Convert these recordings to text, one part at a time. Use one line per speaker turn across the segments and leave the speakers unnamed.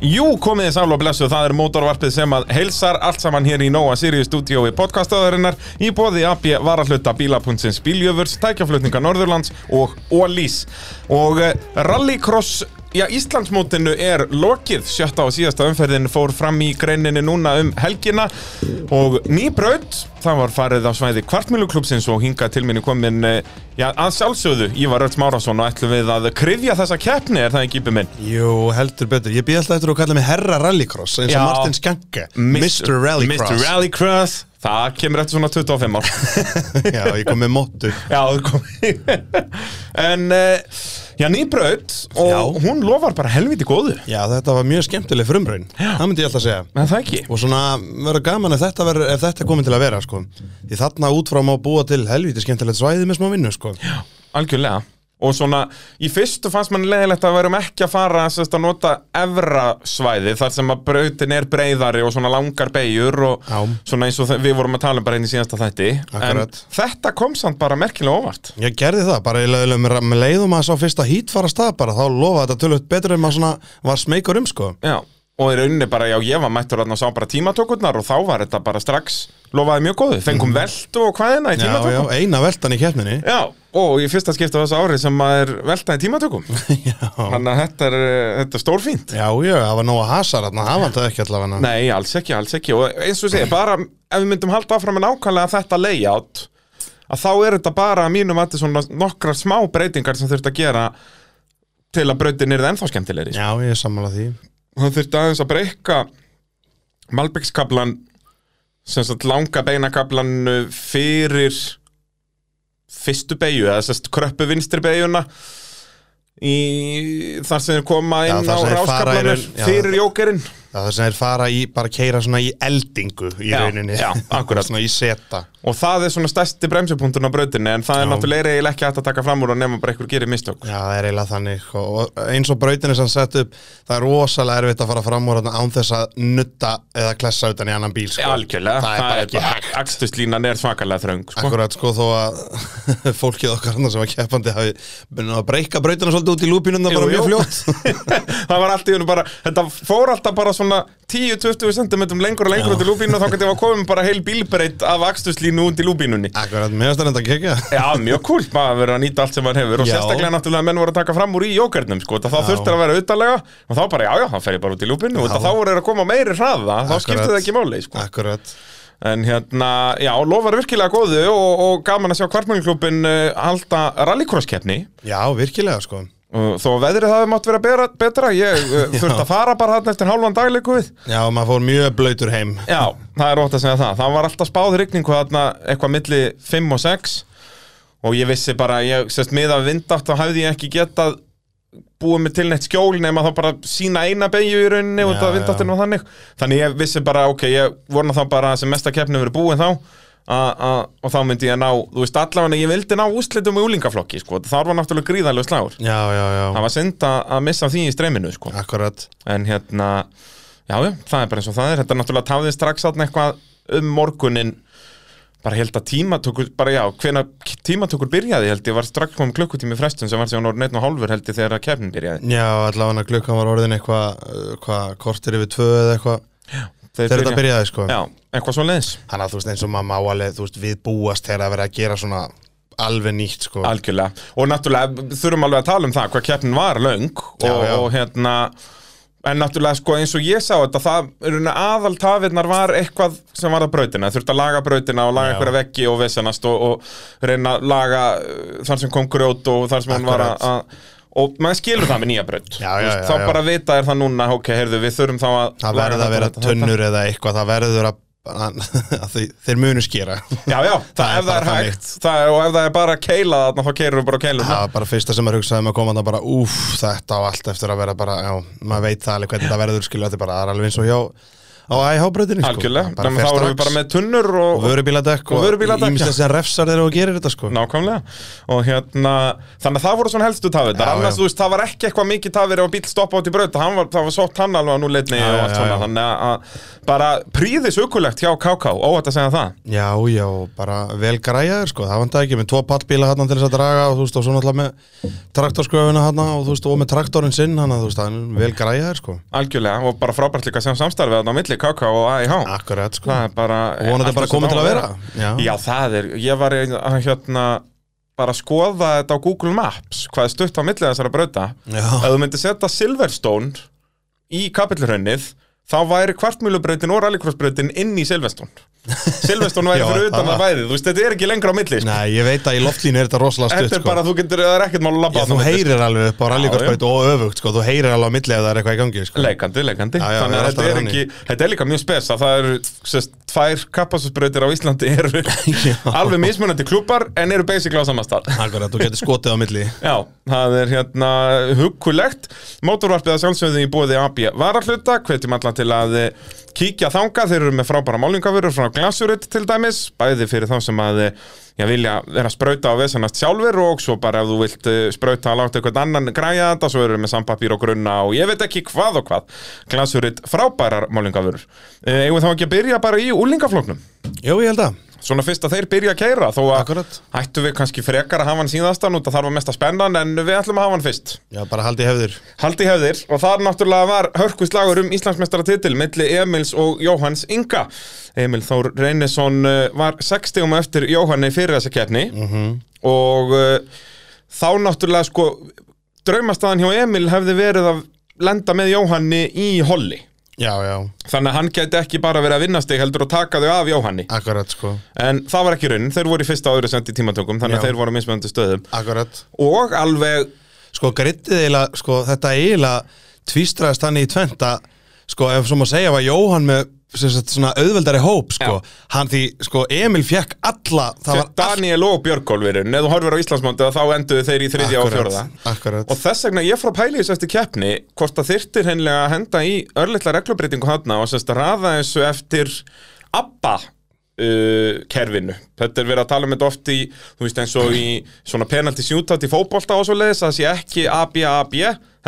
Jú, komið þið sálu og blessu, það er mótorvarpið sem að heilsar allt saman hér í Nóa Sirius stúdíói podcastöðurinnar í bóði AB varahluta bílapunnsins bíljöfurs, tækjaflutninga Norðurlands og Ólís. Og eh, rallycross, já, Íslandsmótinu er lokið, sjötta og síðasta umferðin fór fram í greininni núna um helgina og nýbraut, það var farið á svæði kvartmjöluklúpsins og hingað til minni komin, eh, já, að sjálfsögðu, Ívar Örts Márásson og ætlum við að krifja þessa keppni, er það ekki yfir minn?
Jú, heldur betur. Ég býð alltaf eftir að kalla mig Herra Rallycross, eins og
Já.
Martin Skanke. Mr. Rallycross.
Mr. Rallycross Það kemur eftir svona 25 ár
Já, ég kom með móttu.
Já, það kom En, uh, já, nýbraut Og
Já.
hún lofar bara helviti góðu
Já, þetta var mjög skemmtileg frumraun. Það myndi ég alltaf segja.
En það ekki
Og svona, verður gaman ef þetta, ver, ef þetta er komin til að vera, sko. Því þarna út frá má búa til helviti skemmtilegt svæði með smá vinnu, sko. Já.
Algjörlega Og svona, í fyrstu fannst mann leiðilegt að við erum ekki að fara sérst, að nota evra svæði þar sem að brautin er breyðari og svona langar beigur og
Já.
svona eins og þe- við vorum að tala um bara einn í síðasta þætti
Akkurat.
En þetta kom samt bara merkilega óvart
Ég gerði það, bara ég leiðum með leiðum að sá fyrsta hít fara af stað bara, þá lofa þetta tölvöld betur en maður svona var smeykur um, sko.
Já, og í rauninni bara, já, ég var mættur þarna og sá bara tímatökurnar og þá var þetta bara strax lofaði mjög góðu, fengum veltu og hvaðina í
Mhm. Já, já,
tímatökum.
eina veltan í keppninni.
já, og í fyrsta skipta þessu ári sem maður veltaði tímatökum.
Já.
Þannig að þetta er, eh, þetta er stórfínt.
Já, já, það var nóg að hasa þarna, það var þetta ekki allavega.
Nei, alls ekki, alls ekki. Og eins og segja, bara ef við myndum halda áfram með nákvæmlega þetta layout, að þá er þetta bara að mínum að þetta svona nokkrar smá breytingar sem þurft að gera til að brautin er það ennþá skemmtilegri.
Já, ég er sammála því.
hann þurfti aðeins að breyka Malbyggskablan sem sagt langa beinakablan fyrir fyrstu beigju eða sérst kröppu vinstri beigjuna í þar sem þeir koma
Já,
inn
þar
á
sem þeir fara í
ráskablanir
raun- já.
fyrir jókerinn
Það er sem þeir fara í, bara keira svona í eldingu í
Já,
rauninni.
já, akkurat.
svona í seta.
og það er svona stærsti bremsupunktun á brautinni en það er
Já.
náttúrulega eiginlega ekki hægt að taka fram úr og nefnum bara einhver gerir mistök
Já, það er eiginlega þannig. sko. Og og eins og brautinni sem sett upp, það er rosalega erfitt að fara fram úr þarna án þess að nutta eða klessa utan í annan bíl, sko.
algjörlega,
Það er bara ekki hægt.
akstuslínan er svakalega þröng sko.
Akkurat, sko, þó að fólkið okkar hann sem var keppandi hafi byrjað að breyka brautina svolítið út í lúpinum,
Jú,
það bara
jú.
mjög fljótt.
það var allt í hennu bara þetta fór alltaf bara svona 10-20 cm lengur og lengur út í lúbínu og þá gæti ég að koma bara heil bílbreytt af akstuslínu út í lúbínunni
Akkurat, mér finnst það enda að kekja.
Já, mjög kúl, maður verið að nýta allt sem maður hefur og
Já.
sérstaklega náttúrulega að menn voru að taka fram úr í jókernum sko, þá
Já.
þurftir að vera auðalega og þá bara, já, já, þá fer ég bara út í lúbínu og
Já.
þá voru þeir að koma meiri hraða, þá
Akkurat.
skipti það ekki máli sko.
Akkurat.
En hérna, já, lofar virkilega góðu og, og gaman að sjá kvartmönglklubin halda rallycross-keppni
Já, virkilega, sko.
Uh, Þó að veðrið hafi mátt vera bera, betra Ég uh, þurfti að fara bara hann eftir hálfan dagleiku við
Já, maður fór mjög blöytur heim.
Já, það er ótt að segja það Það var alltaf spáð rigningu þarna eitthvað milli 5 og 6 Og ég vissi bara, ég sérst miða vindátt Þá hafði ég ekki getað búið mig til neitt skjól Nefn þá bara sína eina beigju í rauninni Út
Já,
af vindáttinu og þannig Þannig ég vissi bara, ok, ég vorna þá bara að sem mesta keppni verið búin þá A, a, og þá myndi ég ná, þú veist allavega ég vildi ná úslitum í úlingaflokki sko. þar var náttúrulega gríðarlega slagur
Já, já, já.
það var synd að að missa því í streyminu sko.
Akkurat.
en hérna já, já, það er bara eins og það er þetta er náttúrulega tafði strax átna eitthvað um morgunin bara held að tímatökur bara já, hvena tímatökur byrjaði held ég var strax komum klukkutími frestun sem var síðan orðin einn og hálfur held ég þegar að kefnin byrjaði
Já, allavega klukkan var orðin eitthvað hva, kortir yfir tvö eða eitthvað
þegar
þegar þetta byrjaði sko
já, eitthvað svo leiðis
Þannig að þú veist eins og maður má alveg, þú veist, við búast þegar að vera að gera svona alveg nýtt sko
algjörlega, og náttúrulega þurfum alveg að tala um það hvað keppnin var löng og,
Já, já.
og hérna en náttúrulega sko eins og ég sá þetta það runa, aðal tafirnar var eitthvað sem var að brautina, þurfti að laga brautina og laga
Já.
einhverja veggi og vesenast og, og reyna að laga uh, þar sem kom grjót og þar sem hún var að- að og maður skilur það með nýja braut Þú
Já, já,
veist,
já,
þá
já.
bara vita er það núna ok, heyrðu, við þurfum þá að
Það
laga
verður
þetta,
að vera
þetta, þetta.
tunnur eða eitthvað, það verður að, að, að þau- þeir munu skera
já, já, það, ef
Það er
það er
bara þannig.
hægt það er, og ef það er bara að keila þarna þá keirum við bara að keila
Það var bara fyrsta sem maður hugsaði með að koma þannig bara Úf, þetta á allt eftir að vera bara, já, maður veit það alveg hvernig það verður skilja Þetta er bara, það er alveg eins og hjá á æhábröðinni sko.
Algjörlega,
Bara
nema
fer
þá erum við
strax.
bara með tunnur
og
og,
vörubíladekk
Og vörubíladekk,
ímislega sem refsar þeirra og gerir þetta sko
nákvæmlega og hérna, þannig að það voru svona helstu tafið
Já,
annars,
já.
þú veist, það var ekki eitthvað mikið tafið ef bíl stoppa út í braut, hann var, það var sótt hann alveg á núleitni og
já,
allt
já,
svona
já.
þannig að- að bara príðis aukulegt hjá KK, óvægt að segja það
já, já, bara vel græjaður sko það vantar ekki með tvo pallbíla hann til þess að draga og þú veist, og svo náttúrulega með traktorskröfuna hann og þú veist, og með traktorinn sinn hann þú veist, hann er vel græjaður sko
algjörlega og bara frábært líka sem samstarfið þarna á milli KK og AIH
akkurat sko,
það er bara
og hann
allt
er bara
eins og
komið til
það á
að vera já,
Já, það er, ég var ein- að hérna bara að skoða þetta á Google Maps hvað er stutt á milli þessara brauta ef
já,
þú myndir setja Silverstone í kapillurhönnið þá væri kvartmjölubrautin og rallycrossbrautin inn í Silverstone Silverstone væri
Já,
fyrir utan
það-
að væði, þú veist, þetta er ekki lengra á milli sko.
næ, ég veit að í loftlínu er þetta rosalega
Þetta
stutt
er
sko
bara, þú getur, það er ekkert mál að labba
Já, þú
þarna á milli.
heyrir alveg upp á rallíkarsbreyt og öfugt sko, þú heyrir alveg á milli ef það er eitthvað í gangi sko.
Leikandi, leikandi
Já, já,
Þannig að
það er
þetta er,
alltaf
ekki, þetta er líka mjög spes að það eru sest, tvær kappasusbrautir á Íslandi eru alveg mismunandi klúpar en eru basically á samastað
Akkurat, þú getur skotið á milli
Já, það er hérna hugkulegt Mótorvarpið að sjálfsögðu í bóði AB varahluta Hvetjum alla til að eh, kíkja þanga Þeir eru með frábæra málingafurur frá glasurit til dæmis Bæði fyrir þá sem að eh, Já, vilja vera að sprauta á vesanast sjálfur og svo bara ef þú vilt eh, sprauta að láta eitthvað annan græja þetta svo eru þeir með sambapýr og grunna og ég veit ekki hvað og hvað glasurit frábærar málingafurur Eh, Eigum við þá ekki að byrja bara í úlingaflóknum
Jú, ég held að
Svona fyrst að þeir byrja að keira þó að
Akkurat.
hættu við kannski frekar að hafa hann síðastan út að þar var mesta spennan en við ætlum að hafa hann fyrst.
Já, bara haldi hefðir
Haldi hefðir og þar náttúrulega var hörkuslagur um Íslandsmeistaratitil milli Emils og Jóhanns Inga. Emil Þór Reynesson uh, var 60 um eftir Jóhanni fyrir þessa keppni og uh, þá náttúrulega sko draumastaðan hjá Emil hefði verið að lenda með Jóhanni í holli.
Já, já,
Þannig að hann gæti ekki bara verið að vinna stig heldur og taka þau af Jóhanni.
akkurat sko
En það var ekki raunin, þeir voru í fyrsta og öðru sendi í tímatökum Þannig að
Já.
þeir voru á mismunandi stöðum
Akkurat
Og alveg,
sko grittið eiginlega, sko þetta eiginlega tvístraðist hann í tvent að sko ef svo má segja var Jóhann með sem sagt, svona auðveldari hóp sko hann því sko Emil fekk alla það var
Daniel og Björgólfurinn Ef þú horfir á Íslandsmóndið þá enduðu þeir í þriðja og fjórða
akkurat,
Og þess vegna ég fór að pæla í þessu eftir keppni Hvort það þyrtir hennilega að henda í örlittla reglubreitingu hana Og sérst að raða þessu eftir ABBA uh, kerfinu Þetta er verið að tala um þetta oft í Þú veist eins og í svona penalti sjútat í fótbolta og svo leiðis Það sé ekki ABB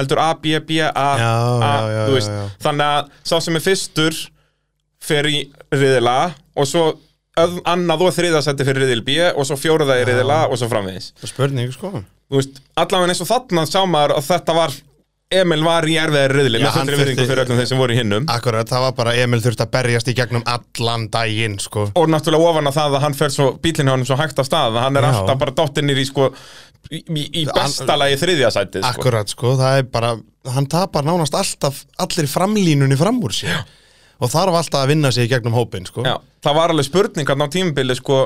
heldur ABB
Já, já, já,
þú veist
já, já.
Þannig að sá sem er fyrstur fer í riðila og svo öð, annað og þriða seti fyrir riðil B og svo fjóruða í riðila og svo framvegis
spurning sko
þú veist, allavega eins og þarna sá maður að þetta var Emil var í erfiðar riðli
Já,
með
hann
fullri virðingu
þurfti-
fyrir öllum þeir sem voru í hinnum
akkurat, það var bara Emil þurfti að berjast í gegnum allan daginn sko
og náttúrulega ofan að það að hann fer svo bílinn hjá hann svo hægt af stað að hann er
Já.
alltaf bara dottinnir í sko í, í í besta lagi þriðja sætið sko.
Akkurat sko, það er bara hann tapar nánast alltaf allir framlínunni fram úr sér og þarf alltaf að vinna sig í gegnum hópin sko
Já, það var alveg spurningarn á tímubili sko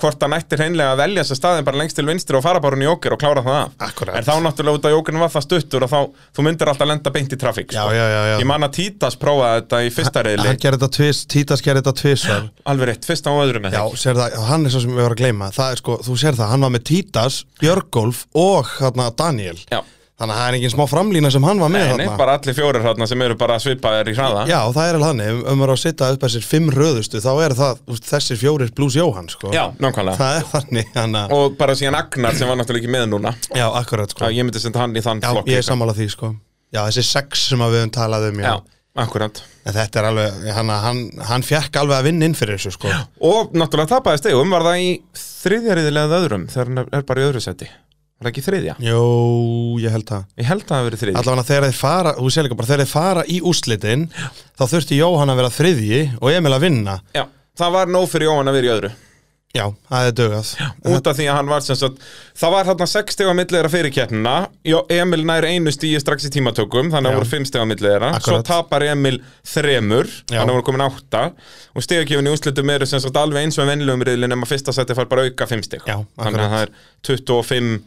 hvort hann ætti hreinlega að velja sér staðin bara lengst til vinstri og fara bara hún í óker og klára það af.
Akkúrat.
En þá náttúrulega út að jókerinn var það stuttur og þá, þú myndir alltaf lenda beint í trafík sko.
Já, já, já, já.
Ég man að Títas prófaði þetta í fyrsta reyli
hann gerði þetta tvist, Títas gerði þetta tvisvar
Alveg rétt, fyrsta og öðrum með
Já, sér það, hann er svo sem við varum að gleyma Það er sko, þú sér það, hann var með Títas, Björgolf og hérna Daniel
Já.
Þannig að það er engin smá framlína sem hann var með
Nei, nei,
þarna.
bara allir fjórir þarna sem eru bara svipaðir í hraða
Já, það er alveg þannig, ef- ef maður á að sitja upp þessir fimm röðustu Þá er það, þú veist, þessir fjórir blús Jóhann sko.
Já, nákvæmlega
Það er þannig, hann að
Og bara síðan Agnar sem var náttúrulega ekki með núna
Já, akkurat sko
Já, Ég myndi senda hann í þann
Já,
flokk
ég er
líka.
sammála því sko Já, þessi sex sem að við höfum talað um já.
Já, akkurat
En þetta er alveg, hann, hann, hann fjekk alveg að vinna inn fyrir þessu sko
Og náttúrulega tapaði stegum var það í þriðja riðilega eða öðrum þegar hann er bara í öðru seti Var það ekki þriðja?
Jó, ég held það
Ég held að það hafi verið þriðja
Allavega þegar þeir fara, þú sé líka bara þegar þeir fara í úslitin Þá þurfti Jóhann að vera þriðji og Emil að vinna
Já, það var nóg fyrir Jóhann að vera í öðru
Já, það er dögað
Út af því að hann var sem sagt Það var hérna 6 stega milliðra fyrir keppnina Jó, Emil nær einu stíi strax í tímatökum Þannig að
Já.
voru 5 stega milliðra Svo
Akkurat.
tapar Emil þremur
Já.
Þannig að voru komin átta Og stegakefin í úrslitum eru sem sagt alveg eins og vennilegum riðli Nefn að fyrsta seti fær bara auka 5 steg
Já,
Þannig
akkurat.
að það er 25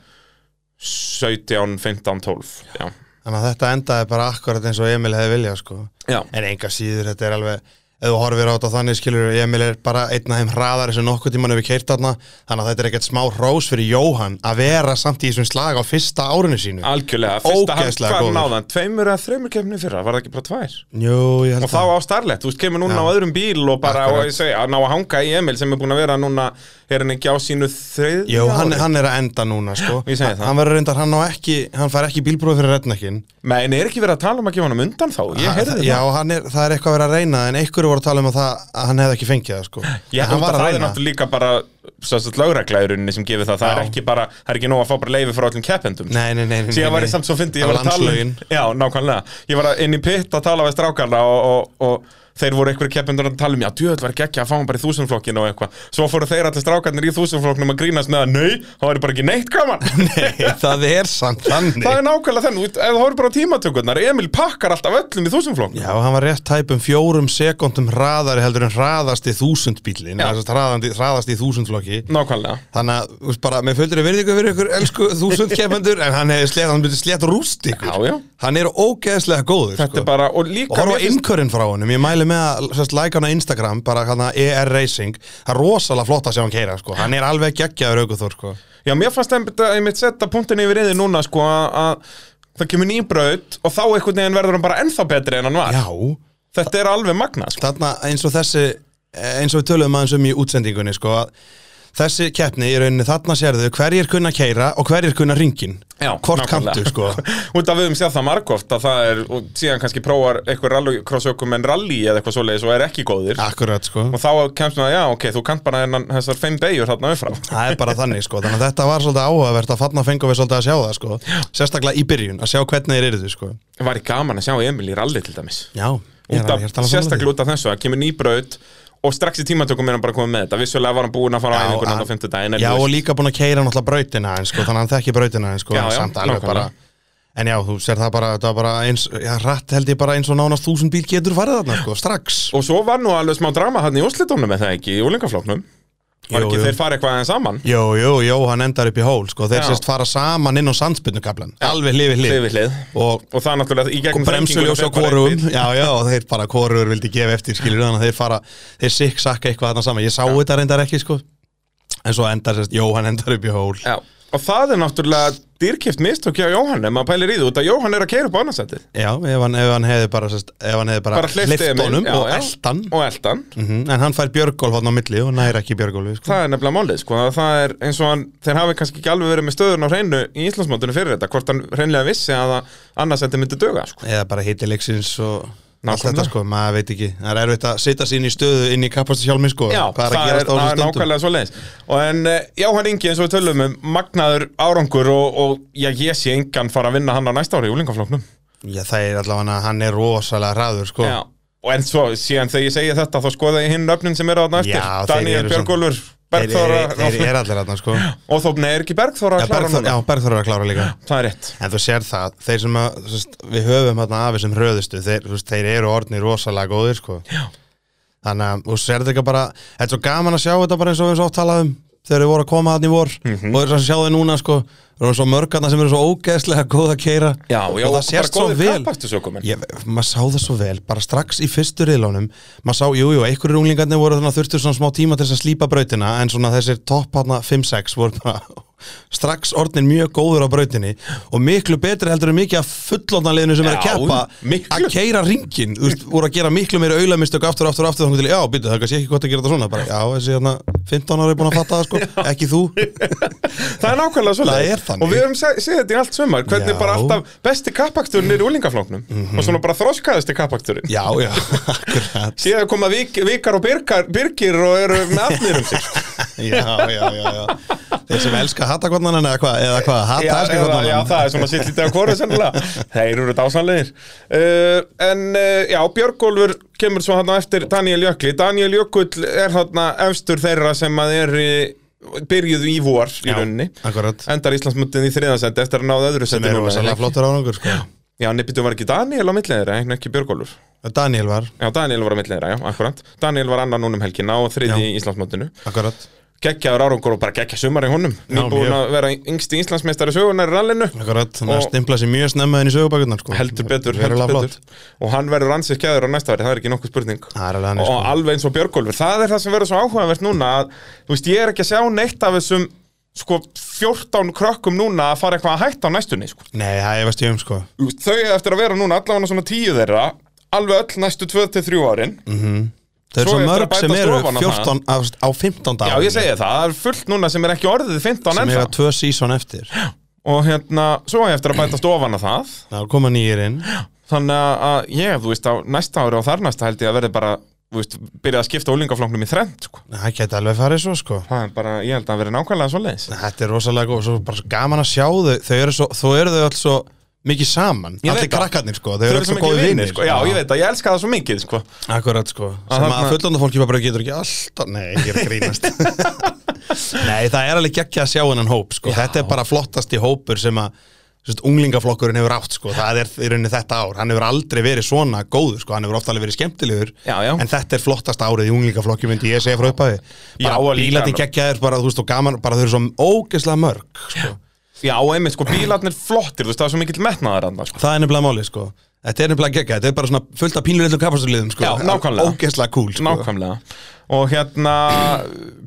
17, 15, 12 Já,
Þannig að þetta endaði bara akkurat eins og Emil hefði viljað sko
Já.
En enga síður, þetta er alveg ef þú horfir á þetta þannig skilur Emil er bara einn af þeim hraðari sem nokkuð tíman hefur keirt þarna þannig að þetta er ekkert smá rós fyrir Jóhann að vera samt í þessum slag á fyrsta árinu sínu
Algjörlega, fyrsta hann,
Ógeðslega
hvað
góður.
náðan, tveimur eða þreimur kemni fyrra, var það ekki bara tvær?
Jú, ég held
Og þá á starlet, þú veist, kemur núna
Já.
á öðrum bíl og bara,
Akkurat.
og ég segi, að ná að hanga í Emil sem er búin að vera núna, er hann ekki á sínu þrið?
Jú, hann, hann er að enda núna sko.
Ég segi það.
Hann verður reyndar, hann á ekki Hann fær ekki bílbróð fyrir rednekkin
Men er ekki verið að tala um að gefa hann undan þá? Ég heyrði það.
Já, hann er, það er eitthvað að vera að reyna En einhverju voru að tala um að, það, að hann hefði ekki fengið það sko.
Ég
En hann
held að
var að
það er
reyna
náttúrulega líka bara svolítið lögregla í rauninni sem gefið það, það er
Já.
ekki bara, það er ekki nóg að fá bara leifi frá öllum keppendum
Nei, nei, nei, nei,
Síðan
nei,
var ég
nei.
samt svo fyndi, ég
Það
var að
var
tala um
landslögin.
Já, nákvæmlega, ég var að- inn í pitt að tala við strákarna og, og, og þeir voru einhverju keppendur að tala um, já, djöðl var ekki ekki að fá hann bara í þúsundflokkinu og eitthvað Svo fóru þeir allir strákarnir í þúsundflokknum að grínast með að nei, það væri bara ekki neitt gaman
Nei, það er samt þannig
Það er nákvæmlega þenn, ef það voru bara á tímatökurnar, Emil pakkar alltaf öllum í þúsundflokknum
Já, hann var rétt tæpum fjórum sekundum hraðari heldur en hraðasti þúsundbílin
Já.
hraðandi, hraðasti þúsundflokki
Nákvæmlega
Þannig að, þú veist bara, með fölgri virðingu fyrir ykkur elsku þúsundkeppendur en hann hefði slétt, hann byrði slétt rúst ykkur
Já, já.
Hann er ógeðslega góður sko.
Þetta er bara, og líka
Og
mér
horfa á
finnst-
innkörinn frá honum, ég mæli með að sérst, like hann á Instagram, bara hann ER Racing Það er rosalega flott að sjá hann keira, sko Hann er alveg geggjaður aukuþór, sko
Já, mér fannst einmitt, einmitt setta punktin yfir yfir núna sko að- að það kemur nýbraut og þá einhvern veginn verður hann bara ennþá betri en hann var.
Já,
Þetta er alveg magna sko.
þarna eins og þessi eins og við töluðum aðeins um í útsendingunni, sko að Þessi keppni í rauninni þarna sérðu hverjir kunna keira og hverjir kunna ringin
Já,
Hvort
nákvæmlega.
kantu, sko
Út af við um séð það margóft að það er, og síðan kannski prófar einhver rallycrossökum en rally eða eitthvað svoleiðis og er ekki góðir.
Akkurat, sko
Og þá kemst maður, já, ok, þú kant bara hennan, þessar fimm beigjur þarna umfram.
Það er bara þannig sko, þannig að þetta var svolítið áhugavert að fann að fengum við svolítið að sjá það sko Sérstaklega í byrjun, að sjá hvernig þeir eru þau sko
Var í gaman að sjá Emil í rally til dæmis.
Já, ég
Út
er
af,
alveg að tala
sérstaklega út af þessu að kemur nýbraut og strax í tímatökum er hann bara komið með þetta. Vissulega var hann búinn að fara á æfingunum þarna á fimmtudaginn, en
Já,
þú
og
veist-
líka búin að keira náttúrulega brautina en sko, þannig að hann þekki brautina en sko,
Já, já,
samt alveg
nákvæmlega.
bara En já, þú sér það bara, þetta var bara eins, já, rætt held ég bara eins og nánast þúsund bíl getur farið þarna sko, strax
Og svo var nú alveg smá drama hann í úrslitónum eða ekki, í úlingaflóknum Var
Jú,
ekki
jú.
þeir fara eitthvað aðeins saman
Jó, jó, jó, hann endar upp í hól sko, þeir
Já.
sérst fara saman inn á sandsbyrnukablan Alveg hlifið
hlið
hlif
við hlið
Og
Og það náttúrulega í gegnum
bremsuljós á um.
þekkinguna fer bara
kóruum
einn bíll.
já, já, og þeir bara kóruur vildi gefa eftir skilur þannig að þeir fara, þeir sikk sakka eitthvað þarna saman, ég sá þetta reyndar ekki sko en svo endar sérst, jó, hann endar upp í hól
Já, og það er náttúrulega dýrkipt mistök hjá Jóhann ef maður pælir í þú, út að Jóhann er að keira upp á annarsætið
já, ef hann, ef hann hefði bara sérst, ef hann hefði bara,
Bara hleypt
hleyft
Emil,
honum
já,
og
já.
eldan
og eldan
mm en hann fær björgólf hann á milli og næri ekki björgólfi sko.
Það er nefnilega málið, sko, að það er eins og hann, þeir hafi kannski ekki alveg verið með stöðun á hreinu í Íslandsmótinu fyrir þetta, hvort hann hreinlega vissi að annarsætti myndi döga, sko.
eða bara hiti leiksins og allt
Nákvæmlega.
þetta sko, maður veit ekki það er erfitt að setja sín í stöðu inn í kapastu hjálmi sko,
Já,
hvað er að
það
gerast á
það
þessum
er
stundum
nákvæmlega svo leiðis og en eh, Jóhann Ingi eins og við tölum um magnaður árangur og, og já, ég sé engan fara að vinna hann á næsta ári í úlingaflóknum
já, það er allavega hann er rosalega hraður sko.
Já, og en svo síðan þegar ég segi þetta þá skoða ég hinn öfnin sem eru á næstir
Já, þeir
Daniel
eru
Björgólfur,
þeir,
Bergþóra
þeir, þeir er allir þarna sko.
og þó, nei, er ekki Bergþóra
Já,
að klára
Bergþór,
núna
já, Bergþór er að klára líka
Það er rétt
En þú sér það, þeir sem að, þú veist, við höfum hérna af þessum hröðustu þeir, þú veist, þeir eru orðnir rosalega góðir sko.
Já.
Þannig að þú sér þetta bara Þetta er svo gaman að sjá þetta bara eins og við svo oft talað um þegar við vorum að koma þarna í vor
Mhm.
og þess að sjá þau núna sko Það eru svo mörgarna sem eru svo ógeðslega góð að keira
Já, já,
og það sérst svo vel
kappakstusökumenn.
ég, maður sá það svo vel, bara strax í fyrstu riðlánum maður sá, jú, jú, einhverjir unglingarnir voru þannig að þurftu svona smá tíma til þess að slípa brautina en svona þessir topp hana 5-6 voru bara strax orðnin mjög góður á brautinni og miklu betri heldur en mikið af fullotnarliðinu sem er að
Já,
keppa
miklu.
að keira ringin, þú veist, voru að gera miklu meira aulamistök aftur, aftur, aftur, þannig til, já, býtu, það er kannski ekki gott að gera þetta svona, bara, já, þessi hérna 15 ára er búin að fatta það, sko, ekki þú
Það er nákvæmlega svo
Það er þannig.
Og við höfum sé- séð þetta í allt sumar Hvernig
Já. Mhm.
bara alltaf besti kappaksturinn er í úlingaflóknum Og svona bara þroskaðasti kappaksturinn
já, já, akkurat
Síðan koma vik, vikar og byrgar, byrgir og eru með afnir um sig
já, já, já, já Þeir sem elska hattakornan eða hvað, eða hvað,
já, eða,
hattakornan
já, það er svona sitt lítið af kóru sennilega Þeir eru dásanlegir uh, En uh, já, Björgólfur kemur svo hann á eftir Daniel Jökli Daniel Jökull er hann efstur þeirra sem að er byrjuðu í vor í rauninni
Akkurat,
Endar Íslandsmundin í þriðansend eftir að náða öðru
sem
seti
er
núna,
rosalega
ekki?
flottur árangur sko.
Já, nefnir var ekki Daniel á milli þeirra, en ekki Björgólfur
Daniel var,
Já, Daniel var á milli þeirra, já, akkurat Daniel var annan núna um helgina og þriði
Já.
í Íslandsmundinu
akkurat
geggjaður árangur og bara geggja sumar í honum nýbúin
mjög.
að vera yngsti Íslandsmeistari sögunar í rallinu
Akkurat, þannig að
Og-
stimpla sér mjög snemma inn í sögubækurnar sko.
heldur betur, heldur
Verulega
betur.
flott.
og hann verður ansið skæður á næsta ári, það er ekki nokkuð spurning
Það er alveg hann
og
sko.
alveg eins og Björgólfur, það er það sem verður svo áhugavert núna að, þú veist, ég er ekki að sjá neitt af þessum sko 14 krökkum núna að fara eitthvað að hætta á næstunni sko.
Nei, það efast ég um sko.
Þú veist, þau eiga eftir að vera núna allavega svona tíu þeirra alveg öll næstu 2-3 árin
Það er
Svo
svo
eftir að
mörg
bæta
sem eru
stofan á það.
14 á, á 15
já
dag
ég segi það, það er fullt núna sem er ekki orðið 15
sem
ennþá
eru tvö sísón eftir
og hérna, svo eiga eftir að bæta stofana það
Það koma nýjir inn
þannig að- að ég, þú veist, á næsta ári og þar næsta held ég að verði bara þú veist, byrja að skipta úlingaflóknum í þrend sko.
Það geti alveg farið svo sko.
það er bara, ég held að verði nákvæmlega svo leiðis
Þetta er rosalega góð, svo bara svo gaman að sjá þau Þau eru svo, þó eru þau alls svo mikið saman
Ég veit það.
Allir krakkarnir sko, þau
Þau
eru
eru
alls
svo
svo
mikið
góði
vinir,
vinir
sko. Já, ég veit að ég elska það svo mikið, sko.
Akkurat sko, sem
þarna-
að fullanda fólki bara getur ekki alltaf, nei, ég er að grínast Nei, það er alveg geggja að sjá hennan hóp sko, þetta er bara flottasti hópur sem að Sest, unglingaflokkurinn hefur átt sko, það er í rauninni þetta ár hann hefur aldrei verið svona góður sko, hann hefur oft alveg verið skemmtilegur
Já, já.
en þetta er flottast árið í unglingaflokki myndi ég segja frá upphafi
Já,
bara
og líka-
bílandi geggjaðir bara, þú veist, og gaman, bara þau eru svo ógeðslega mörg sko.
Já, einmitt, sko, bílarnir flottir, þú veist, það er svo mikill metnaðar andan, sko.
Það er nefnilega máli sko Þetta er nefnilega gegga, þetta er bara svona fullt af pínlurillum kapasturliðum sko
Já, nákvæmlega.
Ógeðslega cool sko
Nákvæmlega. Og hérna,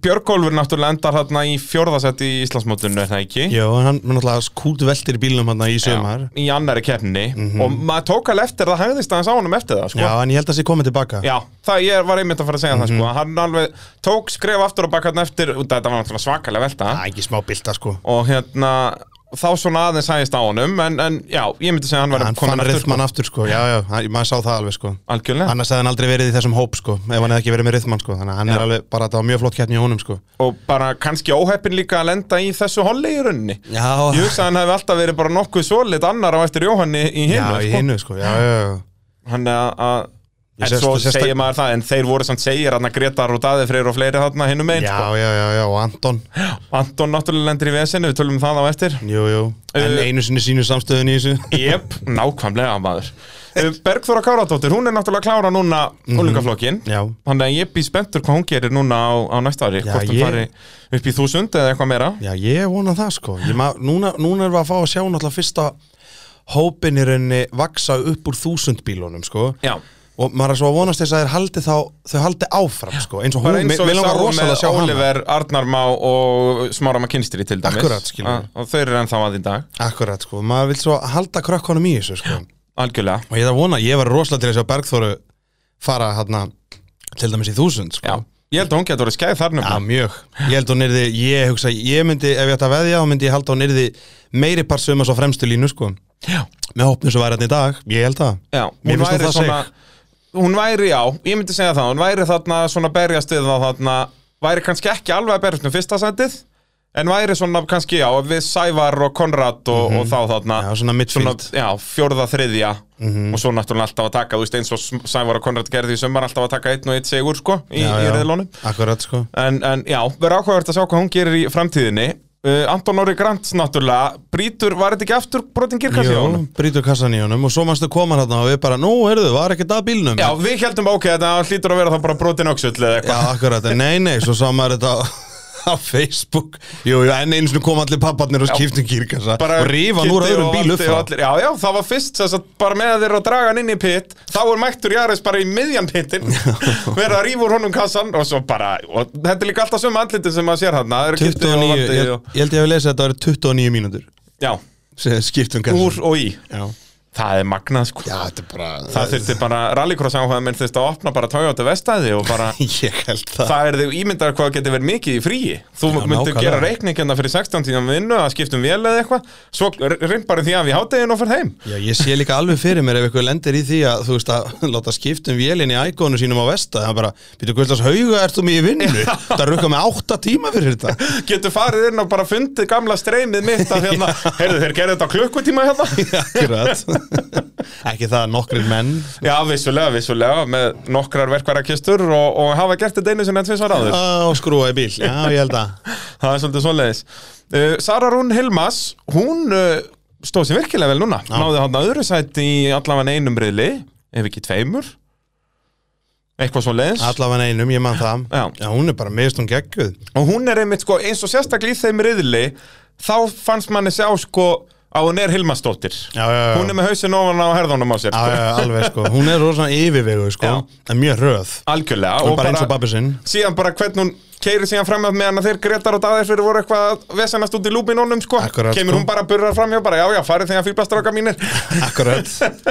Björgólfur náttúrulega endar hérna í fjórðasett í Íslandsmótinu, er það ekki?
Já, en hann er náttúrulega kút veltir í bílnum hann í sömar Já.
Í annari keppni.
Mhm.
Og maður tók alveg eftir, það hægðist aðeins á honum eftir það, sko.
en ég held að sé komið tilbaka
Já, það ég var einmitt að fara að segja það, sko.
Mhm.
að Hann alveg tók skref aftur og bakkarn eftir, út af þetta var náttúrulega svakalega velta.
Það er ekki smá bylta sko
Og hérna, þá svona aðeins hægist á honum, en, en já, ég myndi segja að hann var
Hann
kominn
fann
aftur, sko.
rithman aftur sko Já, já, hann, maður sá það alveg sko
Algjörlega.
Annars hefði hann aldrei verið í þessum hóp sko Ef hann hefði ekki verið með rithman sko Þannig að hann er alveg bara, það var mjög flott keppni í honum sko
og bara kannski óheppin líka að lenda í þessu holli í rauninni
Já,
ég hugsa að hann hefði alltaf verið bara nokkuð svolit annar á eftir Jóhanni í
já,
hinu
í
sko.
hinnu sko Já, já, já
hann er að- að
Ég
en
sést-
svo
sést-
segir maður það en þeir voru samt segir hann að Gretar og Daði Freyr og fleiri þarna hinu megin
Já,
sko.
já, já, já, og Anton
Anton náttúrulega lendir í vesinu, við tölum um það á eftir
Jú, jú En
Uh,
einu sinni sínu samstöðun í þessu
Jep, nákvæmlega maður Eh, Bergþóra Káradóttir, hún er náttúrulega klára núna mm
Mhm. Já.
þannig að ég býð spenntur hvað hún gerir núna á, á næsta ári
Já,
hvort hún
ég-
fari upp í þúsund eða eitthvað meira
Já, ég vona það sko Ég ma, núna, núna erum við að fá að sjá náttúrulega fyrsta hópin í rauninni vaksa upp úr þúsund bílunum sko
Já.
Og maður er svo að vonast þess að þeir haldi þá, þau haldi áfram sko Eins og hún,
bara eins og
við
við
langar
sáum
rosalega að
með
sjá hana
Oliver, Arnar Má og Smára McKinstry til dæmis
Akkurat, skilur við.
Að- og þau eru ennþá að í dag,
Akkurat sko, maður vil svo halda krökkunum í þessu sko
algjörlega
Og ég það vona, ég var rosalega til þess að sjá Bergþóru fara hérna til dæmis í þúsund sko
já. ég held að hún getur að skeið þar
Já,
nefnilega
mjög. Ég held hún yrði, ég hugsa, ég myndi, ef ég ætti að veðja, þá myndi ég halda hún yrði meiri par sömur svo fremstu línu, sko.
Já.
Með hópnum sem væri hann í dag, ég held það.
já,
Mér
hún
finnst hún
væri
það
svona hún væri, já, ég myndi segja það hún væri þarna svona berjast við það þarna væri kannski ekki alveg að berjast um fyrsta sætið en væri svona kannski, já, við Sævar og Konrad og, og þá þarna
Mhm. Já, svona Mhm.
svona,
midfield.
já, fjórða, þriðja og svo náttúrulega alltaf að taka, þú veist, eins og S- Sævar og Konrad gerði í sömmar alltaf að taka einn og einn sigur, sko, í,
Já,
í
já.
reðlónum
Akkurat, sko.
En, en já, verður áhugavert að sjá hvað hún gerir í framtíðinni uh, Anton Óri Grants náttúrulega Brítur, var þetta ekki aftur brotin girkassi á
Jó,
honum?
brýtur kassan í honum og svo mannstu koma hann og við bara, nú, heyrðu, var ekkert að bílnum.
Já, við heldum ok, þetta hlýtur að vera þá bara brotin öxull eða
Já,
eitthvað
akkurat, en nei, nei, svo sá maður þetta á, á Facebook. Jú, jú, en einu sinni kom allir papparnir og skiptum kýrkassa og rífa hann úr
Kiddi
öðrum
og
bíl
Valdi
upp
og
frá.
allir, Já, já, það var fyrst þess að bara með þeir að draga hann inn í pitt þá er mættur Jaris bara í miðjan pittin verða að rífa úr honum kassan og svo bara, og þetta er líka alltaf sömu andliti sem maður sér hann
29, ég, ég
og,
held ég að við lesa þetta að það eru 29 mínútur
Já,
sem skiptum kassan.
úr og í
Já.
Það er magnað sko
Já, þetta er bara
Það þurfti bara rallycross áhuga menn þurfti að opna bara Toyota vestæði og bara
Ég held það
það er þau ímyndar hvað getur verið mikið í fríi þú
Já,
myndir
nákvæmlega.
gera reikningina fyrir 16 tíma vinnu að skiptum vel eða eitthvað svo reynd bara því af í háttegin og fyrir heim
Já, ég sé líka alveg fyrir mér ef ykkur lendir í því að þú veist að láta skiptum vélinn í ægónu sínum á vesta það er bara, býtu Guðlas Hauga, ert þú mér í vinnu? það rukka með átta tíma fyrir þetta
getur farið inn og bara fundið gamla streymið mitt af hérna, heyrðu þeir gerðu þetta á klukkutíma hérna
Akkurat Ekki það að nokkrir menn
já vissulega, vissulega, með nokkrar verkværakistur og, og hafa gert þetta einu sinni en tvisvar áður
og skrúa í bíl Já, ég held að
það er svolítið svoleiðis uh, Sara Rún Hilmas, hún uh, stóð sér virkilega vel núna náði hann öðru sæti í allavega einum reyli ef ekki tveimur eitthvað svo leiðis
Allavega einum, ég man það
Já.
hún er bara mist hún gegguð
og hún er einmitt sko eins og sérstaklega í þeim riðli þá fannst manni sjá sko að hún er Hilmastóttir
Já, já, já.
hún er með hausinn ofan á herðunum á sér
Já,
sko.
já, alveg sko, hún er rosa yfirvegu sko, en mjög röð
algjörlega
Hún er bara eins og babbi sinn
síðan bara hvernig hún keiri síðan fram með hann að þeir Gretar og Daðir fyrir voru eitthvað að vesenast út í lúbinónum sko
Akkurat,
kemur
sko.
hún bara að burra fram hjá bara já já farið þegar fýblastráka mínir
Akkurat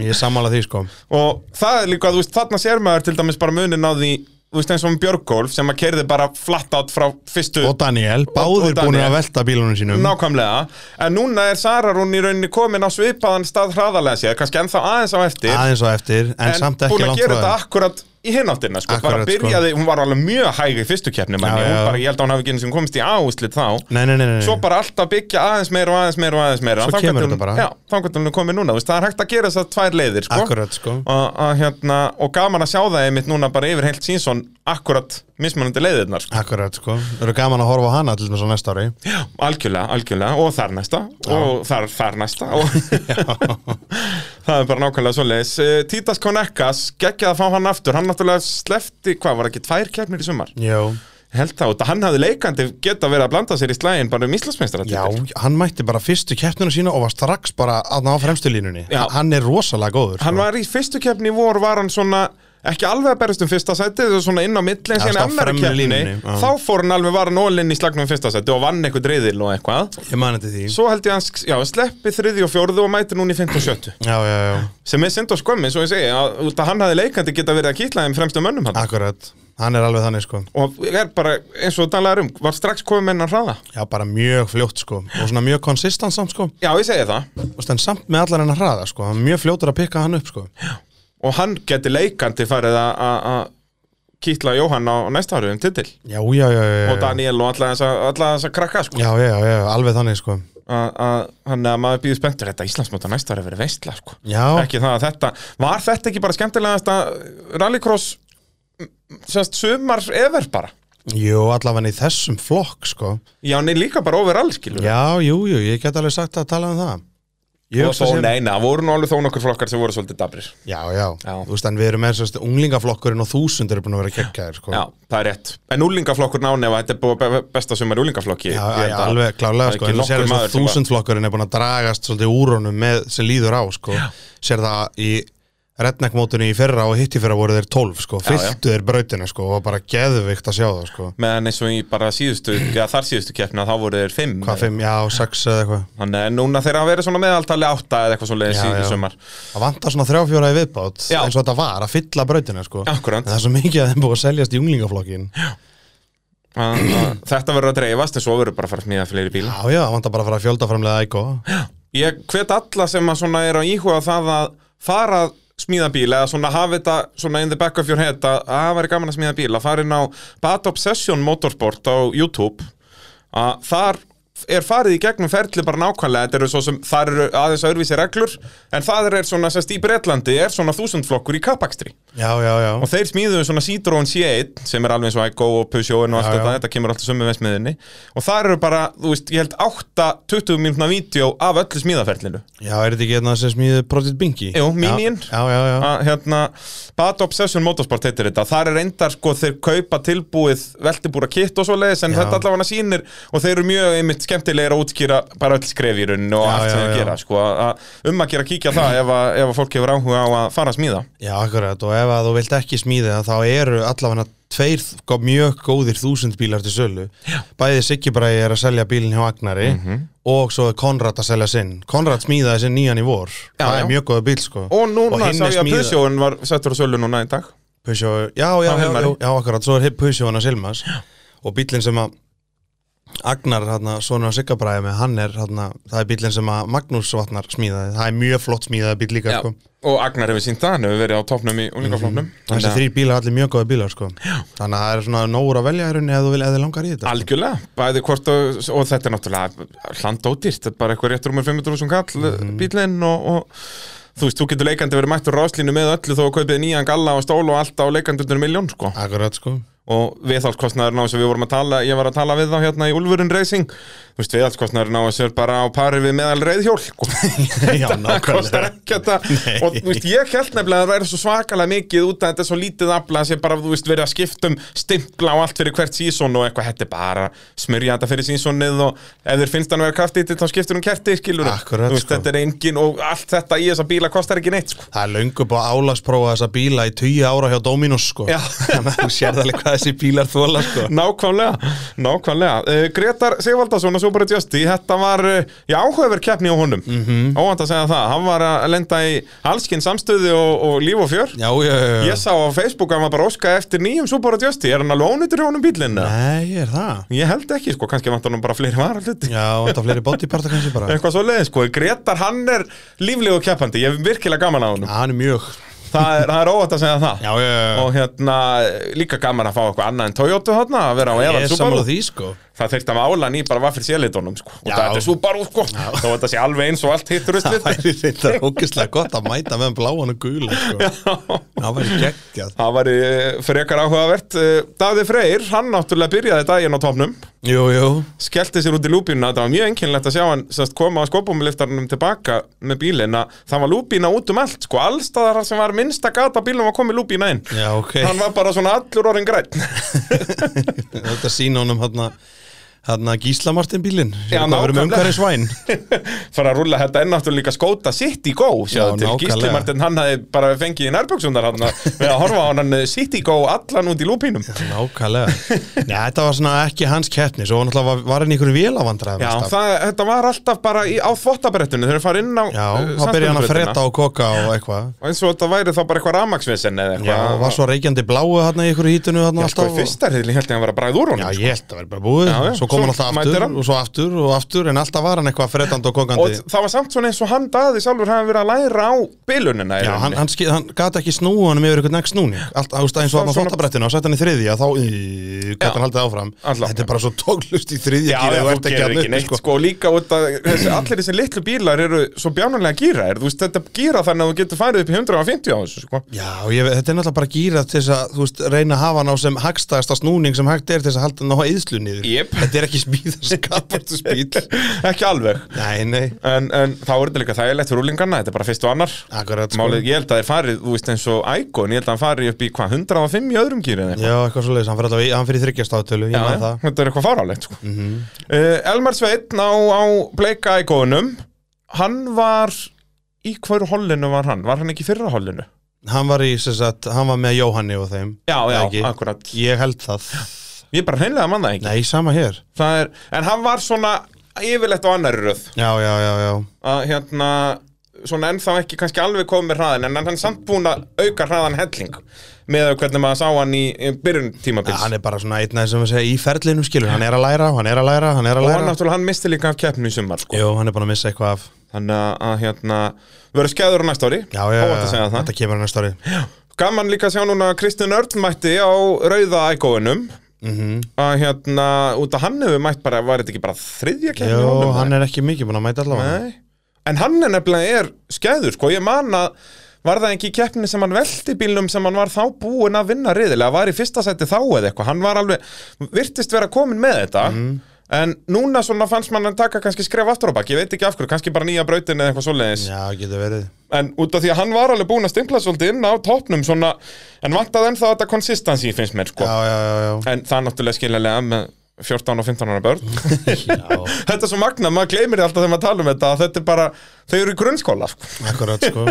Ég er sammála því sko
og það er líka, þú veist, þarna sér maður til dæmis bara munin á því, þú veist, eins og um Björgólf sem að kerði bara flatt átt frá fyrstu
Og Daniel, báðir
og Daniel.
búin að velta bílunum sínum
nákvæmlega, en núna er Sara Rún í rauninni komin á svipaðan stað hraðarlega sér, kannski ennþá aðeins á eftir
Aðeins á eftir, en, samt ekki
búin að
langt
gera
frá
þetta
þeim.
akkurat í hináttina, sko, bara
Akkurat,
byrjaði hún var alveg mjög hæg í fyrstu keppni, manni,
Já,
hún
já.
bara, ég held að hún hafi ekki einu sem komist í áhuslit þá
Nei, nei, nei, nei, nei.
svo bara alltaf byggja aðeins meira og aðeins meira og aðeins meira
Svo
Þangað
kemur
til
þetta
hún-
bara.
já, þannig að hún er komin núna, þú veist, það er hægt að gera þess tvær leiðir sko.
Akkurat, sko.
og, og, hérna, og gaman að sjá það einmitt núna bara yfir heilt sínsson akkurat mismunandi leiðirnar sko.
Akkurat sko, það eru gaman að horfa á hana til þess að næsta ári
já, algjörlega, algjörlega og þar næsta og þar, þar næsta og það er bara nákvæmlega svoleiðis Eh, Títas Konekkas, geggjað að fá hann aftur hann náttúrulega slefti, hvað var ekki, tvær keppnir í sumar
Já,
Ég held það, og hann hafði leikandi geta verið að blanda sér í slægin bara um Íslandsmeistar
já, hann mætti bara fyrstu keppnuna sína og var strax bara að ná fremstu línunni
Já.
Hann er rosalega góður sko.
Hann var í fyrstu keppni í vor var hann svona ekki alveg að berast um fyrsta sæti þú svona inn á milli en
Já,
síðan í
alltaf
annari
fremri
keppni
línunni, já.
þá fór hann alveg var hann ólinn í slagnum um fyrsta sæti og vann eitthvað reyðil og eitthvað
Ég mani til því
svo held ég hans, já, sleppi þriði og fjórðu og mæti núna í fint og sjöttu
Já, já, já,
sem er synd og skömmi, svo ég segi að, út að hann hafi leikandi geta verið að kýtla þeim fremstu mönnum hann
akkurat Hann er alveg þannig sko
og er bara, eins og talaður um, var strax komið með hennan hraða
Já, bara mjög fljótt sko og svona mjög konsistant samt sko
já, ég segi það,
og stann samt með allar hennar hraða sko hann er mjög fljótur að pikka hann upp sko
og hann geti leikandi farið að- að að kýtla Jóhann á næsta ári um titil
Já, já, já, já,
og
já.
Daniel og alla þessa, alla þessa krakka sko.
Já, já, já, alveg þannig sko
að- að hann að maður býður spenntur þetta Íslandsmóta næsta ári verið veistla sko.
Já,
ekki það að þetta, var þetta ekki bara skemmtilegast að rallycross m- semst sumar ever bara
jú, allavega í þessum flokk sko
já, nei, líka bara overall skilur
Já, jú, jú, ég get alveg sagt að tala um það Ég
og
hugsa
þó,
sér-
nei, nei, það voru nú alveg þó nokkur flokkar sem voru svolítið dabrir
Já, já,
Já.
þú veist, en við erum með sérst unglingaflokkurinn og þúsundir er búin að vera kekkaðir sko
já, það er rétt, en úlingaflokkur náni ef þetta er búið að be- besta sumar í úlingaflokki
Já,
Ég held
já,
að-
alveg
það
klálega
er
sko,
ekki
en þú sér
nokkur
þess að
maður sem
þúsundflokkurinn er búin að dragast svolítið úr honum með sem líður á sko, sér það í retnækmótunni í fyrra og hitt í fyrra voru þeir 12 sko,
Já, já.
fylltu þeir brautina sko og var bara geðvikt að sjá það sko
meðan eins og í bara síðustu, já, þar síðustu keppna þá voru þeir fimm
hvað fimm, já, sex eða eitthvað
þannig að núna þeirra hafa verið svona meðaltali átta eða eitthvað svo leiðis
Já,
í, í
já.
sumar
það vantar svona þrjáfjóra í viðbátt
Já.
eins og þetta var að fylla brautina sko
Akkúrat.
en það er svo mikið að þeim búið að seljast í unglingaflokkin já,
að, að þetta verður að dreifast en svo verður bara að fara að smíða fleiri bíla
já, það vantar bara að fara að fjölda framlega ægó
ég hvet alla sem að svona er að íhuga það að fara að smíða bíla eða svona hafa þetta svona in the back of your head að að það væri gaman að smíða bíla fara inn á Bad Obsession Motorsport á YouTube að þar er farið í gegnum ferli bara nákvæmlega þetta eru svo sem þar eru aðeins öðruvísi reglur en það er svona sérst í Bretlandi er svona þúsundflokkur í kappakstri
já, já, já,
og þeir smíðuðu svona Citroen C1 sem er alveg eins og Igo og Peugeotin og allt
Já, já.
þetta, þetta kemur alltaf sömu með smiðinni og það eru bara, þú veist, ég held 8 20 mínútna vídeo af öllu smíðaferlinu
já, er þetta ekki hérna sem smíði Project Binky?
Jú, Minion.
Já, já, já, já.
að hérna, Bad Obsession Motorsport heitir þetta, þar er endar sko þeir kaupa tilbúið veltibúra kitt og svo leiðis en
Já.
þetta allavega sýnir og þeir eru mjög einmitt skemmtilegir að útskýra bara öll skref í rauninni og
Já,
allt
já,
sem þeir
já.
gera sko, að- að um að gera kíkja á það ef að, ef að fólk hefur áhuga á að fara að smíða
Já, akkurat, og ef að þú vilt ekki smíði það, þá eru allavega tveir gó- mjög góðir þúsund bílar til sölu Já. Bæði Siggi Bræði er að selja bílinn hjá Agnari
Mhm.
og svo er Konrad að selja sinn Konrad smíðaði sinn nýjan í vor
Já,
Það
já.
er mjög góða bíl, sko
og núna
hinn
sá ég
er
að
smíða-
Peugeotin var settur á sölu núna í dag
Peugeot, já,
Á
já, já, já,
Hilmari.
já, akkurat, svo er hip Peugeot hann að Silmas og bílinn sem að Agnar, hérna, svona Sigga Bræði með, hann er, hérna, það er bílinn sem að Magnús Vatnar smíðaði, það er mjög flott smíðaði bíl líka, sko
og Agnar hefur sínt það, hann hefur verið á topnum í unglingaflóknum
Þessi þrýr bílar allir mjög góða bílar sko. Þannig að það er svona nógur að velja hérna eða þú vil eða þig langar í þetta
Algjörlega, bæði hvort og, og þetta er náttúrulega hlandódýrt, þetta er bara eitthvað rétt rúmur 500.000 kall mm. bílinn og, og þú veist, þú getur leikandi verið mættur ráslínu með öllu þó að kaupið nýjan galla og stól og allt á leikandundur miljón sko
Akkurat sko
og viðhaldskostnaðurinn á þessu við vorum að tala, ég var að tala við þá hérna í Ulfurinn Racing þú veist, viðhaldskostnaðurinn á þessu er bara á pari við meðal sko. reyðhjól
Já,
það kostar ekki þetta og þú veist, ég held nefnilega að það er svo svakalega mikið út að þetta er svo lítið afla sem bara, þú veist, verið að skiptum stimpla og allt fyrir hvert sísón og eitthvað, þetta er bara smyrja þetta fyrir sísónið og ef þér finnst hann að vera kraftið þá skiptur hún kerti, skilur
Akkurat,
þú veist,
sko.
þetta er engin og allt þetta í þessa bíla kostar ekki neitt, sko
Það er löngu búið að álagsprófa þessa bíla í 20 ára hjá Dominos sko
Já.
Þannig að þú sérð alveg hvað þessi bílar þóla sko
Nákvæmlega, nákvæmlega uh, Gretar Sigvaldason og Super Justy Þetta var, uh, já, áhugaverð keppni á honum mm
Mhm.
-hmm. Óvænt að segja það, hann var að lenda í halskinn samstöði og, og líf og fjör
Já, já, já
Ég sá á Facebook að hann var bara að óska eftir nýjum Super Justy Er hann alveg ónýttur í honum bílinn? eða?
Nei, er það?
Ég held ekki, sko, kannski vantar hann bara fleiri varahluti
Já, þetta fleiri bodyparta kannski bara
Eitthvað svo leiði, sko, Gretar, hann er líflegu keppandi Ég hef virkilega gaman að honum
Já, hann er mjög
Það er, það er óvænt að segja það
Já, já, já
Og hérna, líka gaman að fá eitthvað annað en Toyota þarna Að vera á
Ég
Evan
er
Subaru
sammála því sko
það þurfti að mála hann í bara vaffir sélitónum sko. og
Já.
það er Subaru sko. þá var þetta sé alveg eins og allt hitt
Það
ruslið
væri reyndar ógeðslega gott að mæta meðan bláan og gula sko Það væri geggjað
það var frekar áhugavert Eh, Daði Freyr, hann náttúrulega byrjaði daginn á topnum
Jú, jú
skellti sér út í lúbínu það var mjög enginlegt að sjá hann semst, koma á skopumliftarnum tilbaka með bílinn að það var lúbína út um allt sko. allstaðar þar sem var minnsta gata bílum var komið lúbína inn
Já, ok
hann var bara svona allur orðin græn
Þetta sína honum hann Hanna Gísla Martin bílinn
Já,
Sem hvað verið með
nákvæmlega.
umhverfisvæn
fara að rúlla þetta enn aftur líka skóta City Go sjáðu
Já,
til
nákvæmlega.
Gísli Martin hann hafði bara fengið í nærböksundar hann með að horfa á hann eh, City Go allan út í lúpínum
Nákvæmlega Nei, þetta var svona ekki hans keppni Svo náttúrulega var, var hann í einhverju vélavandræðum
Já,
alltaf.
það, þetta var alltaf bara í, á þvottabrettinu þegar þeir fara inn á
Já,
eh,
þá byrja hann
samstundabrettina.
að fretta og koka og eitthvað
og eins og þetta væri þá bara eitthvað ramaksvesen eða
Já,
eitthvað
var svo reykjandi bláu hann í einhverju hítinu hann
Já, sko,
alltaf
í
og-
fyrsta reyðli held ég að hann var að bræða úr
Já,
honum
ég held að vera bara búið
Já, já,
Svo kom
svo
hann alltaf
mætir
aftur
hann.
og svo aftur og aftur En alltaf var hann eitthvað frettandi og
og
kokandi
það var samt svona eins og hann daði sjálfur hafi verið að læra á bilunina í
Já, hann,
rauninni.
hann, skil, hann gat ekki snúið honum yfir eitthvað next snúning Allt, ást, eins og
Það
hann á
svona-
þóttabrettinu og sett hann í þriðja þá í,
Já.
gat hann haldið áfram
Allan.
Þetta er bara svo tóklust í þriðja
Já, já,
gír ef
þú
þú ert
gerir ekki
þarna uppi,
neitt, sko, líka út að þessi, allir þessi litlu bílar eru svo bjánulega gýra, þú veist, þetta gýra þannig að þú getur farið upp í 150 á þessu, sko.
Já, ég, veit- þetta er náttúrulega bara gýrað til þess að þú veist, reyna að hafa hann á sem hagstæðasta snúning sem hægt er til þess að halda hann á eðslu niður
Jep.
Þetta er ekki smíð að skapast spýl
Ekki alveg.
Nei, nei,
En, en þá er þetta líka þægilegt fyrir úlingarna, þetta er bara fyrst og annar.
akkurat sko
Málið, ég held að þeir farið, þú veist, eins og Icon, ég held að hann farið upp í hvað, 105 í öðrum gýrið
Já, eitthvað svo leiðis, hann fyrir alltaf í- hann fyrir þryggjastátölu, ég maður það Mhm.
þetta er eitthvað fárálegt, sko. uh, Elmar Sveitn á, á bleika Iconum, hann var, í hverju hollinu var hann? Var hann ekki í fyrra hollinu?
Hann var í, sem sagt, hann var með Jóhanni og þeim
Já, já,
Ekki.
akkurat.
Ég held það
Ég bara hreinlega manna ekki.
Nei, sama hér
Það er, en hann var svona yfirleitt á annari röð
Já, já, já, já
að hérna svona ennþá ekki kannski alveg komið með hraðin en hann er samt búin að auka hraðan helling með hvernig maður sá hann í í byrjun
ja,
tímabils
Hann er bara svona einn aðeins sem að segja í ferlinum skilur Hann er að læra, hann er að læra, hann er að
og hann
læra
náttúrulega hann misti líka af keppni í sumar sko.
Jú, hann er búin að missa eitthvað af
þannig að, að hérna við verðum skeður á næsta ári
Já, já,
Óvænt að segja það.
þetta kemur hann að stóri
Gaman líka að sjá núna að Kristján Örn mætti á rauða ægóinum
Mhm.
að hérna út að hann hefur mætt bara, var þetta ekki bara þriðja keppni í honum,
Jú,
eða?
hann er ekki mikið búin að mæta allavega
Nei. En hann er nefnilega er skæður, sko, ég man að var það ekki í keppni sem hann velti bílnum sem hann var þá búinn að vinna riðilega, var í fyrsta seti þá eða eitthvað, hann var alveg, virtist vera komin með þetta,
Mhm.
en núna svona fannst mann að taka kannski skref aftur á bak, ég veit ekki af hverju, kannski bara nýja brautin eða eitthvað svoleiðis,
Já, getur verið
en út af því að hann var alveg búinn að stimpla svolítið inn á toppnum svona, en vantaði ennþá þetta konsistansi finnst mér, sko,
Já, já, já, já.
en það er náttúrulega skiljanlega með 14 og 15 ára börn
já
Þetta er svo magna, maður gleymir því alltaf þegar maður tala um þetta að þetta er bara, þau eru í grunnskóla sko.
Akkurat sko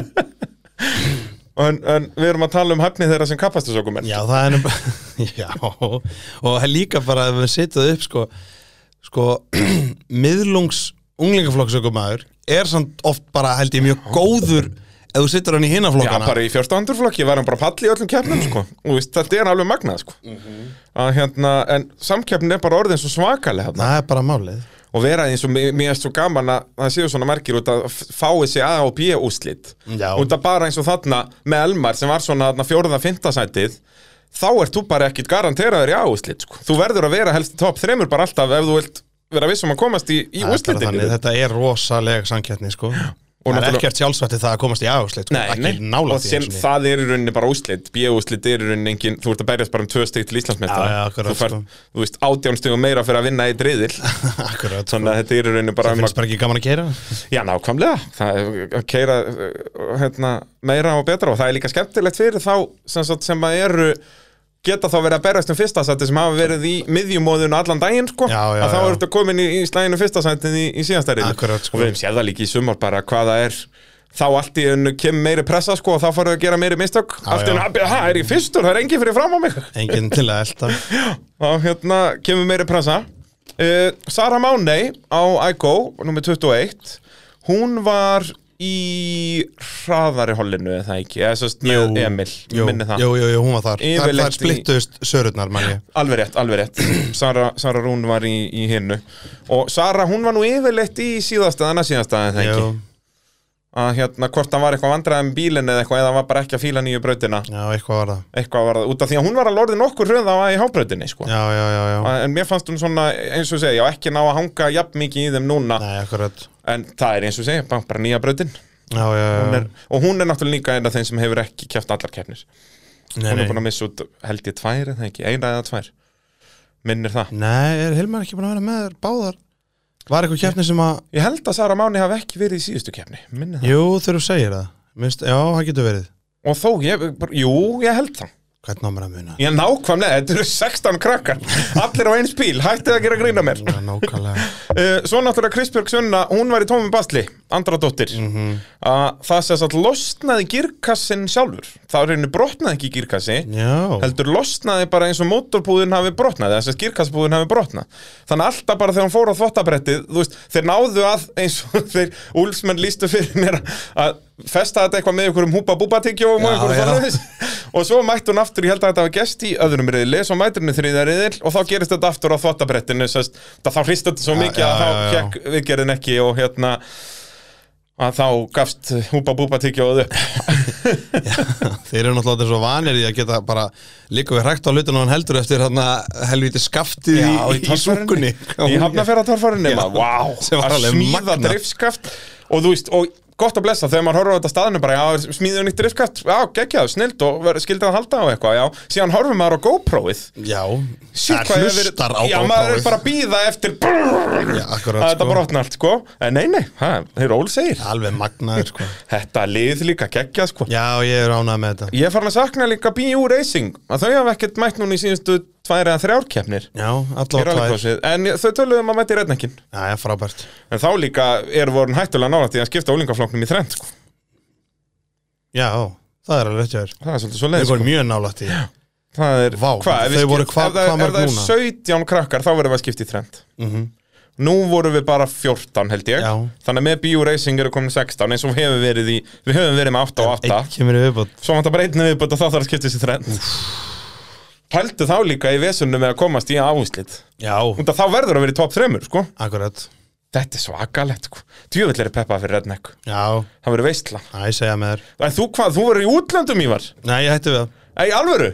en, en við erum að tala um hæfni þeirra sem kapastusökumenn
Já það er nú bara Já Og líka bara að við setjum upp sko Sko Miðlungs unglingaflokksökumæður Er samt oft bara held ég mjög góður Ef þú setjur hann í
Já,
hinnaflokkana
bara í 14. flokki var hann bara palli í öllum keppnum sko. og veist, þetta er alveg magnað sko.
Mhm.
að hérna, en samkeppnin er bara orðin svo svakalega hérna.
Það er bara málið
og vera eins og mér mér er svo gaman að það séu svona margir út að f- fáið sér A og B úslit
Já.
út að bara eins og þarna með Elmar sem var svona þarna fjóruða fintasætið þá ert þú bara ekkit garanteraður í A úslit sko. þú verður að vera helst í topp þremur bara alltaf ef þú vilt vera vissum að komast í, í
Það er bara
úslitinu
þannig, Þetta er rosalega samkettni sko
Og
Það er
náttúrulega-
ekkert sjálfsvætti það að komast í aðhúsleitt sko.
Nei,
Ekki
nei,
nála
og sem það er í rauninni bara úslit B-úslit er í rauninni engin, þú ert að berjast bara um tvö stig til
Já, já,
Íslandsmeistara
akkurat,
þú fær,
sko.
þú veist, átján stigum meira fyrir að vinna í driðil
Akkurat, sko.
þannig að þetta er í rauninni bara um
það
að,
finnst bara ekki gaman að keira
já, nákvæmlega það er að keira hérna, meira og betra og það er líka skemmtilegt fyrir þá sem, sagt, sem að eru geta þá verið að berjast um fyrsta sæti sem hafa verið í miðjumóðun allan daginn sko,
Já, já,
að þá
já.
eru þetta komin í, í slæginu fyrsta sætin í, í síðasta riðli.
Akkurat, sko.
og við höfum séð það líka í sumar bara hvaða er þá allt í ennu kemur meiri pressa sko og þá fóruðu að gera meiri mistök allt í
já.
ennu, "Abbi, ha, er ég fyrstur, það er engin fyrir fram á mig
Engin til að elta
og hérna kemur meiri pressa uh, Sara Mánei á IGO, nummer 21 hún var í hraðari hollinu eða það ekki, eða sérst með
Jú.
Emil
jú,
minni það,
jú, jú, jú, hún var þar Það,
Yfirleitt
það splittust sörurnar, mann ég
alveg rétt, alveg rétt Sara, Sara Rún var í, í hinnu og Sara, hún var nú yfirleitt í síðasta en að síðasta eða það ekki
Jú,
að hérna hvort hann var eitthvað vandræðum bílinn eða eitthvað eða hann var bara ekki að fíla nýju brautina
já, eitthvað var það
eitthvað var það, út af því að hún var að lorði nokkur hröða á í hábrautinni sko
Já, já, já, já
en mér fannst hún svona eins og ég segja, já ekki ná að hanga jafn mikið í þeim núna
Nei, akkurat
en það er eins og ég segja, bara, bara nýja brautin
Já, já, já
hún er, og hún er náttúrulega líka eina af þeim sem hefur ekki kæft allar keppnir
Nei,
hún er
nei.
búin að missa út held ég tvær eða ekki, eina eða tvær minnir það
Nei, er Hilmar ekki búin að vera með þér báðar? Var eitthvað keppni sem að
ég held að Sara Máni hafi ekki verið í síðustu keppni minnir það,
Jú, þegar þú segir það Minst, Já, það getur verið
og þó, ég, bara, jú, ég held það
Hvernig námar að muna?
Ég nákvæmlega, þetta eru 16 krakkar Allir á eins bíl, hættið að gera grína mér
Já, Nákvæmlega
uh, Svo náttúrulega Kristbjörg Sunna, hún var í tómum basli Andra dóttir mm
Mhm.
Það sem sagt losnaði girkassin sjálfur Það er henni brotnaði ekki girkassi
Já,
Heldur losnaði bara eins og mótorbúðin hafi brotnað Þess að girkassbúðin hafi brotnað Þannig að alltaf bara þegar hún fór á þvottabrettið Þú veist, þeir náðu að eins og þeir Úlfsmenn lístu fyrir mér að Festa þetta eitthvað með ykkur um húpa búpa tyggjóum og
Já,
einhverju
já.
svoleiðis. Og svo mætti hún aftur, ég held að þetta hafi gest í öðrum riðli Svo mætti hún í þriðja riðil og þá gerist þetta aftur á þvottabrettinu sest, Þá hrist þetta svo
Já,
mikið
já,
að
já,
þá
já.
kekk viðgerðin ekki Og hérna að þá gafst húpa búpa tyggjóð upp
þeir eru náttúrulega svo vanir í að geta bara líka við hrækt á hlutinu og hann heldur eftir hann helvíti skaftið í, í, í súkunni
í hafnafjörðatorfarinu
Já.
wow,
Sem var
að
alveg
smíða
magnað.
driftskaft og þú veist, og gott að blessa þegar maður horfir á þetta staðinu bara, já, smíðum nýtt driftskaft já, geggjað, snilt og ver- skildið að halda á eitthvað já, síðan horfir maður á GoPro-ið
Já,
Shit,
það
hvað ég hef verið-
hlustar á
já, maður er
GoPro-ið.
bara að býða eftir brrrr,
Já, akkurat,
að þetta
sko.
brotna allt, sko en nei, nei, ha, þeir ról segir
Alveg magnaður sko
þetta lið líka geggjað, sko
Já, ég er ánað með þetta
ég er farin að sakna líka BU Racing að þau hafa ekkert mætt núna í síðustu tvær eða þrjár keppnir
Já,
í
allavega tvær
rallycrossið. en þau töluðum að mætti rednekkin
Já, já, frábært
En þá líka er voru hættulega nálægt í að skipta úlingaflokknum í þrend sko.
Já, það er alveg rétt hjá þér
Það er svolítið svo leið
Þau
sko.
voru mjög nálætt í
Það er,
Vá,
hvað, ef við
þau voru
skipt-
hva-
ef það er-
hvað mörg
Ef
núna? Mhm.
það er 17 krakkar þá verðum við að skipta í þrend Nú vorum við bara 14 held ég
Já.
Þannig að með Bio Racing eru komin 16 eins og við hefum verið í Við höfum verið með 8 og 8
Eitt kemur í viðbót
Svo vantar bara einn viðbútt og þá þarf að skipta í þrend Pældu þá líka í vesunum með að komast í áhúslit
Já,
Þá verður að vera í top 3 sko.
akkurat
Þetta er svakalegt sko. Djöfull er peppa fyrir redneck
Já,
Það verður veistla
já, ég segja með þér
En þú hvað, þú verður í útlöndum Ívar
Nei, ég hætti við það
Í alvöru?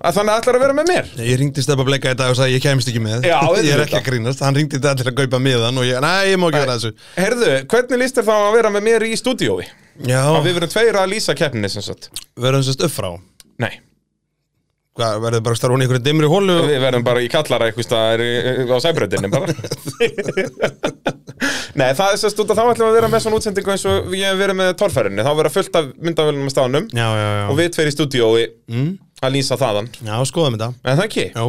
að þannig ætlar að vera með mér?
Ég ringdi Steppa Bleika í dag og sagði ég kemst ekki með
Já,
Ég er
auðvitað.
ekki að grínast, hann ringdi í dag til að kaupa miðan og ég, nei, ég má ekki vera þessu
Herðu, hvernig líst þér þá að vera með mér í stúdíói?
Já,
Að Við verum tveir að lýsa keppninni sem sagt
verðum sérst upp frá
Nei,
Hvað, verður bara að starfa hún í einhverju dimri hólu og...
við verum bara í kallara eitthvað staðar í- á sæbröðinni bara Nei, það er sem sagt út að þá ætlum við að vera með svona útsendingu eins og ég hef verið með torfærinni Þá verða fullt af myndavölunum að stánum
Já, já, já
og við tveir í stúdíói að lýsa þaðan
Já, skoðum þetta
En það ekki
Já,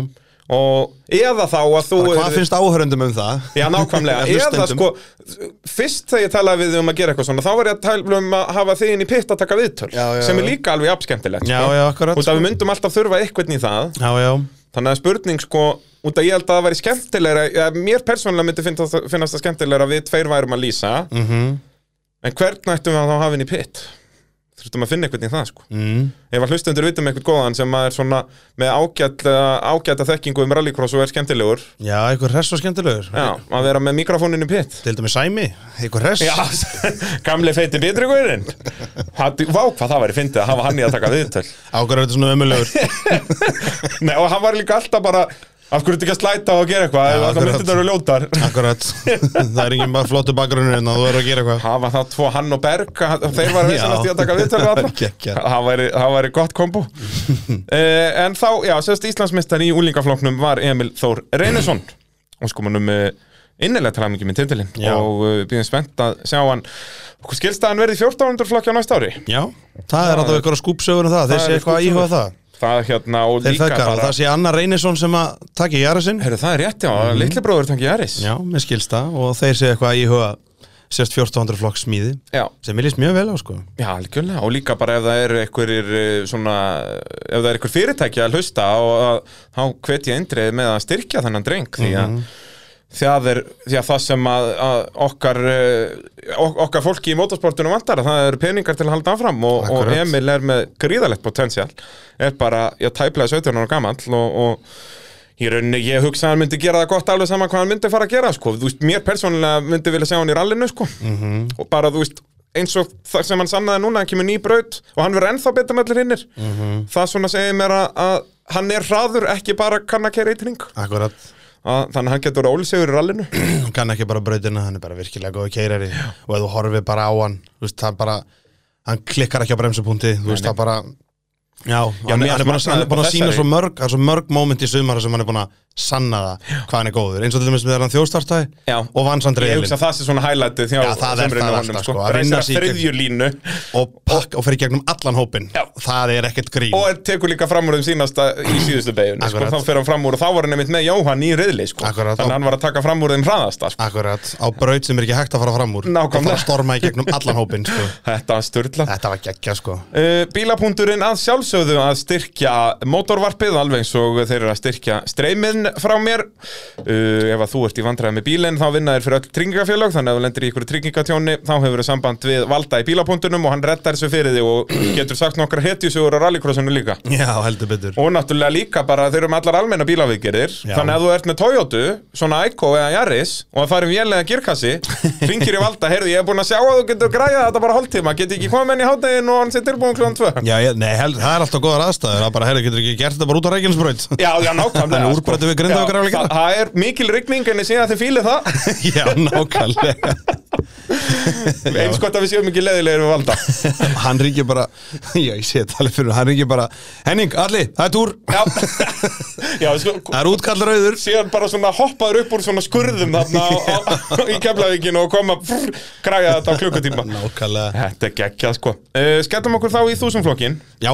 Og eða þá að þú
bara
yrðir-
hvað finnst áhörundum um það?
Já, nákvæmlega, eða
Hlustendum.
sko fyrst þegar ég talaði við þig um að gera eitthvað svona þá var ég að tala um að hafa þig inn í pitt að taka viðtöl
Já, já,
sem er
já.
líka alveg jafnskemmtilegt
Já,
sko.
já, akkurat,
Út af við myndum alltaf þurfa eitthvað í það
Já, já,
þannig að spurning sko, út af ég held að það væri skemmtilegra eða mér persónulega myndi finnast, finnast það skemmtilegra að við tveir værum að lýsa -hmm.
Mhm.
en hvern ættum við að þá hafa inn í pitt þurftum að finna eitthvað í það sko
mm.
ef að hlustundur vitum eitthvað góðan sem að er svona með ágæta, ágæta þekkingu um rallycross og er skemmtilegur
já eitthvað hress og skemmtilegur
já, að vera með mikrofónin í pitt
Til dæmis Sæmi, eitthvað hress
Já, gamli feiti betri guðurinn Vá hvað það væri fyndið að hafa hann í að taka viðtöl
Ákveður þetta svona ömulegur
Nei, og hann var líka alltaf bara Af hverju ertu ekki að slæta og gera eitthvað ef allar
akkurat.
myndirnar eru ljótar
Akkurat, það er engin bara flottu bakgrunnur en þú verður að gera eitthvað
Það var þá tvo hann og Berg að- Þeir var vissanast í að taka viðtölu við alla
Geggjað.
það, væri, það væri gott kombo uh, En þá, já, sérst Íslandsmeistar í úlingafloknum var Emil Þór Reynesson Og sko manum uh, innilega tala mikið með titilinn
Já.
Og uh, býðum spennt að sjá hann Okkur skilst að hann verði í 1400 flokki á næsta ári
Já, það er alltaf eitthvað skúpsögur um það, þeir
Það
sé
eru
eitthvað að
skúbbsögur.
íhuga það
Það hérna og
Þeir
líka
þekkar að
bara
það sé Anna Reynisson sem að taki jæra sinn
Herru, það er rétt, já, litli bróður tangi Jaris
Mhm. Já, mér skilst það og þeir sé eitthvað að íhuga sérst 1400 flokks smíði
já,
sem ég líst mjög vel á sko
Já, algjörlega, og líka bara ef það er einhverjir eh, svona, ef það er einhver fyrirtæki að hlusta og að, þá hvet ég eindrið með að styrkja þennan dreng því að
Mhm.
það er, því að það sem að, að okkar eh, ok- okkar fólki í motorsportunum vantar að það eru peningar til að halda áfram og, og
Akkurat.
Emil er með gríðalegt potensial er bara, ég tæplaði 17 ára gamall og, og Í rauninni, ég hugsa að hann myndi gera það gott alveg saman hvað hann myndi fara að gera, sko. Þú veist, mér persónulega myndi vilja sjá hann í rallinu, sko.
Mhm.
Og bara, þú veist, eins og það sem hann sannaði núna, hann kemur ný braut og hann verður ennþá betur með allir hinnir.
Mhm.
Það svona segir mér að, að hann er hraður, ekki bara kann að kera eitt ring.
Akkurat,
Að, þannig að hann getur ólisegur í rallinu.
hann kann ekki bara brautina, hann er bara virkilega góð keirari og ef þú horfir bara á hann, þú veist, það bara hann klikkar ekki á bremsupunkti, þú veist, það bara Já, hann,
mér
hann er búin að,
fannst
hann er búin að
magnað
sína
þessari.
svo mörg, það er svo mörg moment í sumara sem hann er búin að sanna það hvað hann er góður, eins og til dæmis með hann þjóðstartæði
Já.
og vansandri
Ég hugsa að það sé svona highlightið því
Já, það er það alltaf, sko, að
Reysir að
vinna sig í gegn-
þriðju línu
og, pakk- og fer í gegnum allan hópin
Já.
það er ekkert grín
og tekur líka fram úr þeim sínasta í síðustu beiguna, sko.
Akkurat.
Þá fer hann fram úr og þá var hann einmitt með Jóhann í riðli, sko.
Akkurat.
Þannig að hann var að taka fram úr þeim hraðasta, sko.
Akkurat, á braut sem er ekki hægt að fara fram úr
Nákvæmlega.
og fara að storma í gegnum allan hópin sko.
Þetta var styrla
þetta var geggja sko
Uh, bílapunkturinn að sjálfsögðu að styrkja mótorvarpið alveg eins og þeir eru að styrkja streymin frá mér uh, ef að þú ert í vandræði með bílinn þá vinna þér fyrir öll tryggingafélög þannig að ef þú lendir í ykkur tryggingatjóni þá hefur þau samband við valda í bílapunktunum og hann rettar þessu fyrir þig og getur sagt nokkra hetjusögur á rallycrossinu líka
já, heldur betur
og náttúrulega líka bara þeir eru með allar almenna bílaviðgerðir
Já.
þannig að þú ert með Toyota, svona Ico eða Yaris og það er um vélega girkassi ringir í valda, heyrðu ég er búin að sjá að þú getur græða þetta bara hálftíma, get ég ekki komið með henni í hátægin og hann sé tilbúin kljóðan tvö
já, ég, nei, hel, það er alltaf góðar aðstæður það bara, heyrðu, getur ekki gert þetta bara út á reikinsbraut
Já, já, nákvæmlega sko.
Þannig úrbættu við Grindavíkur
Já,
afleikina.
það- Það er mikil rigning en ég sé að þið fílið það
já, nákvæmlega
eins gott að við séum ekki leðilegir við valda
hann ringir bara já, ég sé þetta alveg fyrir hann ringir bara Henning, Alli, það er túr
Já, já svo,
það er útkall rauður
síðan bara svona hoppaður upp úr svona skurðum þarna á, á, í keflavíkinu og koma frr, græja þetta á klukkutíma
nákvæmlega
Þetta er geggjað sko uh, Skellum okkur þá í þúsumflokkin
já,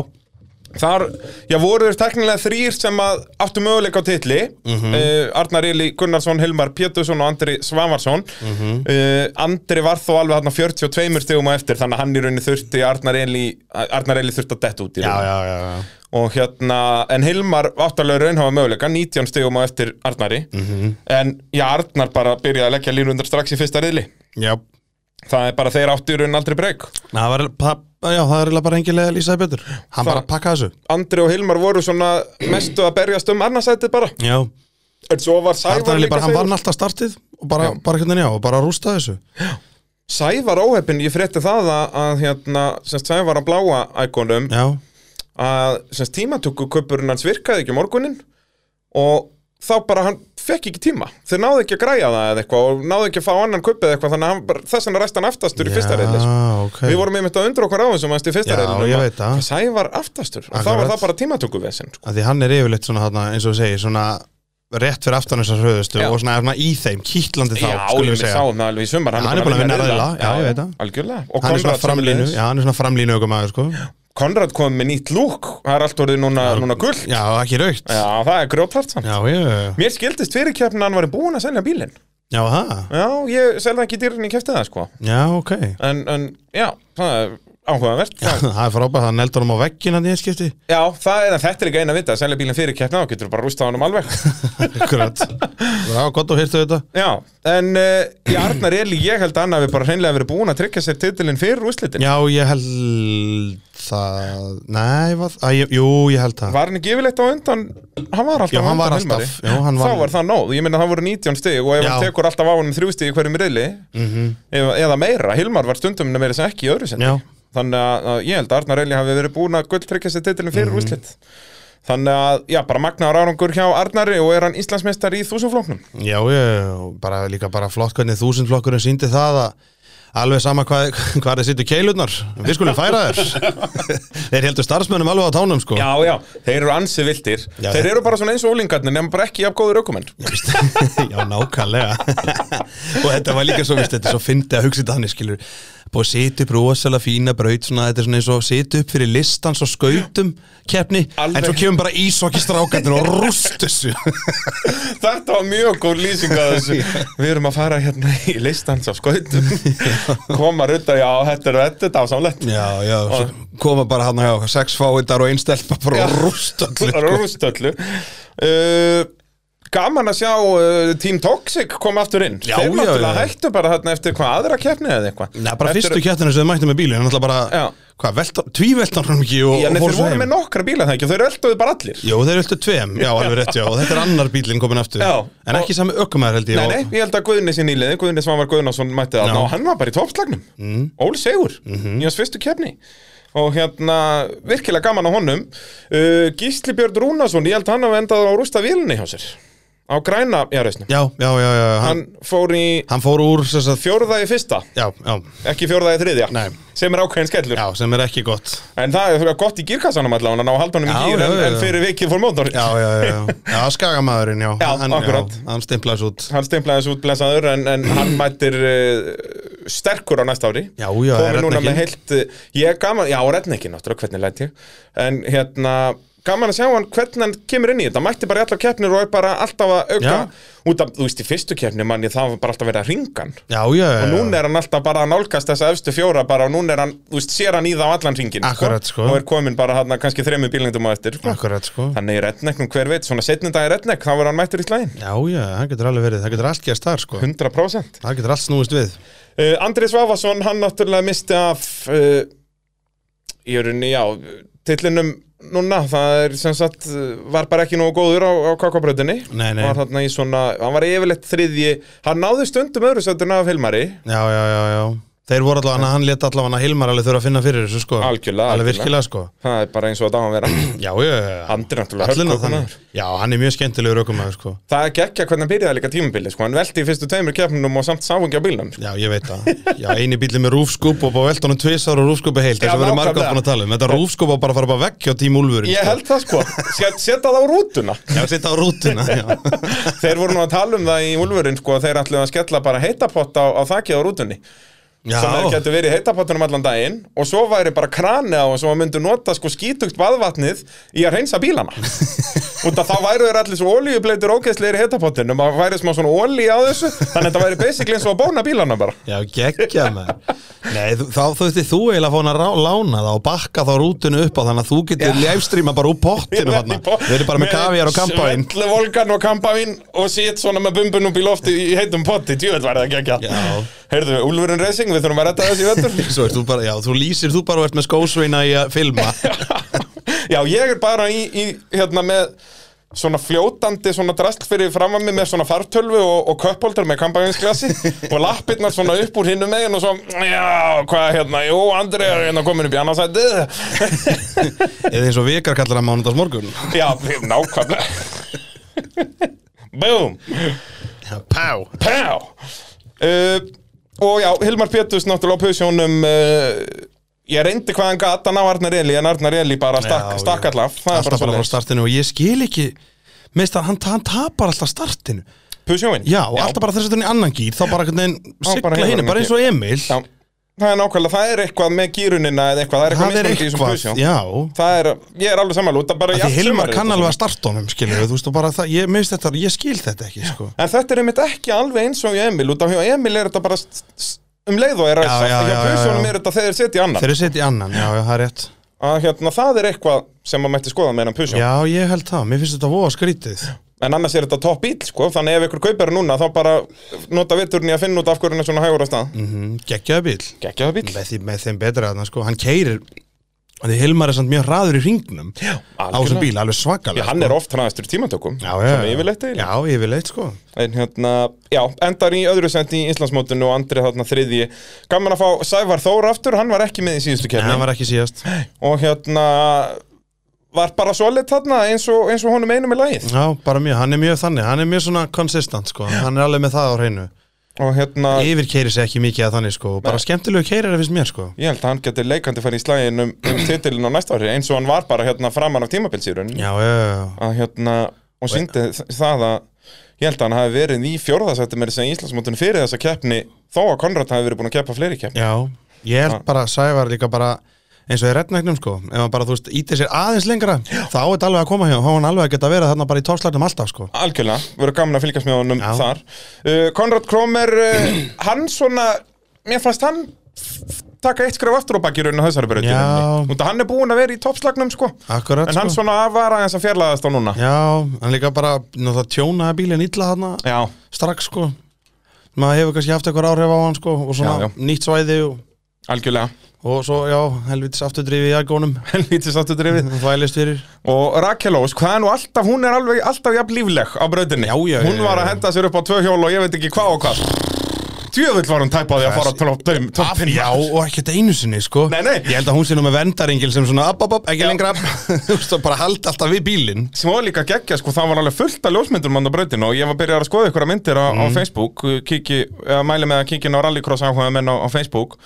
Þar, já voru þeir teknilega þrýr sem að áttu möguleika á titli mm
Mhm.
Arnar Eli Gunnarsson, Hilmar Pétursson og Andri Svavarsson mm
Mhm.
Andri var þó alveg hann 42 stegum á eftir þannig að hann í rauninni þurfti Arnar Eli, Arnar Eli þurfti að detta út í
já,
rauninni
já, já, já.
og hérna, en Hilmar áttalega raunhafa möguleika, 19 stegum á eftir Arnari
Mhm.
en já Arnar bara byrjaði að leggja línundar strax í fyrsta riðli
já.
það er bara þeir áttu í rauninni aldrei breyk
Það, var, það, já, það er eiginlega bara engilega að lýsa það betur hann
Það-
bara pakka þessu
Andri og Hilmar voru svona mestu að berjast um annarsætið bara
já,
En svo var Sævar
Arnar Eli
líka
bara, hann vann
segur
alltaf startið og bara, bara hvernig já, og bara rústa þessu
Sævar óheppin, ég frétti það að, að hérna, semst Sævar að bláa ækonum
já,
að semst tímatöku köpurinn hans virkaði ekki morgunin og þá bara hann fekk ekki tíma þeir náðu ekki að græja það eða eitthvað og náðu ekki að fá annan köpið eitthvað þannig að hann bara- þess vegna ræst hann aftastur í fyrsta reyli sko.
ok
Við vorum einmitt að undra okkur á þessum hans í fyrsta
Já,
reyli
ég veit það.
Sævar aftastur og þá var
Akkurat.
það bara tímatöku vesinn sko.
að því hann er yfirleitt svona þarna, eins og við segir svona rétt fyrir aftan þessar hröðustu
Já.
og svona, er svona í þeim, kýtlandi þá
Já,
skulum
ég
við segja
sáum það alveg í sumar
Hann er búinn að vinna riðla, já, ég veit það.
Algjörlega Og
hann er svona
Konrad
framlínu,
sömuleiðis.
já, hann er svona framlínu okkur maður sko
Konrad kom með nýtt lúk Það er allt orðið núna, núna gull já.
já, ekki raukt já,
það er grjótart samt
já, já,
Mér skildist fyrir keppnin að hann var búin að selja bílinn
já, það
Já, ég selði ekki dýrin í keftið það sko
já, ok
En, en já, það er áhugavert já.
það er frábæð, það neldur hann á veggin hann í eitt skipti
já, það er en þetta er ekki eina vita að selja bílinn fyrir keppnin Þá getur bara rústa honum alveg
akkurat, já, gott og hirtu þetta
Já, en uh, í Arnar Eli ég held að hann hafi bara hreinlega verið búin að tryggja sér titilinn fyrir úrslitin
já, ég held það nei, var, að, ég, jú, ég held það
Var hann ekki yfirleitt á undan, hann var alltaf
Já,
á
hann var
undan
alltaf,
Hilmari.
já, hann var-
Þá var það nóð, ég meina það voru 19 stig og ef
Já. Mhm.
hann tekur alltaf á hann þrjú stig í hverjum riðli eða, eða meira, Hilmar var stundum meira sem ekki í öðru sinni
já, Mhm.
Þannig að, að ég held að Arnar Eli hafi verið búin að gulltryggja sér titilin fyrir úrslit Þannig að, já, bara magnaður árangur hjá Arnari og er hann Íslandsmeistar í þúsumflóknum.
Já, ég, bara líka bara flott hvernig þúsundflokkurinn síndi það að alveg sama hvað, hvað þeir sýttu keilurnar við skulum færa þér þeir heldur starfsmönnum alveg á tánum sko
Já, já, þeir eru ansi vildir.
Já,
þeir
þetta-
eru bara svona eins og ólingarnir, nefnum bara ekki jafn góður aukumenn.
Vist, já, nákvæmlega og þetta var líka svo, vist, þetta er svo fyndi að hugsa þetta þannig, skilur búið að setja upp rosalega fína braut svona, þetta er svona eins og setja upp fyrir listan svo skautum keppni,
Alveg.
en svo kemur bara ísokki strákarnir og rúst þessu
Þetta var mjög góð lýsing að þessu. Við erum að fara hérna í listans af skautum. Koma rutta, já, þetta er þetta dásamlegt.
já, já, svo koma bara hann á sex fáiðar og einstelpa bara og rúst öllu
Það eru
sko.
rústöllu. Uh, gaman að sjá uh, Team Toxic koma aftur inn.
Já,
þeir
já,
náttúrulega
já.
hættu bara þarna eftir hvað aðra keppni eða eitthvað.
Nei, bara
Eftir-
fyrstu keppninu sem þau mættu með bílinn, hann alltaf bara,
Já.
hvað, veltan, tvíveltan hann um ekki og,
Já, en
og
þeir
fór svo
voru
heim.
með nokkra bíla það ekki og þeir ölduðu bara allir.
Jú, þeir viltu tveim, já, alveg rétt, já, og þetta er annar bílinn komin aftur.
Já.
En ekki sami ökumæður held ég.
Nei,
og-
nei, ég held að Guðni sín íliði, Guðni Svavar Guðnason mætti þarna
Já. Mhm.
og hann var bara í toppslagnum mm. Ól Sigur, í hans fyrstu kefni og hérna, virkilega gaman á honum uh, Gísli Björn Rúnason ég held hann hafa endað á rústa vélinni hjá sér á græna, já reysnum
Já, já, já, já, já, hann,
hann fór í
hann fór úr þess að,
fjórða í fyrsta
já, já,
ekki fjórða í þriðja,
Nei.
sem er ákveðin skellur
já, sem er ekki gott.
en það er gott í gírkassanum allavega hann á haldunum í
Já,
gír
já,
en,
já,
en
já.
fyrir vikið fór mótor
Já, já, já, já, já, skagamæðurinn, já,
Já,
hann,
akkurat.
já, hann stimplaðis út.
hann stimplaði þessu út blessaður en, en hann mættir uh, sterkur á næsta ári
Já, já,
komið
er
núna
Redneckinn.
með heilt uh, ég er gaman, já, retningin náttúrulega, hvernig læt ég en hérna, gaman að sjá hann hvernig hann kemur inn í þetta, mætti bara í allar keppnir og er bara alltaf að auka
Já.
út af, þú veist, í fyrstu keppni manni það var bara alltaf verið að ringa hann
Já, já, já,
og núna
já,
er hann alltaf bara að nálgast þessa efstu fjóra bara og núna er hann, þú veist, sér hann í það á allan ringin
Akkurat, sko.
og er komin bara hann kannski þremur bílengdum á eftir sko.
akkurat, sko.
þannig í retningum hver veit, svona setnindag í retning þá verður hann mættur í slæðin
Já, já, hann getur alveg verið, það getur allt gerst þar, sko.
100%
Það getur allt snúist við.
Uh, Andri Svavason, hann náttúrulega misti af uh, í rauninni, já, tillinum núna, það er sem sagt uh, var bara ekki nógu góður á, á kakabröðinni
Nei, nei,
var þarna í svona, hann var yfirleitt þriðji hann náði stundum öðru sættur af Hilmari
já, já, já, já. Þeir voru allavega, hann lét allavega Hilmar alveg þurfa að finna fyrir þessu, sko.
Algjörlega,
Alveg
algjörlega.
virkilega, sko.
það er bara eins og þetta á að vera
Já, já, já, já.
Andri náttúrulega
Allir náttúrulega
höggkóknar.
þannig. Já, hann er mjög skemmtilegur ökumæður sko
það er ekki ekki hvernig hann byrjaði líka tímabili sko. hann velti í fyrstu tveimur keppnum og samt sáfungi á bílnum sko.
Já, ég veit það. Já, eini bíli með rúfskúp og bara velt honum tvisar og rúfskúp er heilt
Já,
þess að verður margótt
nákvæmlega.
búin að tala um. Þetta rúfskúp á bara að fara bara vekk hjá tím úlfurinn
ég held það sko, Set- setja það á rútuna
Já, sitta á rútuna já.
Þeir voru nú að tala um það í Úlfurinn sko að þeir ætluðu að skella bara heitapott á, á þakið á rútunni
Já,
sem þeir getur verið í heitapottunum allan daginn og svo væri bara krani á sem að myndu nota sko skítugt baðvatnið í að reynsa bílana út að þá væru þeir allir svo olíubleitur ógeðslegir í heitapottunum að væri smá svona olí á þessu þannig að þetta væri basically eins og að bóna bílana bara
já geggja maður. Nei, þú- þá þú veist þú eiginlega að fá hann að rá- lána það og bakka þá rútunu upp á þannig að þú getur livestreama bara úr pottinu þarna. Við erum bara með kaviar og kampavín.
Svellu volgan og kampavín og sitt svona með bumbun upp í lofti í heitum potti Djúvel var það ekki ekki
Já.
Heyrðu, Úlfurinn Racing, við þurfum að retta þessi vettur
Svo ert þú bara, já, þú lýsir, þú bara og ert með skósveina í að filma.
Já, ég er bara í, í hérna með svona fljótandi svona drastl fyrir framar mig með svona fartölvu og, og köppholder með kampanjinsklasi og lappirnar svona upp úr hinnu megin og svo, já, hvað hérna, jú, Andri er hérna komin upp í annarsætið
Eða eins og vikar kallar að mánudags morgun.
Já, nákvæmlega Boom,
Pá.
pow uh, Og já, Hilmar Péturs náttúrulega á pusjónum uh, Ég reyndi hvað hann gat að ná Arnar Eli en Arnar Eli bara stakk,
Já,
stakk
já.
allaf Það er
alltaf
bara
bara
svona
frá startinu og ég skil ekki meist að hann, hann tapar alltaf startinu
pusjóin
já, og alltaf bara þess að hann í annan gýr þá bara einhvern
bara hefur
veginn sigla henni,
hann
bara eins og Emil
Já, það er nákvæmlega, það er eitthvað með gýrunina eða eitthvað, það er eitthvað
það
mismunandi
er
í þessum
eitthvað,
pusjó
já
Það er, ég er alveg sammála út að bara í
því
allt
Hilmar
sumarið
kann
þetta
alveg
svona.
að starta honum skilur við, þú veist, og bara það, ég meist þetta ég skil þetta ekki, sko
En þetta er einmitt ekki alveg eins og hjá Emil út af hjá Emil er þetta bara st- st- um leið og er ræsa
já,
Hjá
já, já,
pusjónum
já.
er þetta þegar þeir setja annan
þeir eru sett í annan, já, já, það er rétt
að hérna, það er eitthvað sem maður mætti skoða með hennan pusjó
já, ég held það, mér finnst þetta voða skrítið
En annars er þetta topp bíl, sko, þannig ef ykkur kaupir hann núna þá bara nota viturni að finna út af hverju hann er svona hægur á stað mm.
Mhm, geggjaði bíl
Gekkja það bíl
með, því, með þeim betra þarna, sko, hann keirir því Hilmar er samt mjög hraður í ringnum já, á þessum
algjörlega.
bíl, alveg svakalega
Já,
sko.
hann er oft hraðastur í tímatökum
Já, já,
Svona yfirleitt eiginlega.
Já, yfirleitt, sko
En hérna, já, endar í öðru sendi í Íslandsmótinu og Andri þarna þriðji Gaman að fá Sævar Þór aftur, hann var ekki með í síðustu
En hann
kefni
var ekki síðast
Og hérna, var bara solid þarna eins og, eins og honum einum í lagið
Já, bara mjög, hann er mjög þannig, hann er mjög svona konsistant sko, hann er alveg með það á hreinu
og hérna,
Yfir keiri sig ekki mikið að þannig sko, og bara skemmtilegu keiri er að finnst mér sko
ég held að hann geti leikandi farið í slægin um, um titilin á næsta ári eins og hann var bara hérna framan af tímabilsýrun
Já, já, já, já.
að hérna, og síndi það að ég held að hann hafi verið í fjórðasætti með þess að Íslandsmótinu fyrir þessa keppni þó að Konrad hafi verið búin að keppa fleiri keppni
já, ég held bara að Sævar líka bara eins og í reddnæknum sko Ef hann bara, þú veist, ítir sér aðeins lengra, þá er þetta alveg að koma hjá, þá er hann alveg að geta verið þarna bara í toppslagnum alltaf sko
Algjörlega, verður gaman að fylgjast með honum
Já.
þar uh, Konrad Kromer, uh, hann svona, mér fannst hann taka eitt skref aftur á baki í rauninu þessari
Já.
brautinu Hann er búin að vera í toppslagnum sko
Akkurat
En hann
sko
svona var aðeins að fjarlæðast á núna
Já, hann líka bara, náttúrulega tjónaði bílinn illa þarna
Já,
strax sko maður hefur kannski haft eitthvað áhrif á hann sko og svona
Já, já.
nýtt svæði og,
algjörlega
og svo já, helvitis afturdrifið í agónum
Lítið sáttu drifið
Hún þvælist fyrir
Og Rakel Ós, hvað er nú alltaf, hún er alveg alltaf jafn lífleg á brautinni
Já, já, já,
Hún var að
já, já.
henda sér upp á tvö hjól og ég veit ekki hvað og hvað Tjöfull var hún tæpaði að fara á topp- topp- toppinn
Já, og ekkert einu sinni, sko
Nei, nei.
Ég held að hún sé nú með vendaringil sem svona upp, upp, upp, ekki lengra upp Þú veist, og bara halda alltaf við bílinn
sem var líka geggja, sko, það var alveg fullt af ljósmyndum á brautinu og ég var byrjað að skoða ykkur myndir á, á
Mhm.
Facebook, kiki, eða mæli með að kíkja á rallycross áhuga menn á, á Facebook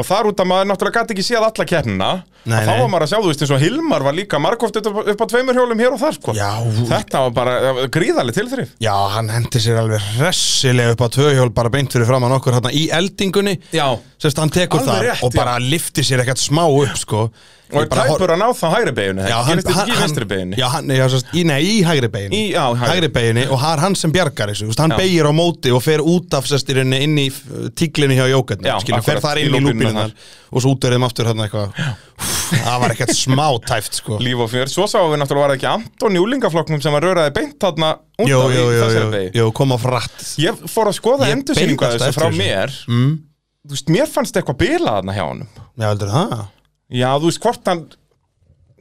og þar út að maður náttúrulega gæti ekki séð alla keppnina,
Nei,
að þá
nei.
var maður að sjá, þú veist, eins og Hilmar var líka margóft upp, á- upp á tveimur hjólum hér og þar, sko
Já.
þetta var bara eh, gríðaleg tilþrif
Já, hann hendi sér alveg hressilega upp á tvöhjól bara beint fyrir framann okkur hérna í eldingunni
Já.
Sérst, hann tekur
Alveg
það
rétt,
og bara lifti sér ekkert smá upp, sko
og er tæpur að ná það hægri beginu,
Já, hann,
gerist þetta ekki í
hann,
vinstri beginu
já, hann, já, sérst, í, nei, í hægri beginu
Í- já, hægri.
hægri beginu og það er hann sem bjargar þessu þú veist, hann
Já.
beigir á móti og fer út af sérst, í rauninni inn í tíklinni hjá jókarni
Já,
skilur, fer
akkurat,
þar
í
inn í
lúpínuna
lúpinu
þar.
þar og svo útverðum aftur hann eitthvað Úff, það var ekkert smá tæft sko
líf og fjör, svo sáum við náttúrulega var það ekki Anton í úlingaflokknum sem var röraði beint þarna út
jú,
af í
jú, jú,
þessari
jú,
beigju
jú, kom á frætt
Ég fór að skoða
Ég
endursýningu
beið
að þessu
alltaf
frá
eftir Mm.
mér Þú veist, mér fannst eitthvað bilað þarna hjá honum
já, heldur það
Já, þú veist, hvort hann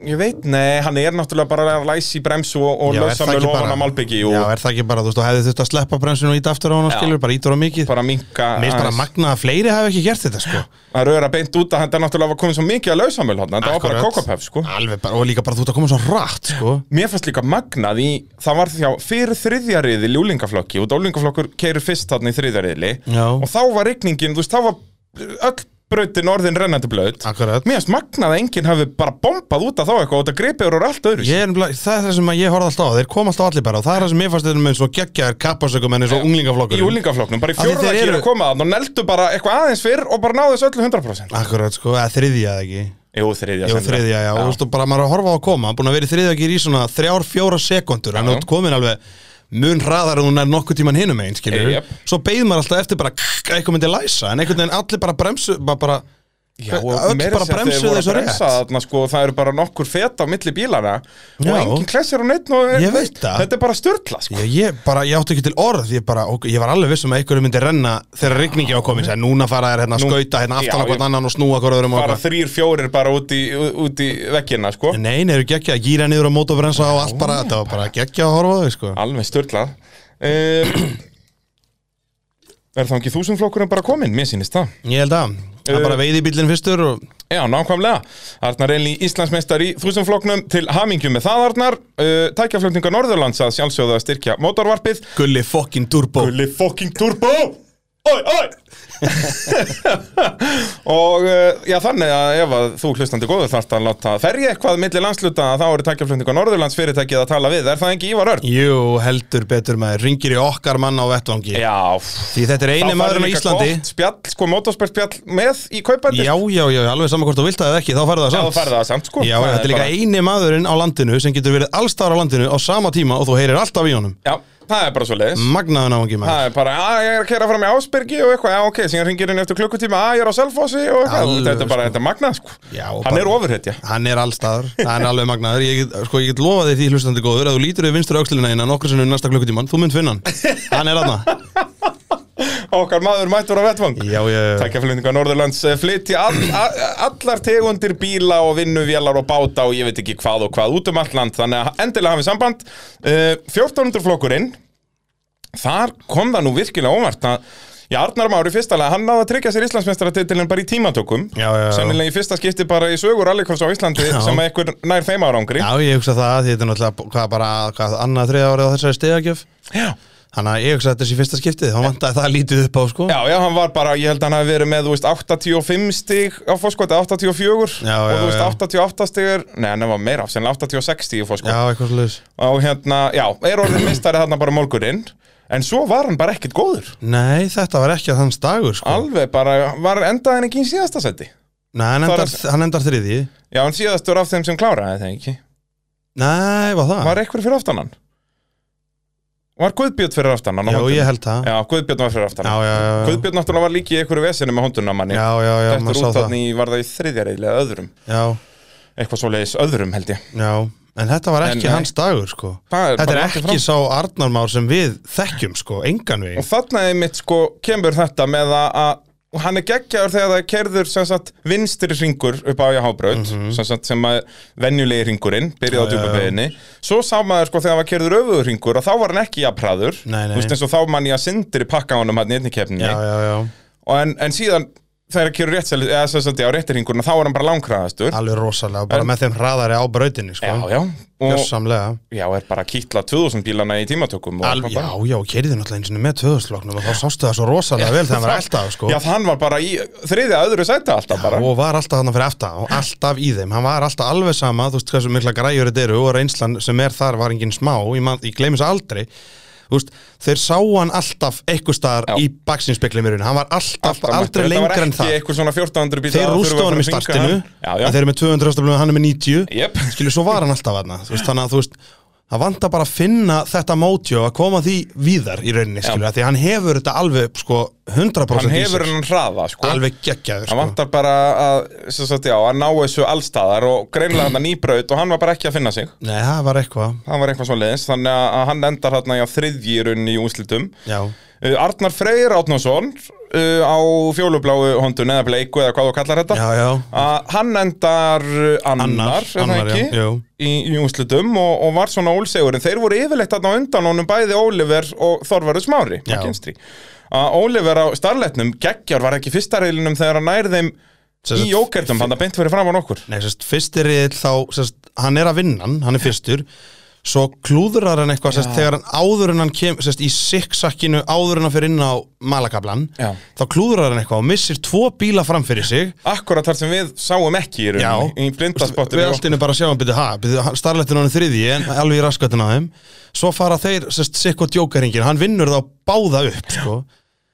Ég veit, nei, hann er náttúrulega bara að læsi í bremsu og, og
Já, er
lausa
það
með
ekki
lofan
bara-
að malbyggi
já,
og
er það ekki bara, þú veist, þú hefði þurft að sleppa bremsinu og íta aftur á hann og
Já.
skilur, bara ítur á mikið
bara minka
mér finnst bara magna að fleiri hafi ekki gert þetta sko
að röra beint út að þetta náttúrulega var komið svo mikið að lausa með þetta var bara
Akkurat.
kókapef, sko
alveg bara, og líka bara þú ert að koma svo rætt sko
Mér fannst líka magnað í, það var þjá fyrir þriðjariði ljúlingaflokki og dólingaflokkur keirur fyrst þarna í þriðjariðli
Já.
og þá var rigningin, þú veist, þá var öll brautin orðin rennandi blöð
Akkurat.
Mér finnst magnað að enginn hafi bara bombað út af þá eitthvað og þetta gripið úr allt öðru
Ég er nefnilega, það er það sem að ég horfði alltaf á, þeir kom alltaf allir bara og það er það sem ég fannst þeirnum eins og geggjaðir kappasökum en eins og
í
unglingaflokkur
úlingaflokknum, bara í
Af því
fjórða
þeir
kýra
eru-
eru... komaðan og neldu bara eitthvað aðeins fyrr og bara náðu þessu öllu 100%
Akkurat sko, eða þriðja eða ekki
Ah, Jú, þriðja
Jú,
sennilega.
þriðja, já, og þú veist og bara maður er að horfa á að koma búin að vera í þriðja gýr í svona þrjár, fjóra sekundur en þú ert komin alveg mun hraðar en hún er nokkuð tíman hinum einn, skilur
Jep.
Svo beið maður alltaf eftir bara kk, eitthvað myndi læsa, en einhvern veginn allir bara bremsu bara, bara,
Já, og
öll
meira að
bara
segja
bremsuðu
þeir voru
þessu
að
rétt.
bremsa þarna, sko, það eru bara nokkur feta á milli bílana og
Já.
enginn klessir á neitt og,
Ég veit það.
þetta er bara störtla sko.
Já, ég bara, ég átti ekki til orð, ég bara, ok, ég var alveg vissum að einhverju myndi renna þegar rigningi á komið, en núna fara þær hérna að
Nú-
skauta hérna aftan
Já,
á hvern
ég-
annan og snúa hvort öðrum og
bara
eitthvað.
þrýr, fjórir bara út í, út í veggina sko.
Nei, nei, eru geggja að gýra niður á mótobrensa og allt bara, þetta var bara geggja að horfa á þau, sko.
alveg störtla um, er þá ekki þúsundflokkurinn bara kominn, mér sýnist það
Ég held að, það
Uh,
er bara veiði bílinn fyrstur og
Já, nákvæmlega. Arnar Elí Íslandsmeistar í þúsundfloknum til hamingju með það, Arnar. Uh, tækjaflutninga Norðurlands að sjálfsögðu að styrkja mótorvarpið.
gulli fokkin turbo.
Gulli fucking turbo! Oi, oi! og uh, já, þannig að ef að þú hlustandi góður þarft að láta ferja eitthvað milli landsluta þá eru tækjaflutninga Norðurlands fyrirtækið að tala við. Er það ekki Ívar Örn?
Jú, heldur betur maður, ringir í okkar mann á vettvangi.
Já, pff.
Því þetta
Þá
er eini
færðu
maðurinn á
líka
Íslandi.
gott Spjall, sko, motorspjall með í kaupandi.
Já, já, já, alveg saman hvort þú vilt það eða ekki, þá farðu það
þá
samt.
færðu það samt, sko.
Já,
Það
þetta er líka
bara-
eini maðurinn á landinu sem getur verið allstar á landinu á sama tíma og þú heyrir alltaf í honum.
Já, það er bara svo leiðis.
Magnaðan áhengi maður
Það er bara, að ég er að kera fram í Ásbyrgi og eitthvað, já ok, síðan ringir henni eftir klukkutíma, að ég er á Selfossi og eitthvað,
Alveg,
þetta er bara, þetta er magnað sko.
Já,
Hann
og bara-
er ofurhetja.
Hann er allstaðar, hann er alveg magnaður Ég get, sko, ég get lofað þér því hlustandi góður að þú lítur við vinstur aukslina innan okkur sinnum næsta klukkutíman Þú mynd finna hann, hann er aðna
Okkar maður mættur á vettvang.
Já, já, já.
Takk Norðurlands eh, flytja all, all, allar tegundir bíla og vinnuvélar og báta og ég veit ekki hvað og hvað út um allt land, þannig að endilega hafið samband. Eh, Uh, 1400 flokkurinn, þar kom það nú virkilega óvart að Já, Arnar Már í fyrsta lega, hann náði að tryggja sér Íslandsmeistaratitilin bara í tímatökum
Já, já, já.
Sennilega í fyrsta skipti bara í sögur Allikors á Íslandi
Eh. Já.
sem að einhver nær þeim árangri
Já, ég hugsa það, því þetta er náttúrulega b- hvað bara, hvað, annað þriða árið á þessari stegagjöf
Já.
Þannig að ég hugsa að þetta sé fyrsta skiptið, þá vantaði það lítið upp á, sko
Já, já, hann var bara, ég held að hann hafi verið með, þú veist, 85 stig á fórskoti, 84
Já,
og
já,
þú veist,
já.
88 stig er, nei, hann var meira, sennilega 86 stig í fórskoti
eitthvað slúðis
og hérna, já, er orðin mistari þarna bara mólkurinn, en svo var hann bara ekkit góður,
Nei, þetta var ekki að hans dagur, sko
alveg bara, var endaðin ekki í síðasta seti
Nei, hann
Þar-
endar, hann endar þriði
Já, hann síðastur af þeim sem kláraði það ekki
Nei, var það?
Var eitthvað fyrir aftan hann? Var Guðbjörn fyrir aftan hann? á
Já,
hóndunum?
ég held það
Já, Guðbjörn var fyrir aftan
Já,
hann
já, já, já.
Guðbjörn náttúrulega var líki í einhverju vesinu með hónduna manni
Já, já, já,
Þetta
maður
er
sá
út
það
þarna í, var það í þriðja reyli eða öðrum
Já,
Eitthvað svoleiðis öðrum held ég
já En þetta var
En
ekki
nei.
hans dagur, sko
Það er
Þetta er
bara langt í
ekki
frá.
sá Arnar Már sem við þekkjum, sko, engan við
Og þarna einmitt sko kemur þetta með að, að og hann er geggjaður þegar það er kerður sem sagt vinstri ringur upp á Jáhábraut sem sagt sem að venjulegi ringurinn byrjaði á
Mhm. Já, já, já.
djúpabeginni svo sá maður sko þegar það var kerður öfugur ringur og þá var hann ekki jafnpraður
Nei, nei.
þú veist eins og þá mann ég að sindri pakka honum hann í einni keppni
Já, já, já,
Og en, en síðan þegar kerður rétt sæli- eða sem sagt já réttir ringurinn þá er hann bara langkraðastur
alveg rosalega, bara með þeim hraðari á brautinni, sko
Já, já, og
Gjörsamlega
já, er bara að kýtla 2000 bílana í tímatökum og
Al,
bara-
já, já, og keiriði náttúrulega eins og með tvöðusloknum og þá sástu það svo rosalega vel þegar hann var alltaf sko.
Já, hann var bara í þriðja öðru sæti alltaf bara
og var alltaf hann fyrir aftan og alltaf í þeim, hann var alltaf alveg sama þú veist hversu mikla græjur þetta eru og reynslan sem er þar var engin smá, ég, man, ég gleymis aldrei þú veist, þeir sá hann alltaf eitthvað staðar
Já.
í baksinspeklimirun hann var
Alltaf
alltaf,
mættur.
aldrei lengur en
Þetta var
það
ekki eitthvað svona 1400 bíl
þeir rústa honum í startinu
Já, já,
en þeir eru með 200 röstablum, hann er með 90
Jep.
skilur, svo var hann alltaf hann veist, þannig að þú veist, það vantar bara að finna þetta mótjó að koma því víðar í rauninni, skilur, af því að hann hefur þetta alveg sko 100%
hann
í
hefur
sér.
hann hraða sko.
alveg geggjaður
Hann
sko.
vantar bara að, sem sagt, já, að ná þessu allstaðar og greinlega hann að nýbraut og hann var bara ekki að finna sig
Nei, það var eitthvað
hann var eitthvað svo leiðins, þannig að að hann endar hérna í þriðjirunni í úslitum
Já,
uh, Arnar Freyr Átnason uh, á fjólubláu hondun eða bleiku eða hvað þú kallar þetta
já, já
að hann endar uh, annar, er það
annar,
ekki,
já, jú.
í, í úslitum og, og var svona ólsegurinn. Þeir voru yfirleitt þarna á undan honum bæði Oliver og Þorvarur Smári,
Já.
McKinstry. Að Oliver á starletnum, geggjar var ekki fyrsta reilinum þegar hann nær þeim
Sem sagt,
í jókertum, hann það beint fyrir fram á nokkur.
Nei, sérst, fyrsti riðil þá sérst, hann er að vinna, hann, hann er fyrstur svo klúðrar hann eitthvað sérst, þegar hann áður en hann kem, sérst, í siksakkinu áður en hann fyrir inn á malakablan
Já.
þá klúðrar hann eitthvað og missir tvo bíla fram fyrir sig
Akkurat þar sem við sáum ekki í rauninni, í
við
blindaspottir.
alltinu bara sjáum byrju, ha, byrju, starletin hann er þriðji en alveg í raskatina þeim svo fara þeir, sérst, sikk og djókeringin hann vinnur þá báða upp, sko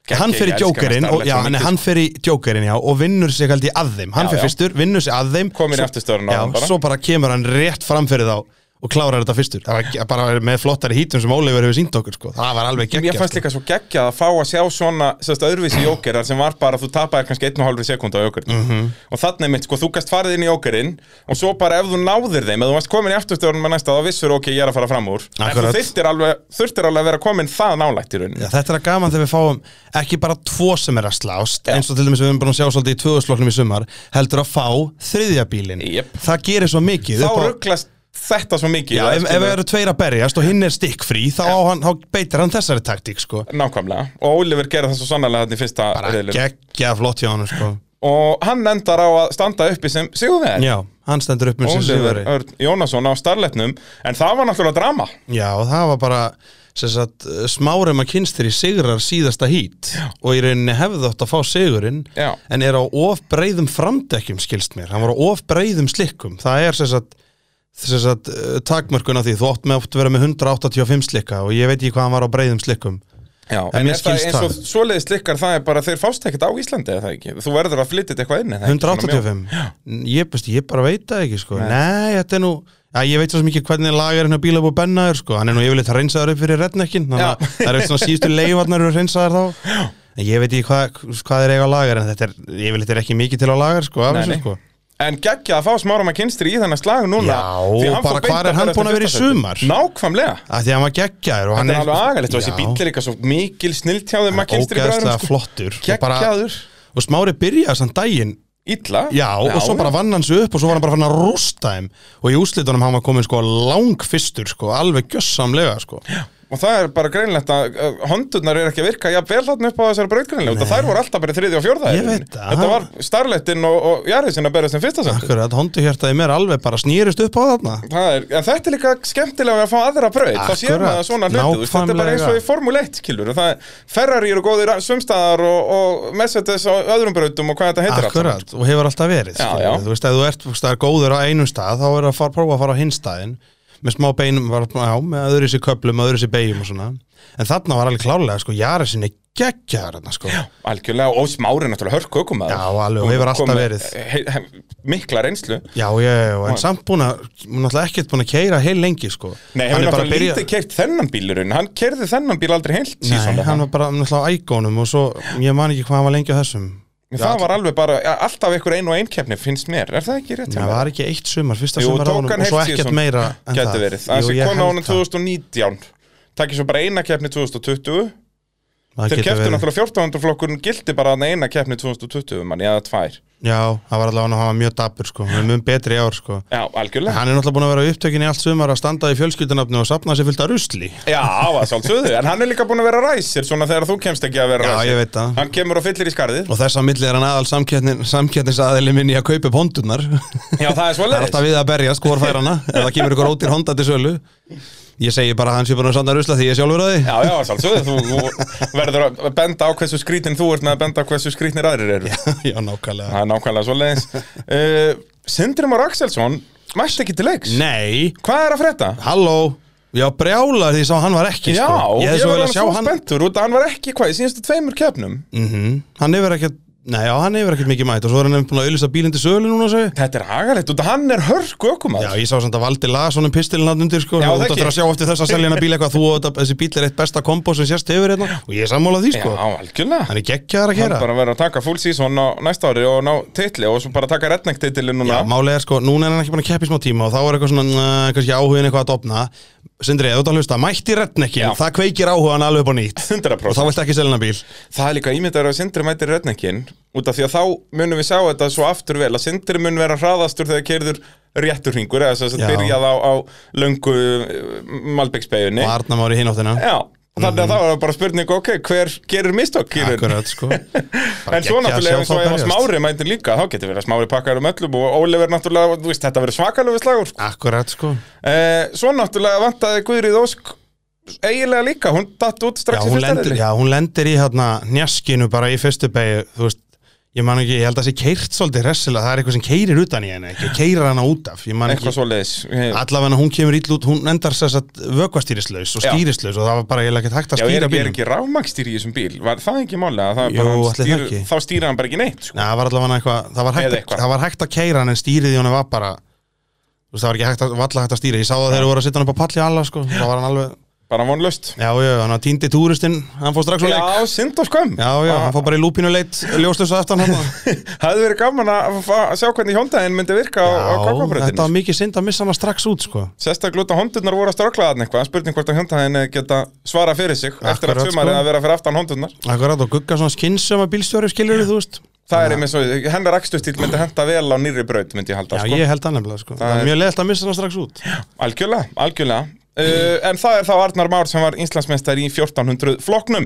Geggjað,
hann fer í
ég elska
djókerinn
með
og,
Starlet
já,
svo
hann,
mikið, sko.
hann fer í djókerinn, já, og vinnur sig haldið að þeim,
Já,
hann fer
já.
fyrstur vinnur sig að þeim,
Kominn í
svo-
afturstöruna á
já,
hann bara.
svo bara kemur hann rétt fram fyrir þá og klárar þetta fyrstur, það var ekki- bara með flottari hítum sem Ólefur hefur sínt okkur, sko, það var alveg
Ég fannst
geggjast
líka svo geggjað að fá að sjá svona sérst, öðruvísi jókerar sem var bara að þú tapaði kannski 1,5 sekund á jókerinn
Mhm.
og þannig mitt, sko, þú gast farið inn í jókerinn og svo bara ef þú náðir þeim ef þú varst komin í afturstjórnum með næsta þá vissur ok, ég er að fara fram úr en
Akkurat.
þú þurftir alveg, þurftir alveg að vera komin það nálægt í rauninni
Já, þetta er að gaman þegar við fáum ekki bara tvo sem er að slást eins og til dæmis við erum búin að sjá svolítið í tvöðusloknum í sumar heldur að fá þriðja bílinn
Jep.
það gerir svo mikið
þá
upp á-
rugglast þetta svo mikið
Já,
það
ef,
skilur-
ef það eru tveir að berjast og hinn er stikkfrí þá, á hann, þá beitir hann þessari taktík sko.
Nákvæmlega, og Oliver gerði það svo sannlega þetta í fyrsta
bara
riðlum
geggja flott hjá hann sko.
og hann endar á að standa uppi sem sigurvegari
Já, hann stendur upp með sér
Oliver
sigurveri
Örn Jónasson á starletnum en það var náttúrulega drama
Já, og það var bara sem sagt, smárum að kynstri sigrar síðasta hít og í rauninni hefði átt að fá sigurinn
Já.
en er á of breiðum framdekkjum skilst mér, hann var á of breiðum slikkum það er sem sagt, sem sagt eh, takmörkun á því, þú átt með átt að vera með 185 slikka og ég veit ekki hvað hann var á breiðum slikkum
Já,
En
en
mér
er það
skilst
eins og
það.
svoleiðis likkar það er bara þeir fást ekkert á Íslandi eða það ekki Þú verður að flytja þetta eitthvað inn er það ekki? Svona mjög-
185 ég, best, ég bara veit það ekki sko. nei. þetta er nú Já, ég veit svo sem ekki hvernig lagarinn á bíla búið bennaður sko. hann er nú yfirleitt reynsæður upp fyrir rednekkin þannig að
Já.
það er svona síðustu leifarnar eru reynsæður þá en ég veit ekki hvað, hvað er eiga á lagar en þetta er, yfirleitt er ekki mikið til á lagar sko, af
Nei,
þessu
nei.
sko
En geggja að fá smára maður kynstri í þennan slag núna
Já,
því hann fór
bara
beint
hvar er
að
hann
ferðast
búinn að vera í
fyrsta sæti.
sumar?
Nákvæmlega
að því að hann var geggjaður og hann
Þetta er alveg agalegt og þessi
Já.
bíl er eitthvað svo mikil snilt hjá þeim maður kynstri
ógeðslega flottur og, bara,
sko. Geggjaður,
og smári byrjaði samt daginn
illa
Já, og svo bara vann hann sig upp og svo var hann bara fann að rústa þeim og í úslitunum hann var komin sko lang fyrstur sko, alveg gjössamlega sko.
Og og það er bara greinlegt að uh, hondurnar er ekki að virka jafn vel þarna upp á þessari brautgreinlega og þær voru alltaf bara í þriði og fjórða
Ég
í rauninni.
veit það.
þetta var starlettinn og, og jarðisinn að berast sem fyrsta sem
Akkur, þetta honduhjartaði mér alveg bara snýrist upp á þarna
Það er, en þetta er líka skemmtilega að fá aðra braut, þá sér
Akkurat,
maður svona hluti, þú veist, þetta er bara eins og í
nákvæmlega.
Formule 1, skilur, það er Ferrari eru góðir sumstaðar og, og Mercedes á öðrum brautum og hvað þetta heitir allt saman,
Akkurat, og hefur alltaf verið
Já,
skilurðu.
já.
Þú veist, ef þú ert þú veist, það er góður á einum stað þá er að fara, prófa að fara á hinn staðin með smá beinum, var- já, með öðru sér köplum öðru sér beigjum og svona en þarna var alveg klárlega, sko, Jari sinni geggjar þarna, sko,
Algjörlega, og smári náttúrulega hörku okkur maður.
Já, alveg, og hefur alltaf verið.
Mikla reynslu.
já, já, já, já, en samt búin að hún er náttúrulega ekkert búin að keira heil lengi, sko
Nei, hann er bara lítið keirt þennan bílurinn, hann kerði þennan bíl aldrei heilt
Nei,
sísonlega.
hann var bara náttúrulega á ægónum og svo, ég man ekki hvað hann var lengi á þessum
Það var alveg bara, ja, alltaf ykkur ein og ein keppni finnst mér, er það ekki rétt? hjá
Það
mér?
var ekki eitt sumar, fyrsta
Jú,
sumar á
tók
honum
hann
og svo
heilt
ekkert
síðan.
meira en
Gæti
það.
verið, það
Jú,
sé
ég
konu á
held
honum
það.
2019 Takk svo bara eina keppni 2020
Það
Þeir
getur
keftu
verið.
náttúrulega 1400 flokkurinn gildi bara þarna eina keppni 2020 manni, eða tvær
Já, það var allavega hann var mjög dapur sko, hann er mjög betri í ár sko
Já, algjörlega
Hann er náttúrulega búin að vera upptökin í allt sumar að standa í fjölskyldunafni og sapna sér fullt af rusli
Já, að sjálfsögðu, en hann er líka búin að vera ræsir svona þegar þú kemst ekki að vera
Já,
ræsir
ég veit það.
Hann kemur og fyllir í skarðið
Og þess að milli er hann aðal samkeppnin, samkeppnisaðili minn í að kaupa upp hondunar Það
Já, það er svo
er
leiðis
alltaf við að berjast, hvor fær hana ef það kemur ykkur ótir honda til sölu Ég segi bara að hann sé búin að standa rusla því ég er sjálfur að því
Já, já, að sjálfsögðu, þú, þú verður að benda á hversu skrítin þú ert með að benda á hversu skrítnir aðrir eru
Já, nákvæmlega
Það er nákvæmlega svo leiðis uh, Sindri Már Axelsson, mæst ekki til leiks
Nei,
Hvað er að frétta?
halló Já, brjála því ég sá að hann var ekki
Já,
sko.
ég,
hefði
ég
svo
var
viljað
alveg
sjá
svo spenntur út að hann var ekki hvað í síðustu tveimur keppnum
Mhm. Hann hefur ekkert, nei, já, hann hefur ekkert mikið mætt og svo er hann nefnt búin að auðlýsa bílinn til sölu núna segi
Þetta er agalegt út að hann er hörku ökumar
Já, ég sá samt að Valdi las honum pistilin hann undir sko,
Já,
og
það
það
ekki.
þarf að sjá eftir þess að selja hann að bíl eitthvað þú og þetta, þessi bíl er eitt besta kombo sem sérst hefur hérna og ég er sammála því sko,
algjörlega
hann er geggjaðar að
Hann
gera
bara verður að taka full season á næsta ári og ná titli og svo bara taka redneck-titlin núna
Já, málið er sko, núna er hann ekki búin að keppa í smá tíma og þá er eitthvað svona, næ, kannski áhugin eitthvað að dopna Sindri, ef þú ert að hlusta, mætti
Já.
retnekkin, það kveikir áhugan alveg upp á nýtt
100%.
og þá viltu ekki selja hann að bíl
Það er líka ímyndar að Sindri mætir redneckin út af því að þá munum við sjá þetta svo aftur vel að Sindri mun vera hraðastur þegar kerður réttur hringur eða þess að
Já.
byrjað á, á löngu Malbyggsbeginni
og Arna Már í hináttina
Já, þannig að það var bara spurning ok, hver gerir mistokk í raun?
Mhm. Akkurat sko Bara
En svo
geggjað að sjá
náttúrulega eins
þá
og ef að
berjast.
smári mætir líka, þá getur verið að smári pakkar um öllum og Óliver náttúrulega, þú veist, þetta verður svakalöfu slagur. sko.
Akkurat sko
Eh, svo náttúrulega vantaði Guðrið Ósk eiginlega líka, hún datt út
já,
strax í
hún
fyrsta
lendir,
reyðinni.
já, hún lendir í hérna njaskinu bara í fyrstu beigju þú veist, ég man ekki, ég held að sé keirt svolítið hressilega, það er eitthvað sem keirir utan í henni ekki, keirir hana út af, ég man ekki
Eitthvað Eh, svo leiðis.
allavega hún kemur ítl út, hún endar sér satt vökkvastýrislaus og
Já.
stýrislaus og það var bara, ég ekki hægt
Já, er
að stýra
ekki, er
bílum
ekki rámagstýri í þessum bíl? Var það ekki málega? Það er
Jú,
bara, hann
ætli það
stýr,
ekki.
þá stýra hann bara ekki neitt, sko.
Nei, það var allavega eitthvað, það var, hægt
Eða
að,
eitthvað.
það var hægt að keira hann en stýrið í honum var bara þú veist, það var ekki hægt að, valla hægt að stýra ég sá það þegar þú voru að setja hann upp á palli alla sko, þá var hann alveg,
Bara vonlöst.
já, já, hann týndi túristinn hann fór strax á
Já,
leik
synd og skömm.
Já, já, hann fór bara í lúpínu leit ljóslusa aftan hann
Það hefði verið gaman að fá- að sjá hvernig hjóndaðin myndi virka á, á
þetta
kakkabröðinu.
var mikið synd að missa hana strax út sko.
Sérstaklega út að hóndurnar voru að ströklaðan eitthvað, spurning hvort að hjóndaðin geta svara fyrir sig eftir að
Akkurat,
sumarið
sko.
að vera fyrir aftan hóndurnar.
Akkurat og gugga svona skinnsöma bílstjóri skilur þú veist
Það er einmitt svo, hennar akstustíl myndi henda vel á nýri braut, myndi ég halda,
Já,
sko.
ég held það nefnilega sko. Það
er-
er mjög leiðilt að missa hana strax út
Algjörlega, algjörlega. Uh, en það er þá Arnar Már sem var Íslandsmeistar í 1400 flokknum.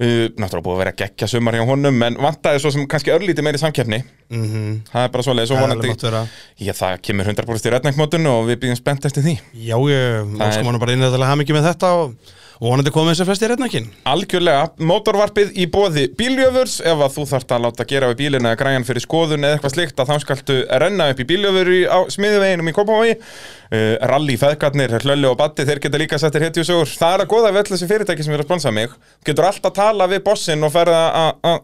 Uh, náttúrulega búið að vera geggja sumar hjá honum, en vantaði svo sem kannski örlítið meiri samkeppni.
Mhm.
Það er bara svoleiðis og
Það er alveg
vonandi.
mátt vera.
Já, það kemur 100% í rednækmótun og við býðum spennt eftir því.
Já, ég
Það er-
óskum hann bara innræðilega hafa mikið með þetta og, og vonandi komið þessi flesti í reynakinn
Algjörlega, mótorvarpið í bóði bíljöfurs ef að þú þart að láta gera við bílinn eða græjan fyrir skoðun eða eitthvað slikt að þá skaltu renna upp í bíljöfur í- á smiðuveginum í Kópavogi uh, Rally, feðgarnir, hlöllu og batti þeir geta líka settir hetjusögur Það er að goða við öll þessi fyrirtæki sem er að sponsa mig Þú getur alltaf að tala við bossinn og ferða að að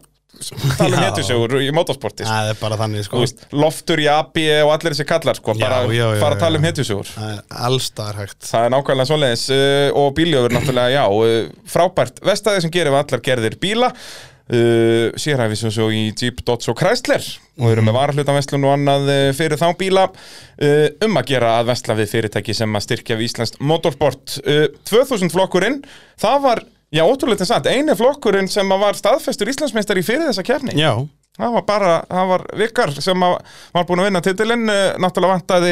tala um
Já.
hetjusögur í mótorsporti sko.
Það er bara þannig
Þú
sko.
veist, Loftur, Jabi E og allir þessi kallar sko,
Já,
bara
já, já,
fara að tala um
já.
hetjusögur
Það er allstaðar hægt
Það er nákvæmlega svoleiðis uh, og bíljöfur náttúrulega, já, uh, frábært vestæði sem gerir við allar gerðir bíla uh, sérhæfi sem svo í Jeep, Dodge og Chrysler og eru með varahlutanveslun og annað uh, fyrir þá bíla uh, um að gera að vesla við fyrirtæki sem að styrkja við Íslands motorsport uh, 2000 flokkurinn, það var Já, ótrúleitin satt, eini flokkurinn sem að var staðfestur Íslandsmeistar í fyrir þessa kefni
Já,
Það var bara, það var vikar sem að- var búin að vinna titilinn, eh, náttúrulega vantaði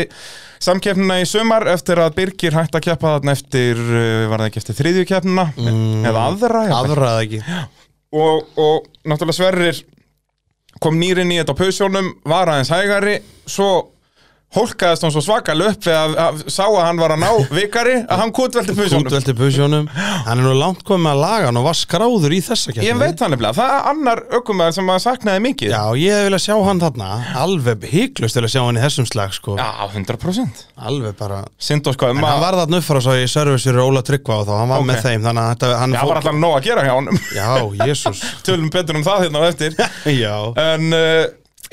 samkeppnina í sumar eftir að Birgir hætti að keppa þarna eftir, eh, var það ekki eftir þriðju keppnina,
Mm.
eða aðra, jafnvel.
aðrað ekki
og, og náttúrulega Sverrir kom nýrin í þetta á pausjónum, var aðeins hægari, svo hólkaðist hann svo svakalega upp við að, að sá að hann var að ná vikari, að hann kútvelti pausjónum.
Kútvelti pusjónum Hann er nú langt komið með að laga hann og var skráður í þessa kemni
Ég veit það nefnilega, það er annar ökumæður sem maður saknaði mikið.
Já, ég hef viljað sjá hann þarna Alveg hygglust til að sjá hann í þessum slag sko.
Já 100%.
Alveg bara
Sindó sko,
En hann
maður,
var þarna upp frá svo í service fyrir Óla Tryggva og þá hann var
Ok.
með þeim þannig að þetta, hann
já, var alltaf nóg að gera hjá honum.
Já, jésús
Tölum betur um það hérna á eftir.
Já
En uh,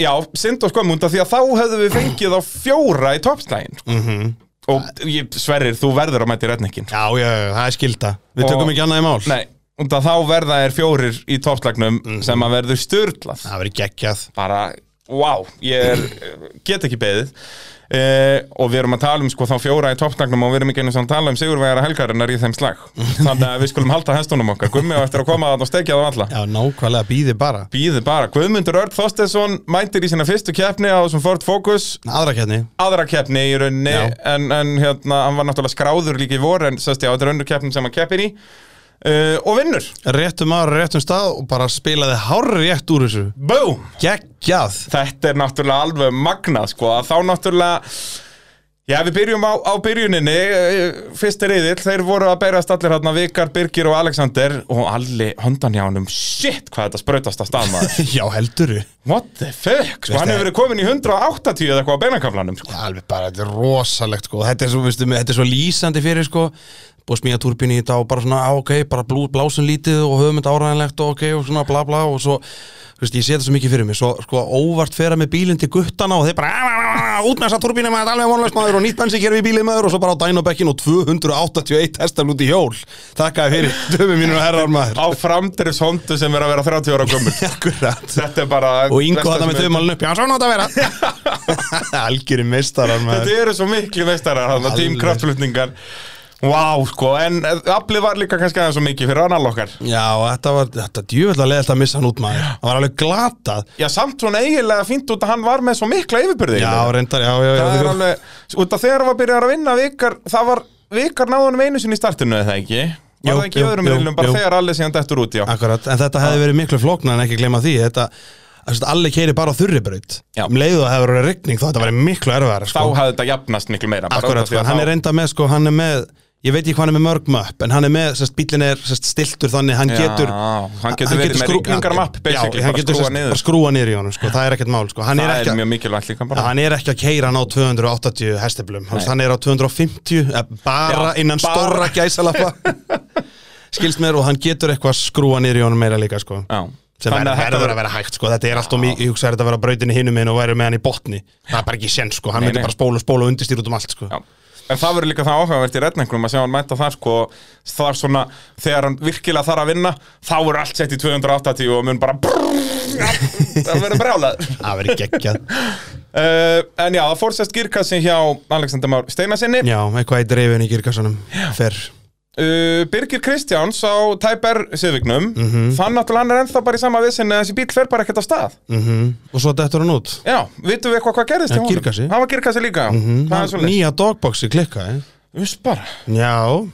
já, Sindó sko múnda því að þá hefðu við fengið á fjóra í toppstægin. Mm -hmm. Og ég, Sverrir, þú verður að mæti rednekkin.
Já, já, já, það er skilda Við
Og-
tökum ekki annað í mál
Nei, og það þá verða er fjórir í toppslagnum sem að verður styrlað
Það verið geggjað
bara, wow, ég er, get ekki beðið Uh, og við erum að tala um sko þá fjóra í toppslagnum og við erum ekki einu sem að tala um sigurvegara helgarinnar í þeim slag þannig að við skulum halda hestunum okkar gummi og eftir að koma að og stekja það alla
Já, nákvæmlega býði bara
býðu bara, Guðmundur Örn Þorstesson mætir í sína fyrstu keppni á þessum Ford Focus
Aðra kemni
aðra keppni í rauninni
Já.
en, en hérna, hann var náttúrulega skráður líka í vor en sérst já, þetta er önnur keppni sem hann keppir í uh, og vinnur,
Réttum ára, réttum stað og bara spilaði hár rétt úr þessu
BOOM
Geggjað
þetta er náttúrulega alveg magnað sko, að þá náttúrulega Já, við byrjum á, á byrjuninni, eh, fyrsti reyðill, þeir voru að berast allir hérna Vikar, Birgir og Alexander og allir hondan hjá honum, shit hvað þetta sprautast að stað maður,
Já, helduru
what the fuck, sko,
Veist
hann
það-
hefur verið komin í 180 eða eitthvað á beinakaflanum, sko.
Alveg bara, þetta er rosalegt sko. þetta, er svo, veistu, þetta er svo lýsandi fyrir sko. Búið að smíða turbínu í þetta og bara svona á, ok, bara blú, blásum lítið og höfum þetta áræðanlegt og ok og svona bla bla og svo, þú veist, ég sé þetta svo mikið fyrir mig svo sko, óvart fera með bílinn til guttana og þeir bara, "Ah, ah, ah, ah, út með þessa turbínu maður, þetta er alveg vonlaust maður og nýtt bensinkerfi í bílið maður og svo bara á dænobekkin og 281 hestar út í hjól Þakkaði fyrir, dömi mínur og herrar maður
Á framdrifs hondu sem er að vera 30 ára gömur,
Akkurat
þetta er bara...
Og yngu
besta
þarna
sem
með
er-
þauðmálun upp, já, svona átt að vera Algjöri meistarar maður
Þetta eru svo miklu meistarar hann að
Alveg.
tímkraftflutningar Vá, sko, en aflið var líka kannski aðeins svo mikið fyrir annal okkar
Já, og þetta var, þetta djúvöld að leiðast að missa hann út maður Það var alveg glatað
Já, samt svona eiginlega fínt út að hann var með svo mikla yfirbyrði
Já,
eiginlega.
reyndar, já, já, já
það er
þrjú-
alveg Út af þegar hann var byrjar að vinna vikar Það var vikar náðunum einu sinni í startinu eða ekki Var
Jú,
það ekki í
jú,
öðrum
jú,
reilum bara
jú.
þegar allir síðan dettur út, já
Akkurat, en þetta hefði verið miklu flóknar en ekki gleyma því Þetta, þessi, allir keiri bara á þurribraut
Já.
Um leiðu að hefur verið regning þá þetta verið miklu erfæðar
Þá
sko.
hafði þetta jafnast miklu meira bara út af
Akkurat,
því
sko,
að
hann
þá-
er reynda með, sko, hann er með Ég veit ekki hvað hann er með mörg möpp En hann er með, sérst, bílinn er sérst, stiltur þannig Hann
Já,
getur
hann getur verið með
skrú-
rigningarmapp,
Já,
basically,
hann
bara
getur
skrúa
sérst,
niður.
bara skrúa niður í honum sko. Það er ekkert mál, sko Hann er
Það
ekki
er
að-
mjög mikilvægt líka
Já,
bara
hann er ekki að keira hann á 280 hesteflum Hans, hann er á 250 eh, bara
Já,
innan
bara.
stórra gæsalappa skilst mér og hann getur eitthvað að skrúa niður í honum meira líka sko.
Já.
sem
Þannig
verður
að
verður
þetta
að vera hægt sko. þetta er allt og mikið, ég hugsa að þetta vera á brautinni hinum minn og væri með hann í botni það er bara ekki sén, sko. hann
Nei,
myndi
nei.
bara spóla og spóla og undirstýra út um allt sko.
Já. En það verður líka það áhugavert í redningnum að sjá hann mæta það sko það er svona, þegar hann virkilega þarf að vinna þá er allt sett í 280 og mun bara brrrr, það verður brjálaður
það verður geggjað
uh, En já, það fór sérst girkassin hjá Alexander Már Steinasinni
já, eitthvað í dreifin í girkassanum fer
uh, Birgir Kristjáns á Tæper Siðvignum
Mhm.
þann náttúrulega hann er ennþá bara í sama vissinni þessi bíl fer bara ekkert af stað
mm og svo dettur hann út
Já, vitum við eitthvað hvað gerðist
Já,
hjá honum?
girkassi.
Hann var girkassi líka, mm
Mhm.
-hmm. það er svo leið
nýja dogboxi klikkaði
bara,
Já,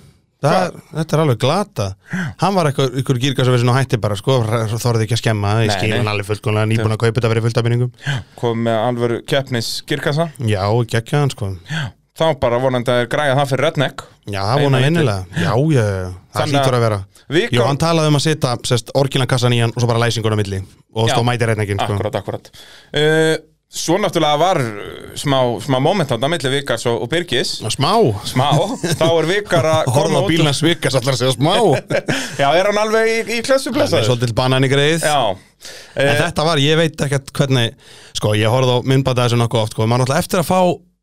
það, þetta er alveg glata Hann var eitthvað, ykkur gýrgasafisinn og hætti bara sko, r- þorði ekki að skemma Ég
Nei,
skil
nei.
hann alveg fullkomlega nýbúin að kaupa þetta verið fullt af peningum
kom með alvöru keppnis girkassa
Já, gekkja hann sko Já,
þá bara vonandi að þeir græja það fyrir redneck
það
Eina
vona
lítið.
innilega Já, já, já, það
Þannig að-
hlýtur að vera
Við
Jú,
kom-
hann talaði um að setja sest, orkinan kassan í hann og svo bara læsingun á milli og
Já.
stóð mæti reyningin sko.
Akkurat, akkurat uh, Svo náttúrulega var uh, smá, smá moment á milli Vikars og, og Birgis
Smá
Smá, þá er Vikar að
Horfa
koma
á
út
bílna svikast allar að segja smá
Já, er hann alveg í, í
Það er
klessublessaður?
svolítið banan í greið
Já
En
uh,
þetta var, ég veit ekkert hvernig Sko, ég horfði á myndbanda þessu nokkuð oft sko. Man náttúrulega eftir að fá,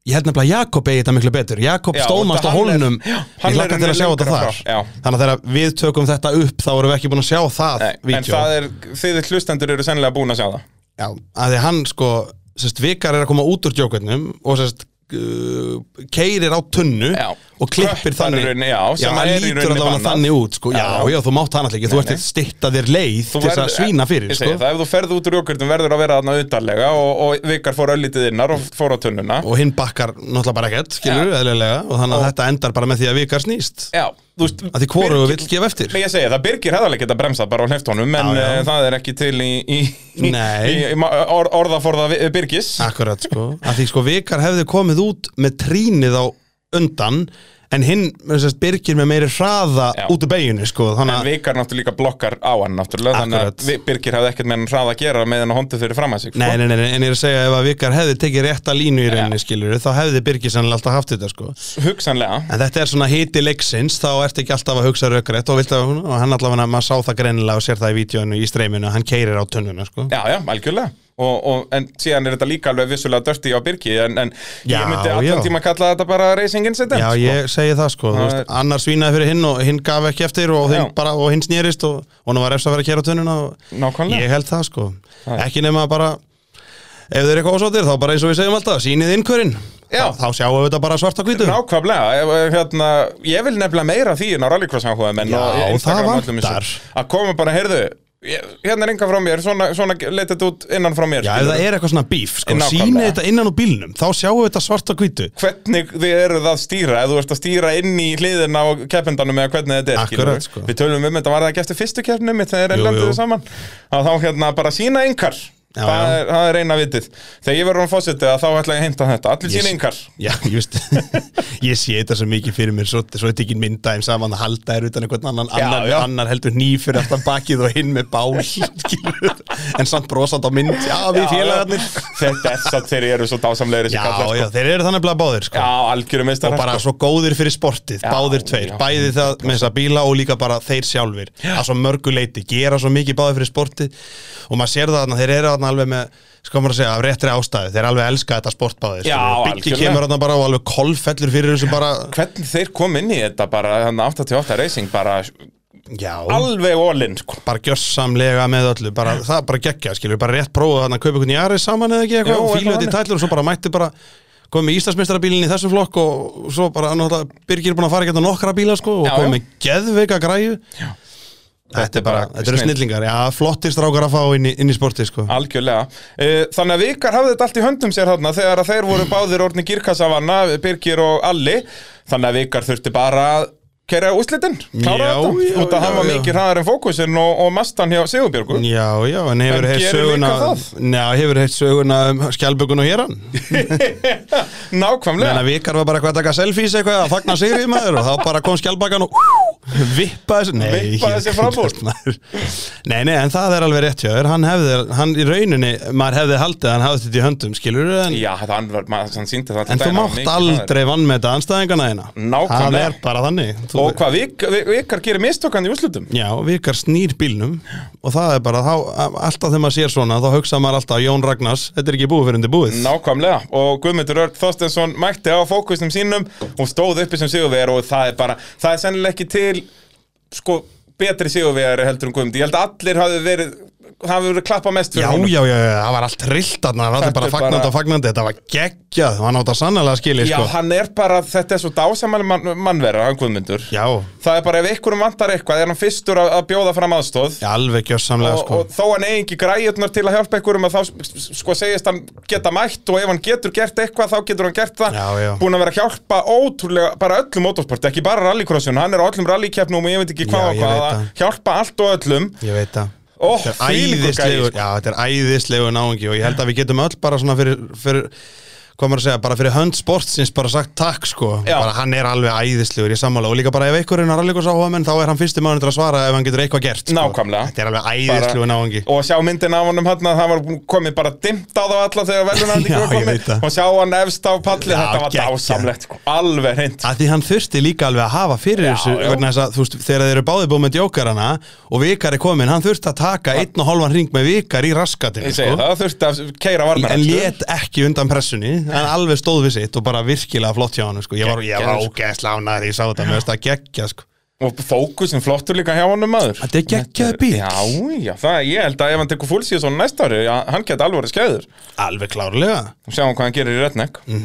ég held nefnilega að Jakob eigi þetta miklu betur Jakob
Já,
stóðmast á
þetta hann er-
hólnum
já, hann
Ég
er
lakka til að sjá þetta
lengra
þar
frá, já.
Þannig að þegar við tökum þetta upp Þá vorum við ekki búin að sjá það
nei, En
vídeó.
það er, þið hlustendur eru sennilega búin að sjá það
Já, að því hann sko sérst, Vikar er að koma út úr djókvernum og sérst, uh, keirir á tunnu
Já.
og klippir
Köppar
þannig
í rauninni, já,
já,
sem er í
lítur
rauninni
að það var
bannað.
þannig út sko. já,
Já.
já, þú mátt hann alltaf ekki, þú
Nei,
ert
nei.
að stitta þér leið
Þú
til þess
verður-
að svína fyrir
Ég segi
sko.
það, ef þú ferð út úr jókurtum verður að vera þarna utarlega og, og vikar fór öllítið innar og fór á tunnuna
og hinn bakkar náttúrulega bara ekkert skilur, eðlilega, og þannig að þetta endar bara með því að vikar snýst
Já, þú veist
að því hvoru
Birgir-
vill gefa eftir
Nei, ég segi það, Birgir hefðarlega geta bremsað bara á hleft honum en
Já, já.
eh, það er ekki til í, í, í,
Nei.
í, í ma- or, orðaforða Vi- Birgis
Akkurat sko, að því sko vikar hefði komið út með trínið á undan en hinn, sérst, byrgir með meiri hraða
Já.
út úr beginni sko, þannig
En
að
vikar náttúrulega líka blokkar á hann náttúrulega Þannig
Akkurat.
að Vi- Birgir hefði ekkert með hann hraða að gera með hann hóndið fyrir fram að sig sko.
Nei, nei, nei, nei, en ég er að segja ef að vikar hefði tekið rétta línu í rauninni skilur þá hefði Birgir sannlega alltaf haft þetta sko
Hugsanlega
En þetta er svona hiti leiksins, þá ertu ekki alltaf að hugsa rökrétt og, vilt að, og hann allavega, maður sá það greinilega og sér það í vídjónu í streiminu, hann keirir á tunnuna sko
Já, já, algjörlega og, og, En síðan er þetta líka alveg vissulega dörti á Birgi En, en
Já,
ég myndi allan
já.
tíma kalla þetta bara racing incident
Já, ég segi það sko, þú
Það
veist,
er-
annar svínaði fyrir hinn og hinn gaf ekki eftir og hinn,
Já.
bara, og hinn snerist og hún var efst að vera að kera tunnuna og
Nákvæmlega.
Ég held það sko, ekki nema bara, ef þau eru eitthvað ósáttir þá bara eins og við segjum alltaf, sýnið innkvörin
Já.
Þá, þá sjáum við þetta bara svart á hvítu
Nákvæmlega, ef- ef, hérna, ég vil nefnilega meira af því en á rallycross áhuga menn
Já, það vantar.
Að koma bara, heyrðu, ég- hérna er enga frá mér, svona, svona leit þetta út innan frá mér
Já, ef
skilurðu.
það er eitthvað svona bíf, sko,
Nákvæmlega.
sýnið þetta innan úr bílnum, þá sjáum við þetta svart á hvítu
Hvernig þið eruð að stýra, eða þú ert að stýra inn í hliðina á keppendanum eða hvernig þetta er
Akkurat,
skilurðu.
sko.
Við tölum um þetta, var það ekki eftir fyrstu keppnum mitt þegar
Jú,
erlenduðu
jú.
saman að þá hérna bara sína yngar
Já,
það,
já.
Er, það er eina vitið Þegar ég verður án fósitið að þá ætla ég að heimta þetta Allir
Ég
sína
sé-
yngar
Já, ég veist Ég sé þetta svo mikið fyrir mér Svo, svo er tekin myndaðum saman að halda þér utan einhvern annan
Já,
annar,
já.
annar heldur nýf fyrir aftan bakið og hinn með bál skilurðu. En samt brosand á mynd Já, við félagarnir
Þetta er satt þegar ég eru svo dásamlegir
Já,
þessi kallar sko.
já, þeir eru þannig að báðir
Já,
sko.
algjörum
Og
meistar
bara svo góðir fyrir sportið
Já,
Báðir tveir,
já.
bæði það með þessa bíla og líka bara þeir sjálfir Að svo mörgu leiti, gera svo mikið báðir fyrir sportið Og maður sér það þarna, þeir eru þarna alveg með Sko maður að segja, af réttri ástæðu, þeir alveg elska þetta sportbáðir
Já,
Byggi
algjörlega.
kemur þarna bara og alveg kolfellur fyrir þessu bara
Hvernig þeir kom inn í þetta bara, hann 88 Racing, bara
Um- Já,
alveg all-in, sko.
bara gjörsamlega með öllu bara, það er bara geggja, skilur, bara rétt prófa þannig að kaupa einhvern jari saman eða ekki
Jú,
eitthvað og fílu
eitthvað
þetta í
þannig.
tætlur og svo bara mætti bara komið með Íslandsmeistarabílinn í þessum flokk og svo bara, náttúrulega, Birgir er búin að fara geta nokkra bíla sko og
Já,
komið
já.
með geðveika græju já.
Þetta
Þetta
er
er bara,
bara
þetta eru
snill.
snillingar já, flottir strákar að fá inn í, inn í sportið sko
Algjörlega. Eh, Þannig að Vikar hafði þetta allt í höndum sér þarna þegar að þeir voru báðir orðni girkassafanna, Birgir og Alli. Þannig að Vikar þurfti bara að kæra úslitinn, klára
Já,
þetta.
já,
Út að hann
já,
var
já.
mikið hraðar en fókusinn og, og mastan hjá Sigurbjörgu.
Já, já, en hefur
En
heitt
gerir
söguna um-
líka það?
Já, hefur heitt söguna um skjálbökun og héran
Nákvæmlega.
Menna vikar var bara eitthvað að taka selfies eitthvað að fagna sigri maður og þá bara kom skjálbakan og vippaði sér Nei,
Vippaði sér fram úr.
maður. Nei, nei, en það er alveg rétt hjá þér hann hefði, hann í rauninni, maður hefði haldið að hann hafði þetta í höndum, skilur en,
Já, þetta hann var, maður, hann síndi það.
en þú mátt aldrei vannmeta anstæðingana þeina
Nákvæmlega.
Það er bara þannig þú,
Og hvað, Vik- Vi- Vikar gerir mistökan í úslitum?
Já, vikar snýr bílnum og það er bara, þá, alltaf þegar maður sér svona þá hugsa maður alltaf Jón Ragnars, þetta er ekki búið fyrir undir búið
Nákvæmlega og Guðmundur Örn Þorstensson mætti á fókusnum sínum og stóð uppi sem sigurvegar og það er bara það er sennilega ekki til sko betri sigurvegar heldur en Guðmund ég held að allir hafi verið hafi verið klappa mest fyrir
Já,
honum.
já, já, já, það var allt trillt þarna, það var
Þetta
bara
er
fagnandi
bara-
og fagnandi, þetta var geggjað, hann átt að sannlega skilja,
já,
sko.
hann er bara þetta er svo dásamæli man, mannverðar hann Guðmundur
Já,
það er bara ef einhverjum vantar eitthvað er hann fyrstur að, að bjóða fram aðstóð
já, alveg gjörsamlega,
og,
sko.
og þó hann eigi ekki græjurnar til að hjálpa einhverjum að þá s- s- sko segist hann geta mætt og ef hann getur gert eitthvað þá getur hann gert það
Já, já.
búin að vera að hjálpa ótrúlega bara öllum motorsporti, ekki bara rallycrossun hann er á öllum rallykeppnum og ég veit ekki hvað
Já,
og
ég
hvað
veit
að
það.
hjálpa allt og öllum
Ég veit það.
Ó,
Þetta er
þvílíkur
æðislegur,
gæi, sko.
já, þetta er æðislegu náungi og ég held að við getum öll bara svona fyrir, fyrir hvað maður að segja, bara fyrir hönd sportsins bara sagt takk, sko.
Já.
Bara hann er alveg æðislegur í sammála og líka bara ef einhverjum er alveg sáhuga menn, þá er hann fyrsti maður til að svara ef hann getur eitthvað gert, sko.
Nákvæmlega.
Þetta er alveg æðislegu náungi.
og sjá myndin af honum hann að það var komið bara dimmt á þá alla þegar
Já,
velunandi
ég veit það.
og sjá hann efst á palli
Já,
þetta var
geggjað.
dásamlegt, sko. alveg hreint
að því hann þurfti líka alveg að hafa fyrir
Já,
þessu
já.
vegna þess að þú veist þegar þeir eru báði búið með djókarana og vikar er komin, hann þurfti að taka einn og hálfan ring með vikar í raskatinu sko.
ég segi það, þurfti að keira varnar
en let ekki undan pressunni en alveg stóð við sitt og bara virkilega flott hjá hann sko. ég var, ég var
Geggjað, sko.
ógeðslána þegar ég sá þetta með þetta geggja sko.
Og fókusin flottur líka hjá honum maður
Þetta er geggjaður bíll.
Já, já, það, ég held að ef hann tekur full season næsta ári að Hann geti alveg skæður
Alveg klárlega
og sjáum hvað hann gerir í Redneck mm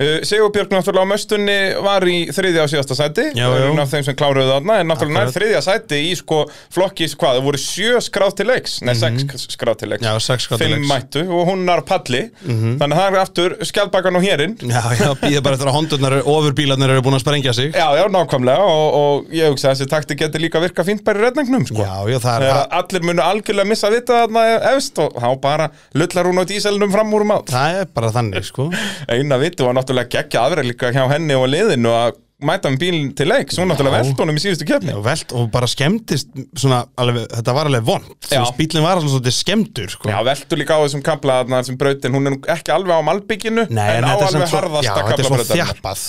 Mhm.
uh, Sigurbjörg náttúrulega á möstunni var í þriðja og síðasta sæti
Já,
Það er
já.
einn af þeim sem kláruðu þarna en náttúrulega nær
Akkurat.
þriðja sæti í sko flokkis hvað, það voru sjö skráð til leiks nei, sex skráð til leiks
Mhm. Já, sex skráð til
Fimm
leiks. Mhm.
mættu og hún nar palli þannig að það er aftur skjaldbakan og hérinn
Já, já, býða bara eftir að hondurnar, ofurpílarnar eru búin að sprengja sig
Já, já, nákvæmlega og, og ég hugsa að þessi takti geti líka virka fínt bara í redningnum sko.
Já, já, það er-
Þegar að allir munu algjörlega missa að vita þarna efst og þá bara lullar hún á díselnum fram úr um átt
Það er bara þannig, sko
eina viti var náttúrulega geggja aðra líka hjá henni og liðinu að mæta með bílinn til leiks, hún náttúrulega velt honum í síðustu kefni
og, velt, og bara skemmtist svona, alveg, þetta var alveg vond
Já.
bílinn var alveg svolítið skemmtur sko.
Já, veltu líka á þessum kabla þarna, þessum brautin, hún er nú ekki alveg á malbygginu
Nei,
en á
þetta er
alveg
samt svo- já,
harðasta
þetta er svo
kablabrautin
þjappað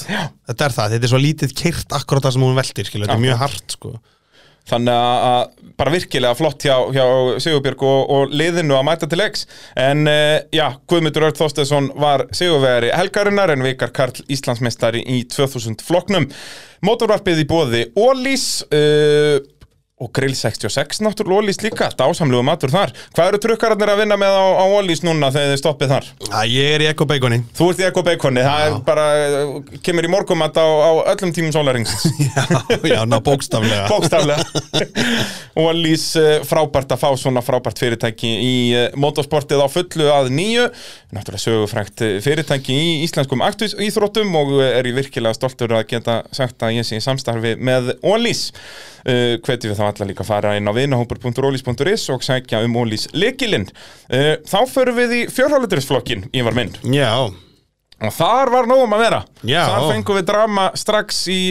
Þetta er það, þetta er svo lítið kyrt akkurat það sem hún veltir, skilur, þetta er mjög hart sko.
Þannig að- að bara virkilega flott hjá, hjá Sigurbjörg og, og liðinu að mæta til leiks En uh, já, Guðmundur Örn Þorstensson var Sigurvegari helgarinnar en vikar Karl Íslandsmeistari í 2000 floknum Mótorvarpið í bóði Ólís uh, og Grill 66 náttúrulega Ólís líka, dásamlegu matur þar Hvað eru trukkararnir að vinna með á, á Ólís núna þegar þið stoppið þar?
Æ, Ég er í Eko Beikoni
Þú ert í Eko Beikoni, það er bara, eh, kemur í morgumat á, á öllum tímum sólaringsins
Já, já, ná bókstaflega
bókstaflega og lýs eh, frábært að fá svona frábært fyrirtæki í eh, motorsportið á fullu að nýju náttúrulega sögufrækt eh, fyrirtæki í íslenskum aktusíþróttum og eh, er ég virkilega stoltur að geta sagt að ég sé í samstarfi með Ólís uh, hvetjum við þá alla líka að fara inn á vinahópur.ólís.is og sækja um Ólís leikilinn uh, þá förum við í fjórhálaturisflokkin ég var mynd
Já,
Og þar var nógum að vera
Já.
Þar fengum við drama strax í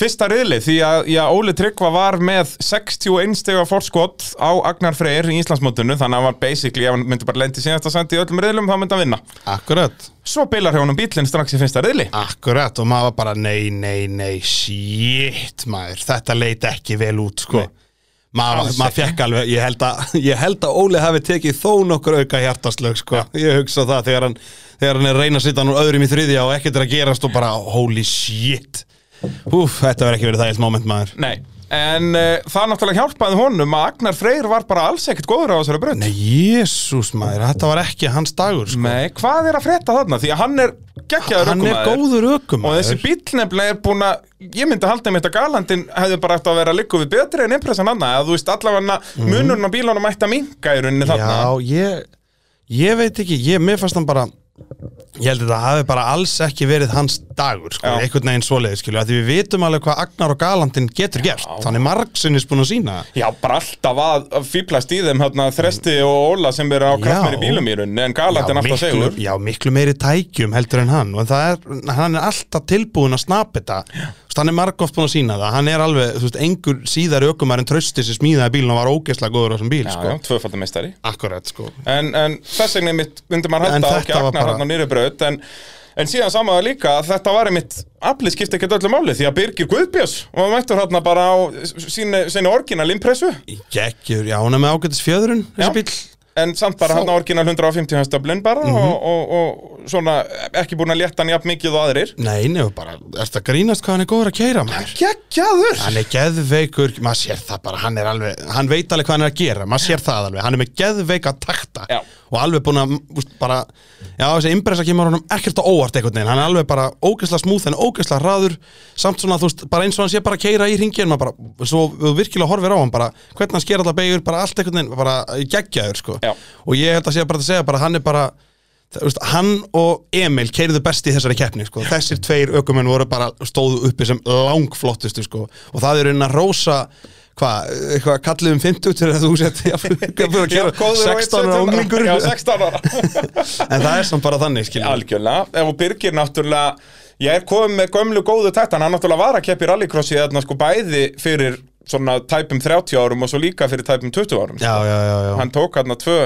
fyrsta riðli Því að já, Óli Tryggva var með 61 stega fórskot á Agnar Freyr í Íslandsmótinu Þannig að hann var basically, ef hann myndi bara lendi síðast að sendi í öllum riðlum Þá myndi hann vinna
akkurat
Svo bilar hjá honum bílinn strax í fyrsta riðli
Akkurat, og maður var bara nei, nei, nei, shit maður, þetta leit ekki vel út sko Maður,
Alls
maður fekk alveg, ég held, að, ég held að Óli hafi tekið þó nokkur auka hjartaslög sko, ég hugsa það þegar hann, þegar hann er að reyna að sitja hann úr öðrum í þriðja og ekkert er að gerast og bara holy shit Úf, þetta verður ekki verið það eilt moment maður
Nei En uh, það náttúrulega hjálpaði honum að Agnar Freyr var bara alls ekkert góður á þessari braut
Nei, jésús maður, þetta var ekki hans dagur sko.
Nei, hvað er að frétta þarna? Því að hann er geggjaður
Hann er
ökumaður.
góður
Og þessi
ökumaður
bíll nefnilega er búin að, ég myndi halda mér að galandin hefði bara eftir að vera likku við betri en impressan annað, að þú veist allavega mm. munurinn á bílunum ætti að minka í rauninni þarna.
Mhm. Já, ég, ég veit ekki, ég, mér fannst hann bara Ég held að þetta hafi bara alls ekki verið hans dagur, sko,
Já.
einhvern veginn svoleiðis, skilju, að því við vitum alveg hvað Agnar og Galandin getur gert, þannig margsinnis búin að sína.
Já, bara alltaf að að fíplast í þeim hérna Þresti og Óla sem eru á
Já.
kraftmeri bílum í rauninni, en galandin alltaf
miklu,
segur.
já, miklu meiri tækjum heldur en hann, og það er, hann er alltaf tilbúin að snapa þetta, Þú veist, hann er margóft búin að sína það, hann er alveg, þú veist, engur síðar ökumar en trösti sem smíðaði bílun og var ógeðslega góður á þessum bíl,
Já,
sko.
já, tvöfaldar meistari.
Akkurat, sko.
En, en þess vegna mitt undir maður
En
halda á
þetta
ekki
var
agnar
bara-
hann á nýri braut, en En síðan samaði líka að þetta var einmitt aflið skipti ekkert öllu máli því að Birgir Guðbjörns og hann mættur hérna bara á sínu, sínu orginal impressu
Gekkur, já, hún er með ágætis fjöðrun,
Já.
þessi bíl.
En samt bara
Þá-
hann á orginal 150 hans döblin bara og, og, og svona ekki búin að létta hann jafn mikið og aðrir
Nei, nefnum bara, er þetta grínast hvað hann er góður að keira maður?
Gekkjaður
Hann er geðveikur, maður sér það bara, hann er alveg, hann veit alveg hvað hann er að gera, maður sér það alveg, hann er með geðveika takta
Já.
og alveg búin að, úst, bara, já þessi impressa kemur honum ekkert á óvart einhvern veginn, hann er alveg bara ógeðslega smúð en ógeðslega hraður, samt svona þú veist, bara eins og hann sé bara að keira í ringin, maður bara, svo þú virkilega horfir á hann bara, hvernig hann sker alltaf beigur, bara allt einhvern veginn, bara geggjaður sko
Já.
og ég held að sé bara að segja bara, hann er bara, Það, veist, hann og Emil keiriðu best í þessari keppni sko. þessir tveir ökumenn voru bara stóðu uppi sem langflottustu sko. og það er raunin að rósa hvað, eitthvað kallið um 50 til að þú sett jafnvel að
Já,
gera
góður og
16 ára
einn,
unglingur
Já,
en
16 ára
það er samt bara þannig skilur við.
Algjörlega, ef og Birgir náttúrulega Ég er komið með gömlu góðu tættan Hann náttúrulega var að keppa í rallycrossi þarna sko bæði fyrir svona tæpum 30 árum og svo líka fyrir tæpum 20 árum
já, já, já, já.
Hann tók hann tvö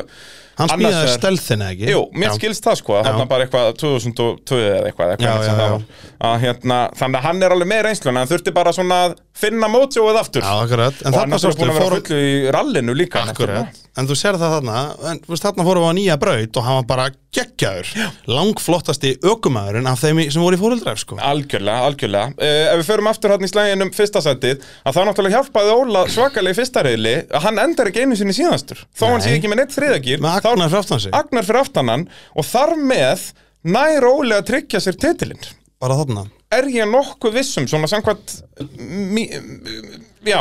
hann
annars
smíðaði
vegar-
stelðina ekki
Jú, mér
Já.
skilst það sko, þannig bara eitthvað 2002 eða eitthvað, eitthvað
Já,
sem
já,
það
já.
var. Að, hérna, þannig að hann er alveg með reynsluna, hann þurfti bara svona að finna mótsjóið aftur
já, akkurat,
og
en
hann
þarna
er
sástu
búin að vera
fór,
fullu í rallinu líka
Akkurat.
náttúrulega.
en þú sér það þarna en, þú veist, þarna fórum við á nýja braut og hann var bara geggjaður, langflottasti ökumæðurinn af þeim í- sem voru í fóruldræf sko.
Algjörlega, algjörlega. Uh, ef við förum aftur hann í slæginum fyrsta sætið, að það náttúrulega hjálpaði Óla svakalega í fyrsta reyðli, að hann endar ekki einu sinni síðastur. Þó hann sé
Nei.
ekki með neitt þriðagýr,
með Agnar fráttan sig,
agnar fyrir aftanan og þar með nær Óli að tryggja sér titilinn.
bara þarna
Er ég nokkuð vissum, svona samkvæmt, mí, já,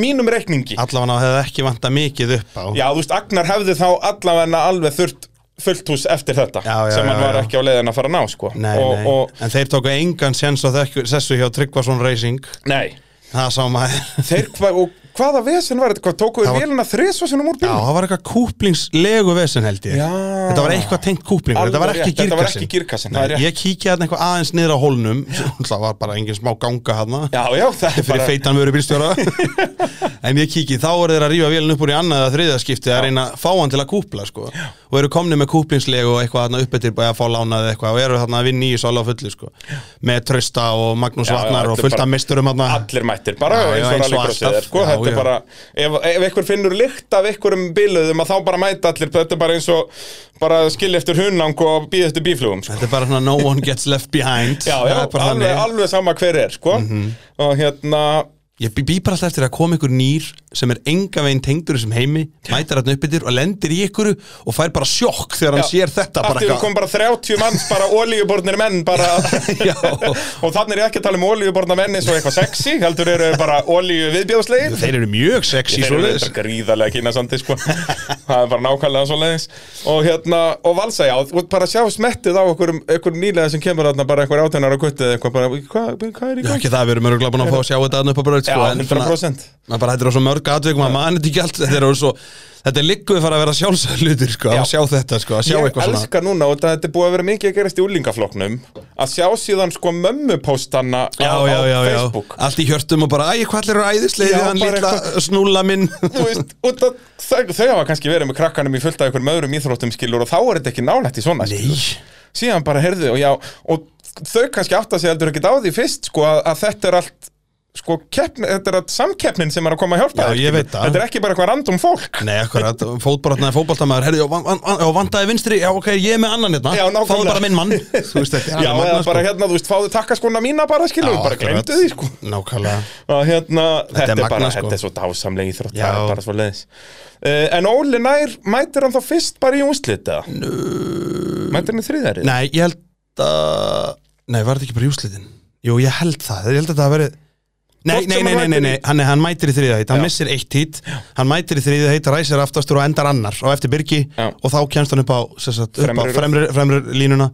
mínum reikningi?
allavega hann hefði ekki vantað mikið upp á
Já, þú veist, Agnar hefði þá allavega alveg þurft fullt hús eftir þetta
Já, já,
sem hann
já,
var
já.
ekki á leiðin að fara að ná, sko
nei,
og,
nei. en þeir tóku engan séns á þekku- þessu hjá Tryggvason Racing
Og, nei,
það sá maður
þeir, hva, og hvaða vesen var þetta, hvað tókuðu
Það var-
vélina þrisvar sinnum úr
Já,
bílum?
það var eitthvað kúplingslegu vesen held ég
Já.
Þetta var eitthvað tengt kúplingur,
Alveg
þetta var
rétt,
ekki
þetta var
girkassinn
ekki girkassinn, það er
Nei,
rétt.
Ég kíkja þarna eitthvað aðeins niður á hólnum Það var bara engin smá ganga hana
Já, já, það er
Fyrir
bara
feitan vöru bílstjóra En ég kíki, þá eru þeir að rífa vélinn upp úr í annað eða þriðaskipti að reyna að fá hann til að kúpla sko. og eru komni með kúplingslegu og eitthvað þarna uppbyttir bara að fá lánað eitthvað og eru þarna að vinna í þessu alveg á fullu sko. með Trösta og Magnús
Já, já,
Vatnar
þetta
og
er
fullt
bara-
af misturum þarna
allir mættir, bara
Já, já,
eins og
eins og
rallycrossið er,
alltaf.
sko,
Já,
þetta er
já.
bara ef, ef einhver finnur lykt af einhverjum bíluðum að þá bara mæta allir, þetta er bara eins og bara skilja eftir hunang og býða eftir bíflugum, sko
Þetta er bara svona no one gets left behind
Já, já,
Það er
alveg,
bara þannig. Mhm.
alveg sama hver er, sko Og hérna,
Ég bý- bý bara alltaf eftir að koma ykkur nýr sem er enga veginn tengdur þessum heimi mætir hann uppbyttir og lendir í ykkur og fær bara sjokk þegar hann sér þetta bara
Allt yfir kom bara 30 manns bara olíubornir menn bara
Já.
og þannig er ég ekki að tala um olíuborna menn eins og eitthvað sexy, heldur eru þeir bara olíu viðbjóðslegir
Þeir eru mjög sexy
Þeir eru
svoleiðis.
þetta gríðarlega kynasandi sko Það er bara nákvæmlega svoleiðis Og hérna, og valsa já, og bara sjá smettið á einhverjum einhver nýlega sem kemur þarna bara einhver átjónar á guttið eða eitthvað bara, hvað hva er í
Já,
gangi?
ekki það, við erum örgulega búin að fá að sjá þetta aðna upp á braut sko,
Já,
en
100%.
svona- maður bara hættir á svo mörg atveikum að maður þetta ekki allt þetta er orðið svo þetta er ligguð fara að vera sjálfsöðlutir sko,
Já.
að sjá þetta sko, að sjá
Ég
eitthvað svona
elska núna og þetta er búið að vera mikið að gerast í úlingafloknum að sjá síðan sko mömmupóstanna á,
Já, já, já,
á
já,
Facebook
allt í hjörtum og bara, æ, hvað allir eru æðislegið,
Já,
hann
bara
lilla snúla minn
þú veist, og það, þau, þau hafa kannski verið með krakkanum í fullt af einhverjum öðrum íþróttum skilur og þá er þetta ekki nálægt í svona
Nei.
skilur. síðan bara heyrðu og já og þau kannski átta sig heldur ekki á því fyrst sko að, að þetta er allt sko keppni, þetta er allt samkeppnin sem er að koma að hjálpa
Já,
þér,
ég
skilur.
veit það.
þetta er ekki bara eitthvað random fólk
Nei, akkurat, fótbrotnaði fótboltamaður Herði, já, van, van, van, já, vandaði vinstri, já, ok, ég er með annan hérna
Já, nákvæmlega.
Fáðu bara minn mann Þú veist, þetta er
já,
alveg
eða
magnað, sko.
bara hérna, þú veist, fáðu takkaskona mína bara skilur,
Já,
bara
akkurat.
glemdu því sko
Nákvæmlega
og hérna, þetta,
er
er bara,
magnað, sko.
þetta er svo dásamlega íþrótt,
Já.
það er bara svo leiðis Eh, en Óli nær, mætir hann þá fyrst bara í úslita? Nú... Mætir hann í þriðarið?
Nei, ég held að Nei, var þetta ekki bara júslitin? Jú, ég held það, ég held að það veri Nei,
Hvort
nei,
sem
nei,
hann
nei, nei,
mætir
nei,
í-
hann, hann mætir í þriða heit, hann
Já.
missir eitt hít Hann mætir í þriða heit, ræsir aftastur og endar annar á eftir Birgi
Já.
og þá kemst hann upp á, sem sagt, upp
Fremri
á
röð.
fremri, fremri línuna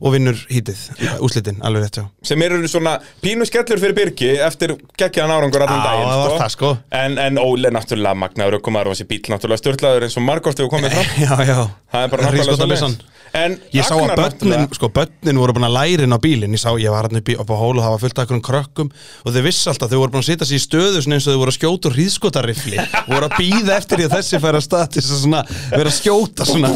og vinnur hítið, úslitin, alveg rétt já
sem eru svona pínu skellur fyrir Birgi eftir geggjaðan árangur allan
Á,
daginn
það var það, sko.
En, en Óli náttúrulega magnaður ökumar og þessi bíl náttúrulega störtlaður eins og margóft hefur komið fram
Já, já,
það er bara náttúrulega
Hríðskotabyssan.
svoleiðis. en
Ég sá að
Agnar
börnin,
náttúrulega-
sko, börnin voru búin að læra inn á bílinn, ég sá, ég var hann upp, í, upp á hólu og það var fullt af einhverjum krökkum og þau vissi alltaf, þau voru búin að setja sér í stöðu svona eins og þau voru að skjóta úr hríðskotarifli voru að býða eftir því að þessi færa stað til þess að svona, vera að skjóta svona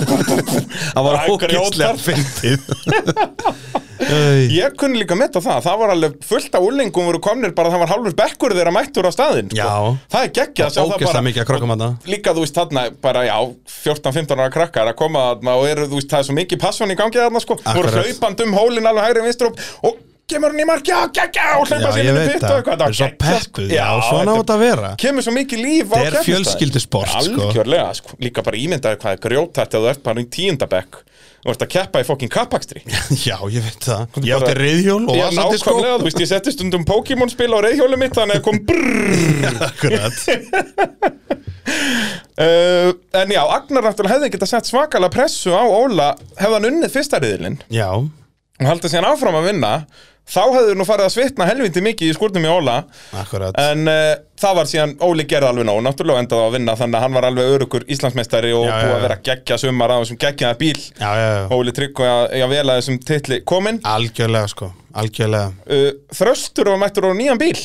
það var
Það er
hókislega
grjótar.
fyndið Æ.
ég kunni líka metta það, það var alveg fullt af úlingum voru komnir bara það var hálfur bekkur þeirra mættur á staðinn sko.
Já.
það er geggjað að sjá það
Ógeðslega
bara
mikið að krökkum
og
þarna.
líka þú veist þarna bara já 14-15 ára krakkar að koma þarna og eru þú veist það er svo mikið passion í gangi þarna sko voru
Akkurat.
hlaupand um hólinn alveg hægri vinstur og, og kemur hann í markja og geggja og hlaupa
Já,
sér
ég
inn í
veit
pitt og
það,
eitthvað
það er svo
geggjað, sko.
pekkuð, já, svona
þetta-
átt að vera
kemur svo mikið líf á
Þetta er
keppnisdaginn.
fjölskyldusport, sko.
algjörlega sko. líka bara ímyndaði hvað er grjótætt að þú ert bara í tíundabekk og ert að keppa í fokkin kappakstri
Já, ég veit það, ég
Bara-
átti reyðhjól og
Já,
vassandi sko
nákvæmlega, þú veist, ég setti stundum Pokémon spil á reyðhjólu mitt þannig að kom brrrr
Akkurat
uh, En já, Agnar náttúrulega hefði getað sett svakala pressu á Óla hefði hann unnið fyrsta riðilinn
Já,
og haldið sér áfram að vinna þá hefði nú farið að svitna helviti mikið í skúrnum í Óla
akkurat
en uh, það var síðan Óli gerði alveg nóg náttúrulega og endaði á að vinna þannig að hann var alveg örugur Íslandsmeistari og
Já, já,
búið
já.
að vera geggja sumar á þessum geggjaða bíl
Já, já, já
Óli Tryggvi að, að vela þessum titli kominn
Algjörlega sko, algjörlega
uh, Þröstur var mættur á nýjan bíl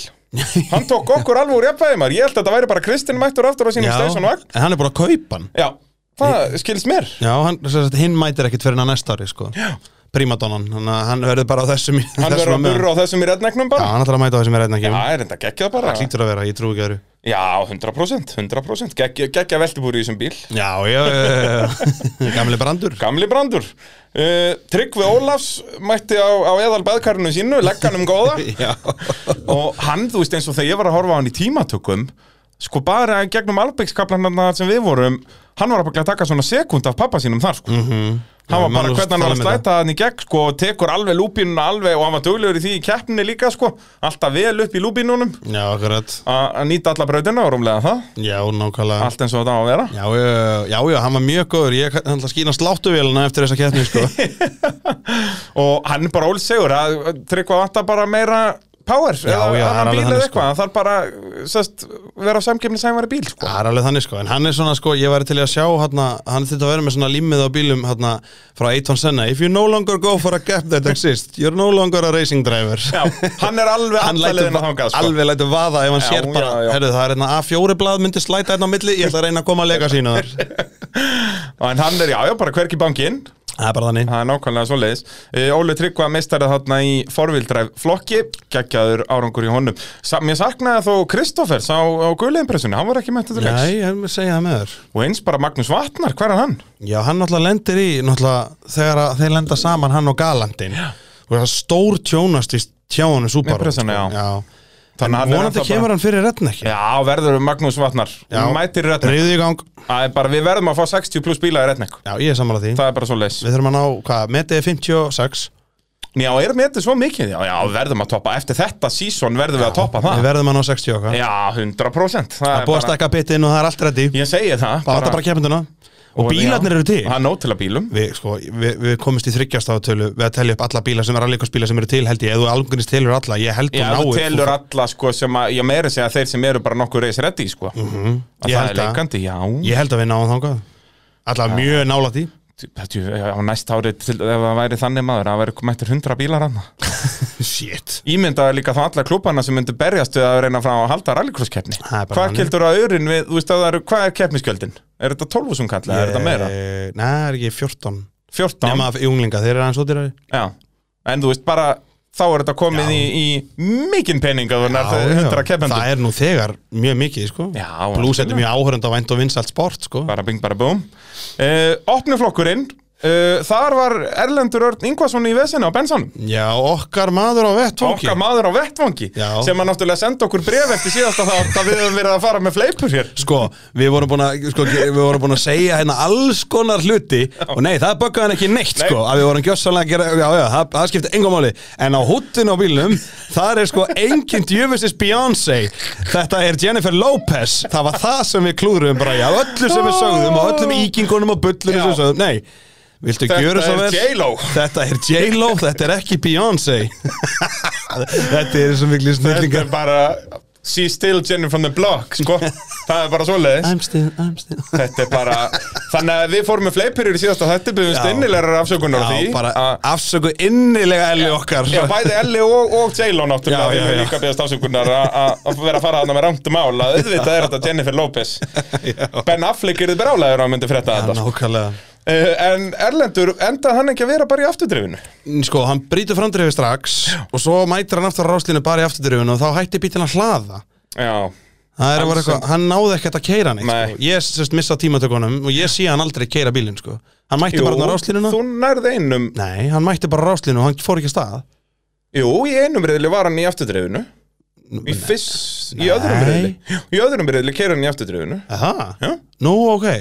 Hann tók okkur alveg úr jafnvæðimar Ég held að þetta væri bara Kristinn mættur aftur á sínum Steinsson vagn
en hann er búin að kaupa hann
Já, það skilst mér
Já, hann, sem sagt, hinn mætir ekkit fyrir hann næsta ári sko Já primadonnan Þannig að hann verður bara á þessum í-
Hann
þessum
verður að
meðan.
burra á þessum í rednegnum
Já,
bara
hann ætlar að mæta á þessum
Já,
er reynda ekki
er þetta geggjað bara
Lítur að vera, ég trú ekki öðru
Já, 100%, 100% Geggja, geggja veltibúri í þessum bíl
Já, já, já Gamli brandur
Gamli brandur uh, Tryggvi Ólafs mætti á, á eðal baðkarinu sínu Legganum góða
Já
Og hann, þú veist eins og þegar ég var að horfa á hann í tímatökum Sko bara gegnum albegskaplanarna sem við vorum Hann var að bara að taka svona sekund af pappa sínum þar sko Hann
Mhm. Já,
var bara
maður
hvernig hann var
tala
að
um
slæta hann í gegn sko Og tekur alveg lúpínuna alveg Og hann var duglegur í því í keppninni líka sko Alltaf vel upp í lúpínunum
Já, akkurat
Að að nýta alla brautina og rúmlega það
Já, nákvæmlega
Allt eins og þetta á að vera
Já, já, já, já, hann var mjög góður Ég ætla að skýna sláttuvélina eftir þessa keppni, sko
og hann er bara ólsegur að tryggva vanta bara meira power
Já,
eða
já, það er
annan
alveg
bíl eða
þannig, sko.
eitthvað hann þarf bara sest, vera á samkefni sæmari bíl sko.
Það er alveg þannig sko, en hann er svona sko, ég væri til í að sjá hann, hann þurfti að vera með svona límið á bílum hann, frá Eiton Senna If you no longer go for a gap that exists, you're no longer a racing driver
já, hann er alveg
Hann
alla
lætur,
leiðina þangað sko.
alveg lætur vaða ef hann
Já,
sér bara,
já, já.
herru það er hérna A4 blað myndi slæta hérna á milli, ég ætla að reyna að koma að leika sína þar Ah.
en hann er, já, já, bara hverki bankinn
Það er bara þannig
það er nákvæmlega svoleiðis uh, Óli Tryggva meistarið þarna í forvildræf flokki, geggjaður árangur í honum Sa mér saknaði þó Kristoffers á, á guliðimpressunni, hann var ekki mættið til leiks
Nei, ég vil segja það með þér
og eins bara Magnús Vatnar, hver er hann?
Já, hann náttúrulega lendir í náttúrulega þegar að þeir lenda saman hann og Galandin og það stór tjónast í tjáunum Subaru sko.
pressuna, já.
já.
Þannig að hann
En
er
vonandi
ennþá bara-
kemur hann fyrir retnekki
Já, verður Magnús Vatnar, mætir í retning
Ríðu í gang
Það er bara, við verðum að fá 60 pluss bíla í retning
Já, ég er sammála því
Það er bara svo leys
Við þurfum að ná, hvað, metið er 56
Já, er metið svo mikið? Já, já, verðum að toppa Eftir þetta sísón verðum við að toppa það
Við verðum að ná 60 okkar
Já, 100% Það
Það er búið að stakka bitinn og það er allt reddi Það
Ég segi það
vantar bara kemenduna Og
Og- já.
bílarnir eru til
Það er nóg til að bílum
Við, sko, við, við komumst í þryggjastafatölu Við að telja upp alla bíla sem er allikosbíla sem eru til held ég Ef þú algjörnist telur alla, ég held
Já,
þú
þú
náir
telur alla sko sem að Ég meira segja þeir sem eru bara nokkuð reis reddi sko Að
Mhm, Ég
það er
held það.
leikandi, já
Mm. Ég held að við náum þangað Alla mjög nála því
Þetta er á næst ári til, Ef það væri þannig maður Það væri mættur 100 bílar hann
Shit
Ímyndaði líka þá alla klúbana sem myndu berjast við að reyna frá að halda rallycross-keppni
Það er bara
Hvað
þannig.
kildur að aurin við, þú veist að það eru, hvað er keppniskjöldin? Er þetta 12 sem kallið, er þetta meira?
Eh, Nei, það er ekki 14
14?
Nefna af junglinga, þeir eru aðeins ódýrari
Já, en þú veist bara þá er þetta komin
Já.
í, í mikinn pening að þú nær
Já, já.
100 keppendum
Það er nú þegar mjög mikið sko.
Já,
Plus þetta
algjörlega.
er mjög áhörund á vænt og vinsalt sport sko.
bara bing bara búm uh, Opnuflokkurinn uh, þar var Erlendur Örn Ingvason í vesinu á bensanum
Já, okkar maður á vettvangi
okkar maður á vettvangi
Já.
sem að náttúrulega senda okkur bref eftir síðasta það að við höfum verið að fara með fleipur hér
Sko, við vorum búin að, sko, ge- við vorum búin að segja hérna alls konar hluti og nei, það böggaði hann ekki neitt, sko, að við vorum gjössalega að gera, já, já, það, það skipti engum máli en á húttinu á bílnum, þar er sko enginn djöfusins Beyoncé þetta er Jennifer Lopez það var það sem við klúðruðum bara, já, öllu sem við sögðum og öllum íkingunum og bullunum sem við sögðum, nei Viltu
Þetta
gjöra svo
er
vel?
J.Lo.
Þetta er J-Lo, þetta er ekki Beyoncé Þetta er svo miklu
þetta
snillingar
er bara She's still Jenny from the block sko. það er bara svoleiðis
I'm still, I'm still
Þetta er bara, þannig að við fórum með fleipurur í síðasta þetta, byrjumst
Já.
innilegar afsökunar á
Já,
því
bara
að-
afsöku innilega elli okkar
Já, bæði Elli og, og J-Lo náttúrulega
Já, já,
Þeim er
já.
líka beðast afsökunar að- að að vera að fara þarna með rámt mál að auðvitað er þetta Jennifer Lopez Ben Affleck er þið brálaður að myndi frétta þetta sko.
Nákvæmlega
uh, En Erlendur, endaði hann ekki að vera bara í afturdrifinu?
Sko, hann brýtur framdrifið strax og svo mætir hann aftur á ráslinu bara í afturdrifinu og þá hætti bílinn að hlaða
Já,
Það er að vera
Alls
eitthvað, hann náði ekkert að keira hann
Nei.
sko. Ég sérst missa tímatökunum og ég sé hann aldrei keira bílinn sko. Hann mætti bara hann á ráslinuna
þú nærði einum
Nei, hann mætti bara á ráslinu og hann fór ekki að stað
Jú, í einum reyðli var hann í afturdrifinu Í fyrst, í öðrum
Nei.
reyðli Í öðrum reyðli keir hann í afturdrifinu Já.
Aha. Nú, ok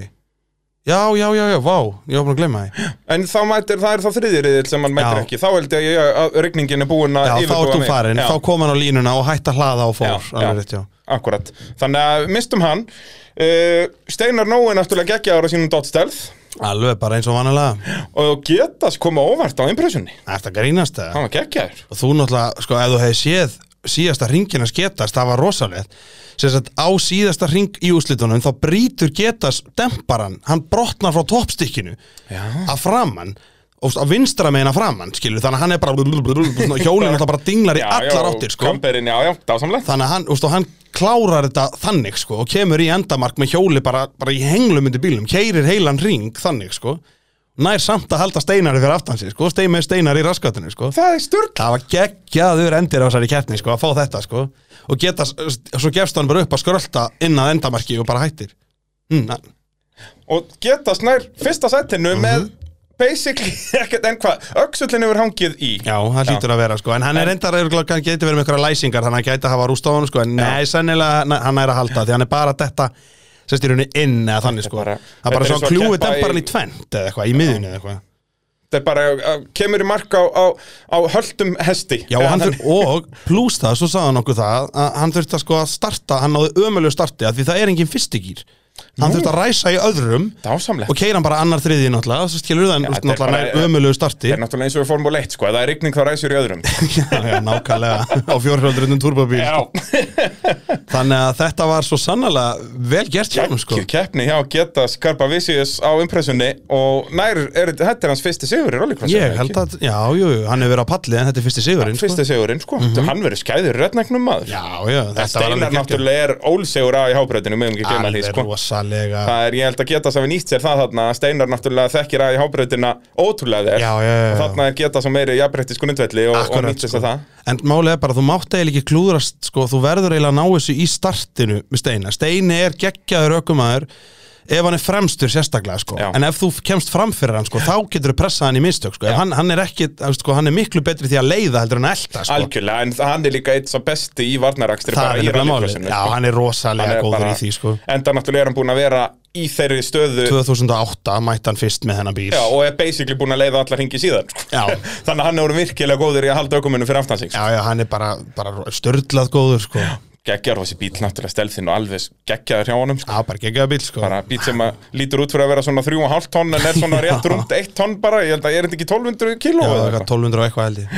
Já, já, já, já, vá, ég var búin að glemma því
En þá mætir, það er þá þriðir reyðil sem hann mætir
Já.
ekki Þá held ég að- að rigningin er búin að
Já, þá
yfirbuga
ert þú
mig.
farin,
Já.
þá kom hann á línuna og hætti að hlaða og fór
Já, já.
Alveg rétt, já.
Akkurat, þannig að mistum hann uh, Steinar Nói náttúrulega geggja ára sínum dottstælð
Alveg bara eins og vanalega
og getast koma óvart á impressunni
Eftir að grínast það
hann var geggjaður
og þú náttúrulega, sko, ef þú hefði séð síðasta ringin að getast, það var rosalegt sem sagt, á síðasta ring í úslitunum þá brýtur getast demparan, hann brotnar frá toppstykkinu
Já.
að framann og á vinstra meina framann, skilur, þannig að hann er bara hjólinn náttúrulega bara dinglar í allar áttir, sko
Kamperinn, já, já, dásamlegt
þannig að hann, úst, og hann klárar þetta þannig, sko, og kemur í endamark með hjóli bara, bara í henglum undir bílum, keirir heilan ring þannig, sko nær samt að halda steinari fyrir aftan sig sko, stein með steinar í raskatinu sko.
Það er sturt
það var geggjaður endir á þessari keppni sko, að fá þetta sko. og geta, svo gefst hann bara upp að skrölda inn að endamarki og bara hættir mm, na-
Og geta snær fyrsta setinu
Mhm.
með basically ekkert en hvað Öxullin hefur hangið í
já, það
Já.
lítur að vera sko. en hann er endar, hann geti verið með einhverja læsingar þannig að hann geti að hafa rúst á hann sko. en nei, sennilega na- hann er að halda því hann er bara að detta sérst í rauninni inn eða þannig sko.
bara-
það er
þetta er
bara svo
eins og
að
að
kljúi
keppa í-
dembaran í tvent eða eitthvað, í miðjunni eða eitthvað
Það er bara, uh, kemur í mark á, á, á höldum hesti
Já,
Eða
hann þurft, og pluss það, svo sagði hann okkur það að hann þurfti að sko að starta, hann náði ömulegu starti að því það er engin fyrstigýr hann þurfti að ræsa í öðrum
Dásamlegt
og keira hann bara annar þriði náttúrulega svo skilur það,
þetta er
náttúrulega
bara-
nær ömulegu starti
Það er náttúrulega eins og við fórum á leitt sko, ef það er rigning þá ræsir í öðrum
Já, já, nákvæmlega, á fjórhjóldrunum turbóbíl þannig að þetta var svo sannlega vel gert hjá hann sko
Kjö keppni hjá Geta Skarpa Visius á impressunni og nær, er, þetta er hans fyrsti sigur í rollikrossi
ég held að, já, jú, jú, hann hefur verið á palli en þetta er fyrsti sigurinn sko.
Fyrsti sigurinn sko, hann verið skæður röðnæknum maður
já, já, þetta var
Steinar
alveg geggjað.
náttúrulega er ólsegur á í hábreytinu, meðum ekki gemma því
alveg
sko
rosalega
Það er, ég held að Geta sem við nýtt sér það þarna að Steinar náttúrulega þekkir að í hábreytina ótrúlega þér
Já, já, já, já.
Þarna er Geta sem meiri jafnbreytti sko nundvelli og, og
Akkurat,
nýtt sér
sko.
það
En málið er bara, þú mátt eiginlega ekki klúðrast sko, þú verður eiginlega að ná þessu í startinu með Steina, Steini er geggjaður ökumæður ef hann er fremstur sérstaklega sko.
Já.
en ef þú kemst fram fyrir hann sko, þá getur þú pressað hann í mistök sko. Ef hann, hann, er ekki, þú veist, sko, hann er miklu betri því að leiða heldur en að elta sko.
Algjörlega, en hann er líka eitt svo besti í varnarakstri
það er
í
nefnilega málið,
rallycrossinu,
já
sko.
hann er rosalega
Hann er
góður
bara-
í því sko.
Enda náttúrulega er hann búin að vera í þeirri stöðu
2008 mætti hann fyrst með þennan bíl
já, og er basically búin að leiða allar hingi síðan sko.
Já.
Þannig að hann er virkilega góður í að halda aukumennum fyrir aftan sig sko.
Já, já, hann er bara, bara störlað góður sko. já.
Geggjar og þessi bíl náttúrulega stelðin og alveg geggjaður hjá honum sko.
bara geggjaða bíl sko.
bara bíl sem að lítur út fyrir að vera svona 3,5 tonn en er svona rétt rúmt 1 tonn bara ég held að er þetta ekki 1200 kíló
já,
eða
eitthvað
eitthvað?
1200 og eitthvað held ég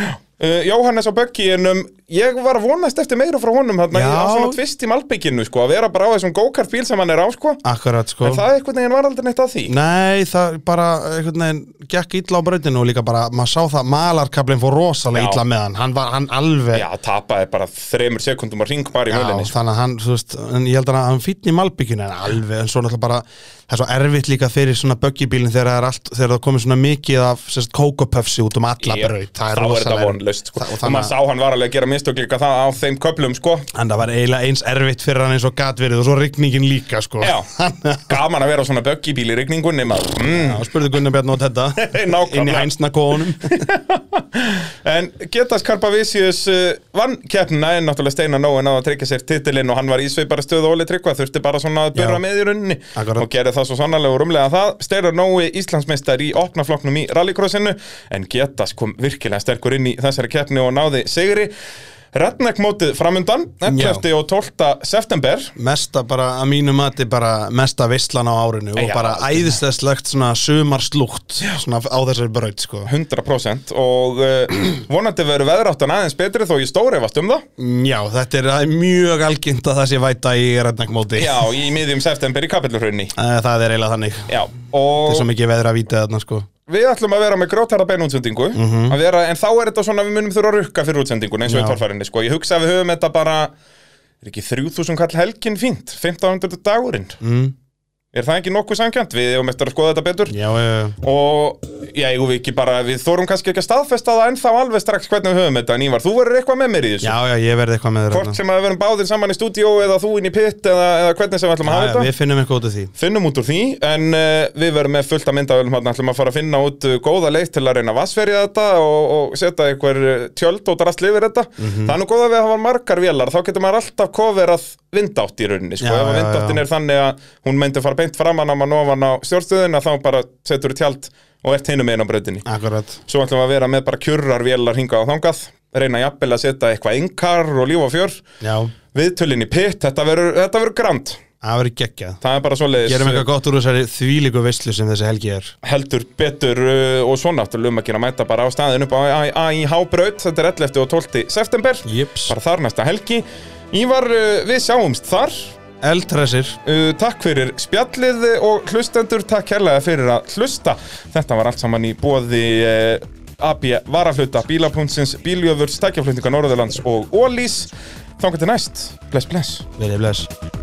uh, Jóhannes á Bögginum um, ég var að vonast eftir meira frá honum þarna,
Já.
í- á svona tvist í Malbygginu sko, að vera bara á þessum go-kart bíl sem hann er á sko.
Akkurat sko
en það eitthvað neginn var aldrei neitt að því
Nei, það bara einhvern veginn gekk illa á brautinu og líka bara, maður sá það malarkablin fór
Já.
rosalega illa með hann hann var hann alveg
Já, tapaði bara þremur sekundum að ring bara í hölinni sko.
þannig að hann, þú veist, en ég held að hann fýtni í malbygginu en alveg, en svo náttúrulega bara það er svo erfitt líka fyrir svona böggibílin þegar það er allt, þegar það komið svona mikið af sérst kókopöfsi út um alla
Ég-
braut það
Þá
er
er þetta
rosalega
vonlaust sko.
Það- og
Og
þannig
maður
að-
sá hann var alveg að gera mistök líka það á þeim köplum sko.
en það var eiginlega eins erfitt fyrir hann eins og gat verið og svo rigningin líka, sko
Já, gaman að vera á svona böggibíl í rigningunni maður mm.
Já, spurði Gunnar Bjarn og þetta
Nákvæmlega.
inn í hænsnakóunum
En Getas Karpavisius uh, vann keppnina en náttúrulega Steinar Nóen að tryggja sér titilinn og hann var í sveipara stöðu og Óli Tryggva þurfti bara svona að byrra
Já.
með í runni
Akkurat.
og gerði það svo sannarlega og rumlega það Steinar Nói Íslandsmeistar í opnafloknum í rallycrossinu en Getas kom virkilega sterkur inn í þessari keppni og náði sigri Redneck mótið framundan 11. og 12. september
mesta bara, að mínu mati bara mesta veistlan á árinu og
Já,
bara æðislegt svona sumarslúkt svona á þessari braut sko
100% og uh, vonandi verður veðráttan aðeins betri þó ég stóri efast um það
Mm, Já, þetta er það er mjög algengt að það sé væta í rednækmóti
Já, í miðjum september í kapillurhraunni
Það er eiginlega þannig Þetta
Já,
er
og
svo mikið veðra að vítið þarna sko
við ætlum að vera með grótara beinútsendingu mm vera, en þá er þetta svona að við munum þurfa að rukka fyrir útsendingun eins og
Mhm. Já.
í torfærinni sko. ég hugsa að við höfum þetta bara er ekki 3000 kall helgin fínt 1500 dagurinn
mm.
er það ekki nokkuð samkjönd við hefum eftir að skoða þetta betur
Já, eh,
og já, ég við ekki bara við þórum kannski ekki að staðfesta það ennþá alveg strax hvernig við höfum þetta en Ívar, þú verður eitthvað með mér í þessu
já, já, ég verði eitthvað með þér
hvort sem að við verum báðir saman í stúdíó eða þú inn í pitt eða, eða hvernig sem við ætlum að hafa
þarna. Já,
þetta
já, Við finnum eitthvað út af því
finnum út úr því en uh, við verum með fullt að myndavölum hann ætlum að fara að finna út uh, góða leið til að reyna vassferja þetta og, og setja einhver uh, tjöld og drastli yfir þetta
Mhm.
það er nú góða við að hafa margar vélar þá getur maður alltaf coverað vindátt í rauninni sko. ef
Já,
að
já,
vindáttin
já.
er þannig að hún meinti fara beint framan á mann ofan á stjórnstöðina þá bara setur þú tjald og ert hinum einn á brautinni
Akkurat
svo ætlum við að vera með bara kjurrar vélar hingað og þangað reyna jafnvel að setja eitthvað inkar og líf og fjör
Já,
viðtölin í pitt, þetta verður þetta verður grand
það verður geggjað
það er bara svo
Gerum eitthvað gott úr þessari þvílíku veistlu sem þessi helgi er
heldur betur uh, og svo náttúrulega um að gera mæta bara á staðin upp á AIH braut, þetta er 11. og 12. september
Jips
bara þar næsta helgi Ívar, uh, við sjáumst þar
Eldressir
uh, takk fyrir spjallið og hlustendur, takk kærlega fyrir að hlusta þetta var allt saman í bóði uh, AB Varafluta, Bílapúntsins, Bíljöfurs, Tækjaflutninga Norðurlands og Ólís, þangar til næst bless bless
Verið bless